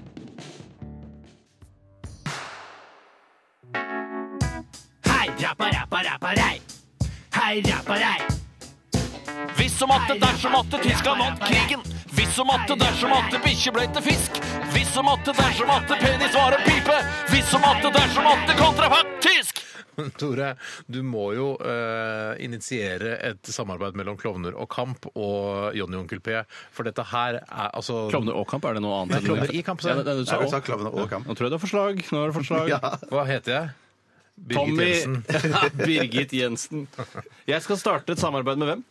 K: Hei, rappa, rappa, rappa, rei. Hei, rappa, rei.
L: Hvis som atte, dersom atte, tyska vant krigen. Hvis som atte, dersom atte, bikkje ble til fisk. Hvis som atte, dersom atte, penis var en pipe. Hvis som atte, dersom atte, kontrafaktisk.
D: Tore, du må jo eh, initiere et samarbeid mellom Klovner og Kamp og Johnny og Onkel P, for dette her er altså
G: Klovner og kamp, er det noe
D: Nei,
G: annet? enn-
D: Klovner i kamp, sa
G: Ja,
D: jeg.
G: det, det, du sa
F: Ja, jeg sa
G: også.
F: klovner og kamp.
G: Nå tror jeg det er forslag. Nå er det forslag.
D: Hva heter jeg? Birgit
G: Tommy
D: Jensen.
G: Birgit Jensen. Jeg skal starte et samarbeid med hvem?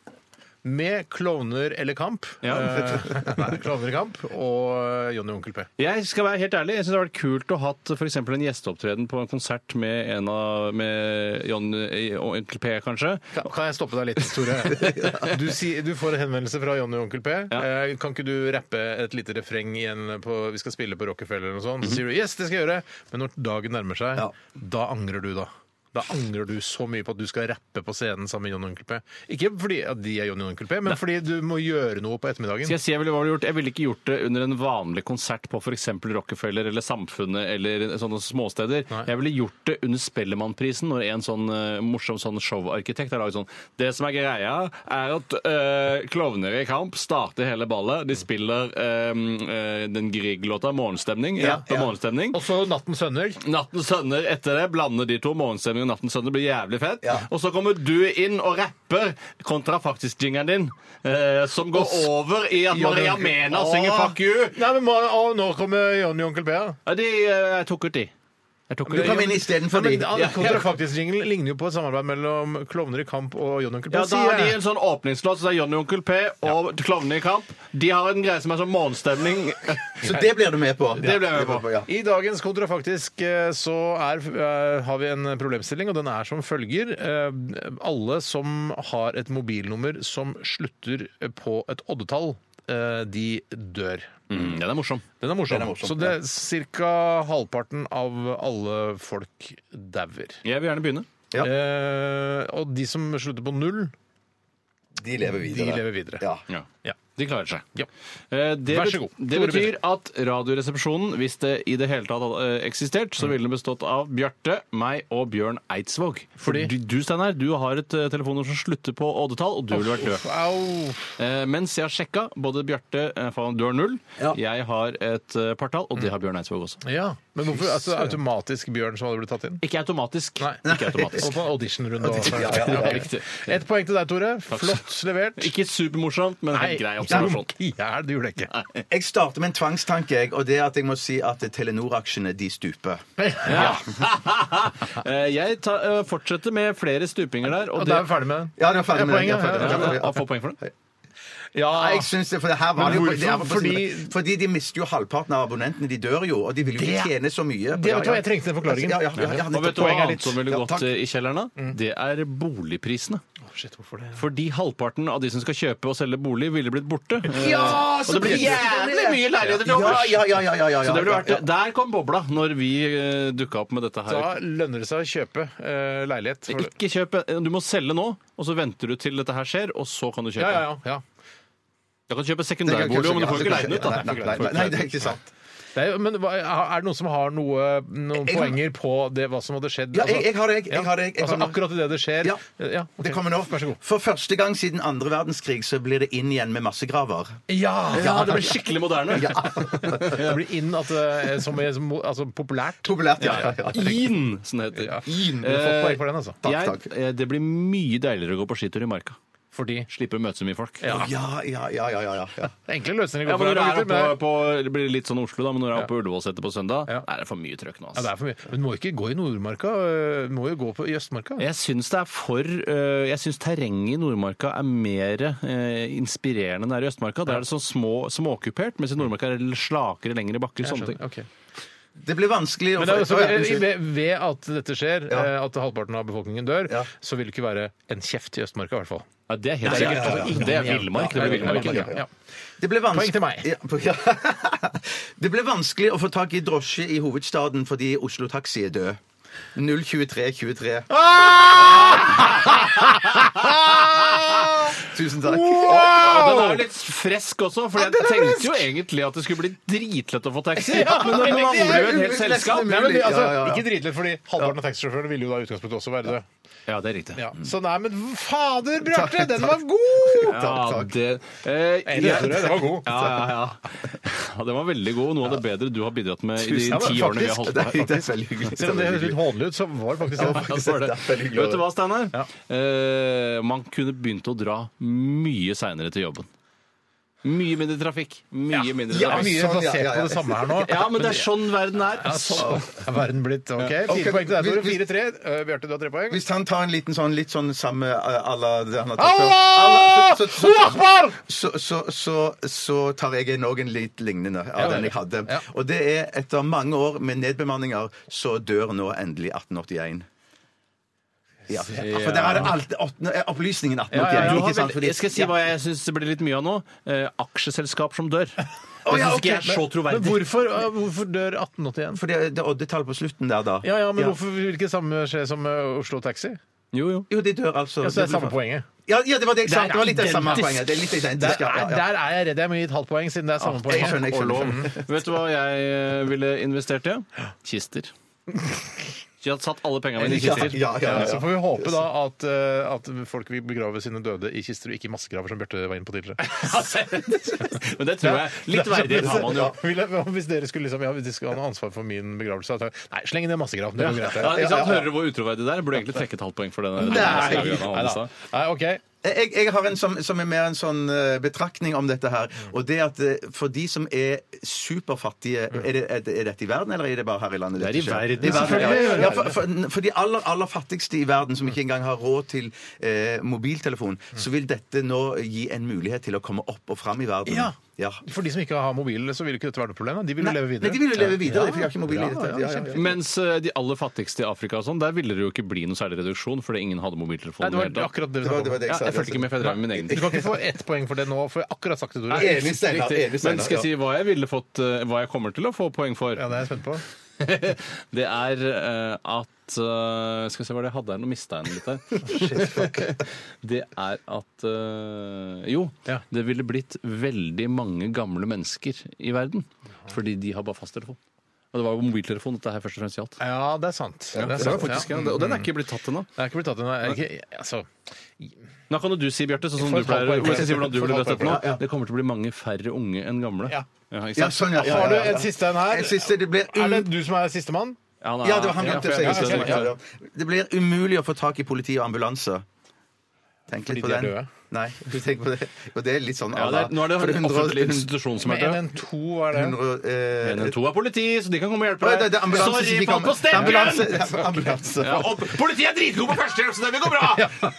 D: Med Klovner eller Kamp.
G: Ja.
D: Eh, nei, klovner i Kamp og Johnny og Onkel P.
G: Jeg skal være helt ærlig, jeg synes det hadde vært kult å ha hatt for eksempel en gjesteopptreden på en konsert med en av med John og Onkel P, kanskje.
D: Kan, kan jeg stoppe deg litt, [LAUGHS] Tore? Du, sier- du får en henvendelse fra Johnny og Onkel P.
G: Ja.
D: Eh, Kan ikke du rappe et lite refreng igjen på Vi skal spille på Rockefeller eller noe
G: Mhm.
D: sånt? Så sier du yes, det skal jeg gjøre. Men når dagen nærmer seg,
F: Ja.
D: da angrer du, da. Da angrer du så mye på at du skal rappe på scenen sammen med Johnny og Onkel P. Ikke fordi at de er Johnny og Onkel P, men fordi du må gjøre noe på ettermiddagen.
G: Skal jeg si jeg ville, hva ville gjort? Jeg ville ikke gjort det under en vanlig konsert på f.eks. Rockefeller eller Samfunnet eller sånne småsteder.
D: Nei.
G: Jeg ville gjort det under Spellemannprisen, når en sånn eh, morsom sånn showarkitekt har laget sånn Det som er greia, er at eh, klovner i kamp starter hele ballet. De spiller eh, eh, den Grieg-låta 'Morgenstemning'. Ja,
F: ja.
G: morgenstemning.
D: Og så Nattens sønner.
G: Nattens sønner etter det blander de to stemning om natten søndag blir jævlig fett. Og så kommer du inn og rapper kontra faktisk jingeren din, eh, som går over i at Maria Mena synger Fuck you.
D: Nei, men må, å, nå kommer Jonny og onkel P. da.
G: Ja, de, eh, jeg tok ut de. Jeg tok ut
D: Men
G: de.
D: kom inn
F: istedenfor
D: Men
F: de.
D: ja, Kontrafaktisk-jinglen ligner jo på et samarbeid mellom Klovner i kamp og Jonny og onkel P.
G: Ja, da
D: sier
G: har de
D: jeg.
G: en sånn åpningslåt, så det er Johnny Onkel P og Klovnene i kamp. De har en greie som er sånn morgenstemning.
F: Så det blir du med på?
G: Det blir jeg med på.
D: I dagens kontrafaktisk eh, så er, eh, har vi en problemstilling, og den er som følger. Eh, Alle som har et mobilnummer som slutter på et oddetall, eh, de dør.
G: Mm, den er morsom.
D: Den er morsom.
G: Den er morsom,
D: så det er ca. halvparten av alle folk dauer.
G: Jeg vil gjerne begynne.
D: Eh, og de som slutter på null,
F: De lever videre.
D: De lever videre.
G: Ja.
D: Ja.
G: De klarer seg.
D: Ja.
G: Eh, Det,
D: Vær så
G: bet-
D: god.
G: Det
D: Tore
G: betyr at Radioresepsjonen, hvis det i det hele tatt hadde eh, eksistert,
D: Mm.
G: så ville den bestått av Bjarte, meg og Bjørn Eidsvåg. Fordi du, du Steinar, du har et eh, telefonnummer som slutter på oddetall, og du ville vært død. Eh, Mens jeg har sjekka, både Bjarte eh, faen, Du har null, jeg har et eh, partall, og det har Bjørn Eidsvåg også.
D: Ja, Men hvorfor altså, automatisk Bjørn som hadde blitt tatt inn?
G: Ikke automatisk. Ikke
D: [LAUGHS]
G: automatisk.
D: Og på en auditionrunde. og-
G: Ja, ja, ja.
D: Ok. Ett poeng til deg, Tore. Flott levert.
G: Ikke supermorsomt, men
D: helt grei observasjon. Ja, det gjorde jeg ikke.
F: Jeg starter med en tvangstanke, jeg, og det er at jeg må si at Telenor-aksjene de stuper.
G: Ja. [LAUGHS] Eh, jeg tar, eh, fortsetter med flere stupinger der.
D: Og da er vi ferdig med den.
F: Ja, det er ferdig
D: Ja,
F: med det.
D: poenget,
F: Jeg er ferdig med
G: Ja,
F: det.
G: ja, Få poeng for det.
D: Ja,
F: Nei, jeg synes det, for det her
D: Men
F: var det jo,
D: hvorfor?
F: det her var på sin-
D: Fordi-
F: fordi de mister jo halvparten av abonnentene. De dør jo, og de vil jo ikke
D: Det-
F: tjene så mye.
D: Det vet du hva, jeg trengte den forklaringen.
F: Ja, ja, ja, ja,
G: Og vet du hva
F: nettopp.
G: annet som ville
F: Ja,
G: gått
F: takk. Mm.
G: eh, i kjelleren? da? Det er boligprisene.
D: Shit, hvorfor det?
G: Fordi halvparten av de som skal kjøpe og selge bolig, ville blitt borte.
F: Ja,
G: Eh,
F: så
G: og
F: blir
G: det blir
F: det
G: jævlig
F: det.
G: mye leiligheter til
F: Ja,
G: overs!
F: ja, ja, ja, ja, ja,
G: Så det ville vært,
F: ja, ja.
G: Der kom bobla, når vi uh, dukka opp med dette
D: Da
G: her.
D: lønner det seg å kjøpe eh, leilighet. for-
G: Ikke kjøp eh, Du må selge nå, og så venter du til dette her skjer, og så kan du kjøpe.
D: Ja, ja, ja, ja.
G: Du kan kjøpe
F: Det kan
G: sekundærbolig, men du får
F: kanskje-
G: ikke leie den ut.
F: Nei,
G: da.
F: nei, nei, nei, nei, det er ikke sant.
D: Det er, jo- men hva- er det noen som har noe, noen
F: Jeg-
D: poenger
F: jeg-
D: på det, hva som hadde skjedd?
F: Ja, jeg- jeg har det, jeg- jeg
D: Ja,
F: har det, jeg- jeg
D: altså
F: har det.
D: akkurat idet det skjer?
F: Ja.
D: ok.
F: Det kommer nå.
D: Vær så god.
F: For første gang siden andre verdenskrig så blir det inn igjen med massegraver.
D: Ja!
G: Ja, Ah, det blir skikkelig moderne.
F: Ja.
D: Det blir inn at, eh, som, er- som, altså, populært.
F: [LAUGHS] Populært, ja. ja, ja.
G: In, som det heter.
D: Inn. Du har fått poeng for den, altså.
F: Takk,
G: jeg,
F: takk.
G: eh, det blir mye deiligere å gå på skitur i marka.
D: Fordi
G: Slipper å møte så mye folk.
D: Ja.
F: Ja, ja, ja, ja, ja, ja.
D: Enkle løsninger. går
G: Ja, for
D: for
G: når
D: her,
G: jeg er
D: gutter, men
G: oppe
D: det er-
G: på, det blir litt sånn Oslo da, men når jeg er oppe på Ullevålsetet på søndag,
D: Ja.
G: er det for mye trøkk nå.
D: Ja, det
G: Altså.
D: er for mye. Men du må ikke gå i Nordmarka. øh, Du må jo gå på, i Østmarka.
G: Jeg syns det er for øh, Jeg syns terrenget i Nordmarka er mer eh, inspirerende enn det er i Østmarka. Der er det sånn små, småkupert, mens i Nordmarka er det slakere, lengre bakker. Sånne ting.
D: Ok.
F: Det blir vanskelig å
D: Men det er altså jo
F: Å,
D: så,
F: ja, unnskyld.
D: ved, ved at dette skjer, eh, at halvparten av befolkningen dør,
F: Ja.
D: så vil det ikke være en kjeft i Østmarka, i hvert fall.
G: Ja, det er helt
F: Nei, ja, ja, ja.
G: sikkert. Altså, Det er villmark. Det blir villmark.
D: Ja, ja.
F: Det ble vans-
D: Poeng til meg.
F: Ja, po- [LAUGHS] ja. det ble vanskelig å få tak i drosje i hovedstaden fordi Oslo Taxi er død. 02323.
D: Ah!
F: Ah! Tusen takk.
G: Og den er jo litt fresk også, for jeg tenkte jo egentlig at det skulle bli dritlett å få taxi. Men
F: det
G: når man
F: er
G: mangler jo et helt
F: nesten
G: selskap.
D: Nei, men det, altså,
F: Ja, ja, ja.
D: Ikke dritlett, fordi halvparten av taxisjåførene ville jo da i utgangspunktet også være døde.
G: Ja, det er riktig.
D: Ja. Mm. Så nei, men fader, Bjarte, den var god!
G: Ja, det, eh,
D: Enig,
G: jeg-
D: Tore, den var god.
G: Ja, ja, ja. ja, den var veldig god. Noe av det bedre du har bidratt med i de
F: Tusen
G: ti
F: takk,
G: årene vi har
F: faktisk. Det
G: holdt på
F: er,
G: her.
F: det er veldig hyggelig.
D: Selv om det
F: er veldig
D: høres litt
F: hyggelig.
D: hånedlig ut, så var det faktisk det.
G: Ja, det var det.
F: Det er veldig hyggelig.
G: Vet du hva, Steinar? Eh, man kunne begynt å dra mye seinere til jobben. Mye mindre trafikk. Mye mindre
D: Ja,
G: trafikk.
D: mye
F: sånn, ja,
D: basert
F: ja, ja.
D: på det samme her nå.
G: Ja,
D: [LAUGHS]
G: men det er sånn verden er.
D: Sånn er verden blitt. Ok, Fire
F: Ok,
D: poeng til deg, Tore.
F: hvis-
D: Fire-tre. Uh, Bjarte, du har tre poeng.
F: Hvis han tar en liten sånn litt sånn samme à la det han har tatt før.
D: Allah!
F: Allah! Så, så, så,
D: Akbar!
F: så, så, så, så tar jeg en òg en litt lignende av den jeg hadde.
D: Ja.
F: Og det er etter mange år med nedbemanninger, så dør nå endelig 1881. Ja, for der er det alt, åttende- eh, opplysningen 1881.
G: Ja, ja, du har
F: ikke sant?
G: veldig-
F: Fordi-
G: jeg skal si hva jeg syns det blir litt mye av nå. Eh, aksjeselskap som dør. Det
F: Å, ja,
G: syns ikke jeg er
F: ok,
G: så
D: Men
G: troverdig.
D: hvorfor, uh, hvorfor dør 1881?
F: For det det er oddetall på slutten der, da.
D: Ja, ja, men hvorfor vil ikke det samme skje som uh, Oslo Taxi?
G: Jo, jo.
F: Jo, de dør altså.
D: Ja, så det er samme poenget.
F: Ja, ja, det var det jeg sa.
D: Det er
F: Det var litt det samme
D: identisk.
F: poenget. Det er litt
D: Der
F: identisk, ja,
D: er,
F: ja, ja.
D: der er jeg redd jeg må gi et halvt poeng, siden det er samme
F: Jeg
D: poeng.
F: skjønner, jeg skjønner.
G: [LAUGHS] Vet du hva jeg eh, ville investert i? Kister. De har satt alle pengene mine i
D: Ja,
G: kister.
D: ja, ja, ja. Så får vi håpe da at, eh, at folk vil begrave sine døde i kister og ikke i massegraver, som Bjarte var inne på tidligere.
G: [LAUGHS] Men det tror jeg. Litt verdighet har man jo.
D: Ja, vil jeg- Hvis dere skulle liksom, ja, hvis de skulle ha noe ansvar for min begravelse at jeg- Nei, sleng inn i en massegrav. Det
G: Ja,
D: går
G: ja,
D: greit. det.
G: ikke sant?
D: Ja, ja,
G: Hører du hvor utroverdig det er? Burde egentlig trekke et halvt poeng for den.
F: Nei. Jeg, jeg har en som, som er mer en sånn eh, betraktning om dette her.
D: Mm.
F: Og det at eh, for de som er superfattige Er, det, er, det- er dette i verden, eller er det bare her i landet?
D: Mm. Det er i
F: dette skjer?
D: verden,
F: Det er
D: selvfølgelig.
F: ja. ja for, for, for de aller, aller fattigste i verden, som ikke engang har råd til eh, mobiltelefon,
D: Mm.
F: så vil dette nå gi en mulighet til å komme opp og fram i verden.
D: Ja.
F: ja.
D: For de som ikke har mobil, så vil jo ikke dette være noe problem. da. De vil jo
F: Nei,
D: leve videre.
F: nei, de vil jo leve
D: Ja.
F: videre, for de har ikke mobil i
D: Ja,
F: det hele
D: ja,
F: tatt.
D: ja,
F: Ja, ja,
D: kjempe-
G: Mens eh, de aller fattigste i Afrika og sånn, der ville det jo ikke bli noe særlig reduksjon fordi ingen hadde mobiltelefon.
D: Nei, det var
G: i hele tatt.
D: akkurat det vi snakket om. Det var- det var det jeg
G: ja,
D: sa, altså.
G: jeg
D: det
G: fulgte ikke med, for jeg drev med min egen.
D: Du kan ikke få ett poeng for det nå, for jeg har akkurat sagt det, Tore.
G: Nei, riktig. Men skal jeg si hva jeg ville fått eh, Hva jeg kommer til å få poeng for?
D: Ja, det er jeg spent på.
G: [LAUGHS] det er eh, at eh, Skal vi se hva det jeg hadde her. Nå mista jeg den litt her. [LAUGHS] det er at eh, Jo, det ville blitt veldig mange gamle mennesker i verden. Fordi de har bare fasttelefon. Og det var jo mobiltelefon dette her først og fremst gjaldt.
D: Ja, det er sant.
G: Ja, det var faktisk, ja. Og den er ikke blitt tatt ennå.
D: Det er ikke blitt tatt ennå. Er det ikke- Altså,
G: Nå kan jo du si, Bjarte, sånn som
D: For
G: du
D: et halvt
G: pleier
D: poeng, for
G: Hvis jeg sier hvordan du
D: for et
G: ville
D: halvt
G: dødt opp
D: poeng,
G: nå.
D: ja, ja.
G: Det kommer til å bli mange færre unge enn gamle. Ja, ikke
F: Ja,
G: sant?
F: sånn, ja, ja,
D: Har du
F: ja, ja.
D: en siste en her?
F: En siste, det blir
D: Er det du som er sistemann?
G: Ja,
F: Ja, det var han glemte å si.
D: ja,
F: det.
D: ja, ja.
F: Det blir umulig å få tak i politi og ambulanse. Tenk
D: Fordi
F: litt på
D: de er
F: den.
D: døde?
F: Nei, [LAUGHS] du tenker på det. Og det er litt sånn
G: Ja, det er- nå er det
F: For
G: en
F: hundre-
G: offentlig institusjon som er død.
D: Men NN2, hva er det?
F: 100, eh,
G: NN2 er politi, så de kan komme og hjelpe
F: Oi,
G: deg.
F: det- det er ambulanse som
G: Sorry,
F: ikke
G: folk
F: kommer.
G: på steppen!
F: Ambulanse- det er [LAUGHS] ambulanse.
G: Ja, og politiet er dritgode på førstehjelp, så det vil gå bra!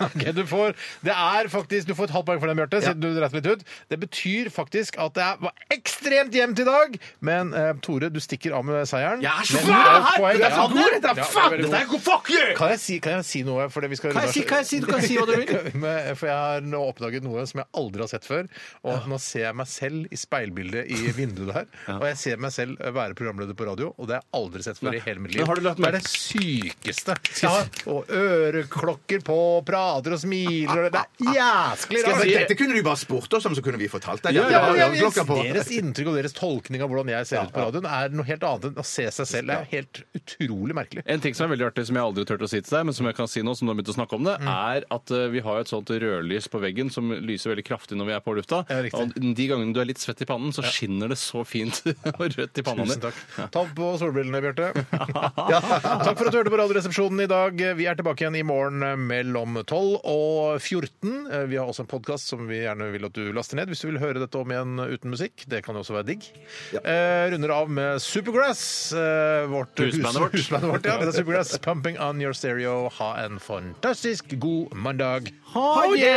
D: Ok, du får, [LAUGHS] det er faktisk, du får et halvt poeng for den, Bjarte. siden du dreit litt ut. Det betyr faktisk at det er, var ekstremt jevnt i dag. Men eh, Tore, du stikker av med seieren.
G: Jeg er så
D: Men
G: glad
D: du har
G: her!
D: poeng.
G: Du er så
D: Ja,
G: god, dette er
D: ja,
G: faen,
D: veldig
G: dette er
D: god.
G: god, fuck you!
D: Kan jeg si, kan jeg si noe? Fordi vi skal
G: Kan jeg si- kan jeg si- du kan si hva du
F: [LAUGHS]
G: vil.
D: Men- For jeg har nå oppdaget noe som jeg aldri har sett før. Og nå ser jeg meg selv i speilbildet i vinduet der. Og jeg ser meg selv være programleder på radio, og det har jeg aldri sett før i hele mitt liv.
G: Men har du lagt
D: det
G: merke-
D: er det sykeste. Ja, og øreklokker på, prater og smiler og Det
F: ah,
D: er jæsklig
F: Ja,
D: rart.
F: men dette kunne du bare spurt oss om, så kunne vi fortalt deg.
D: Ja,
F: at det
D: ja,
F: var
D: ja,
F: øreklokka på.
D: Deres inntrykk og deres tolkning av hvordan jeg ser ut på radioen, er noe helt annet enn å se seg selv. Det er helt utrolig merkelig.
G: En ting som er veldig artig, som jeg aldri turte å si til deg, men som jeg kan si nå, som du har begynt å snakke om det,
D: Mm.
G: er at eh, vi har et sånt rødlys på veggen som lyser veldig kraftig når vi er på lufta.
D: Ja, riktig.
G: og de gangene du er litt svett i pannen, så skinner det så fint [LAUGHS] og rødt i panna
D: Tusen
G: di.
D: takk. Ta på solbrillene, Bjarte. Ja. [LAUGHS] Takk for at du hørte på Radioresepsjonen i dag. Vi er tilbake igjen i morgen mellom 12 og 14. Vi har også en podkast som vi gjerne vil at du laster ned hvis du vil høre dette om igjen uten musikk. Det kan jo også være digg. Eh, runder av med Supergrass. Eh, vårt
G: Husbandet vårt.
D: Husbandet vårt [LAUGHS] ja. Det er Supergrass, Pumping on your stereo. Ha en fantastisk god mandag. Ha det!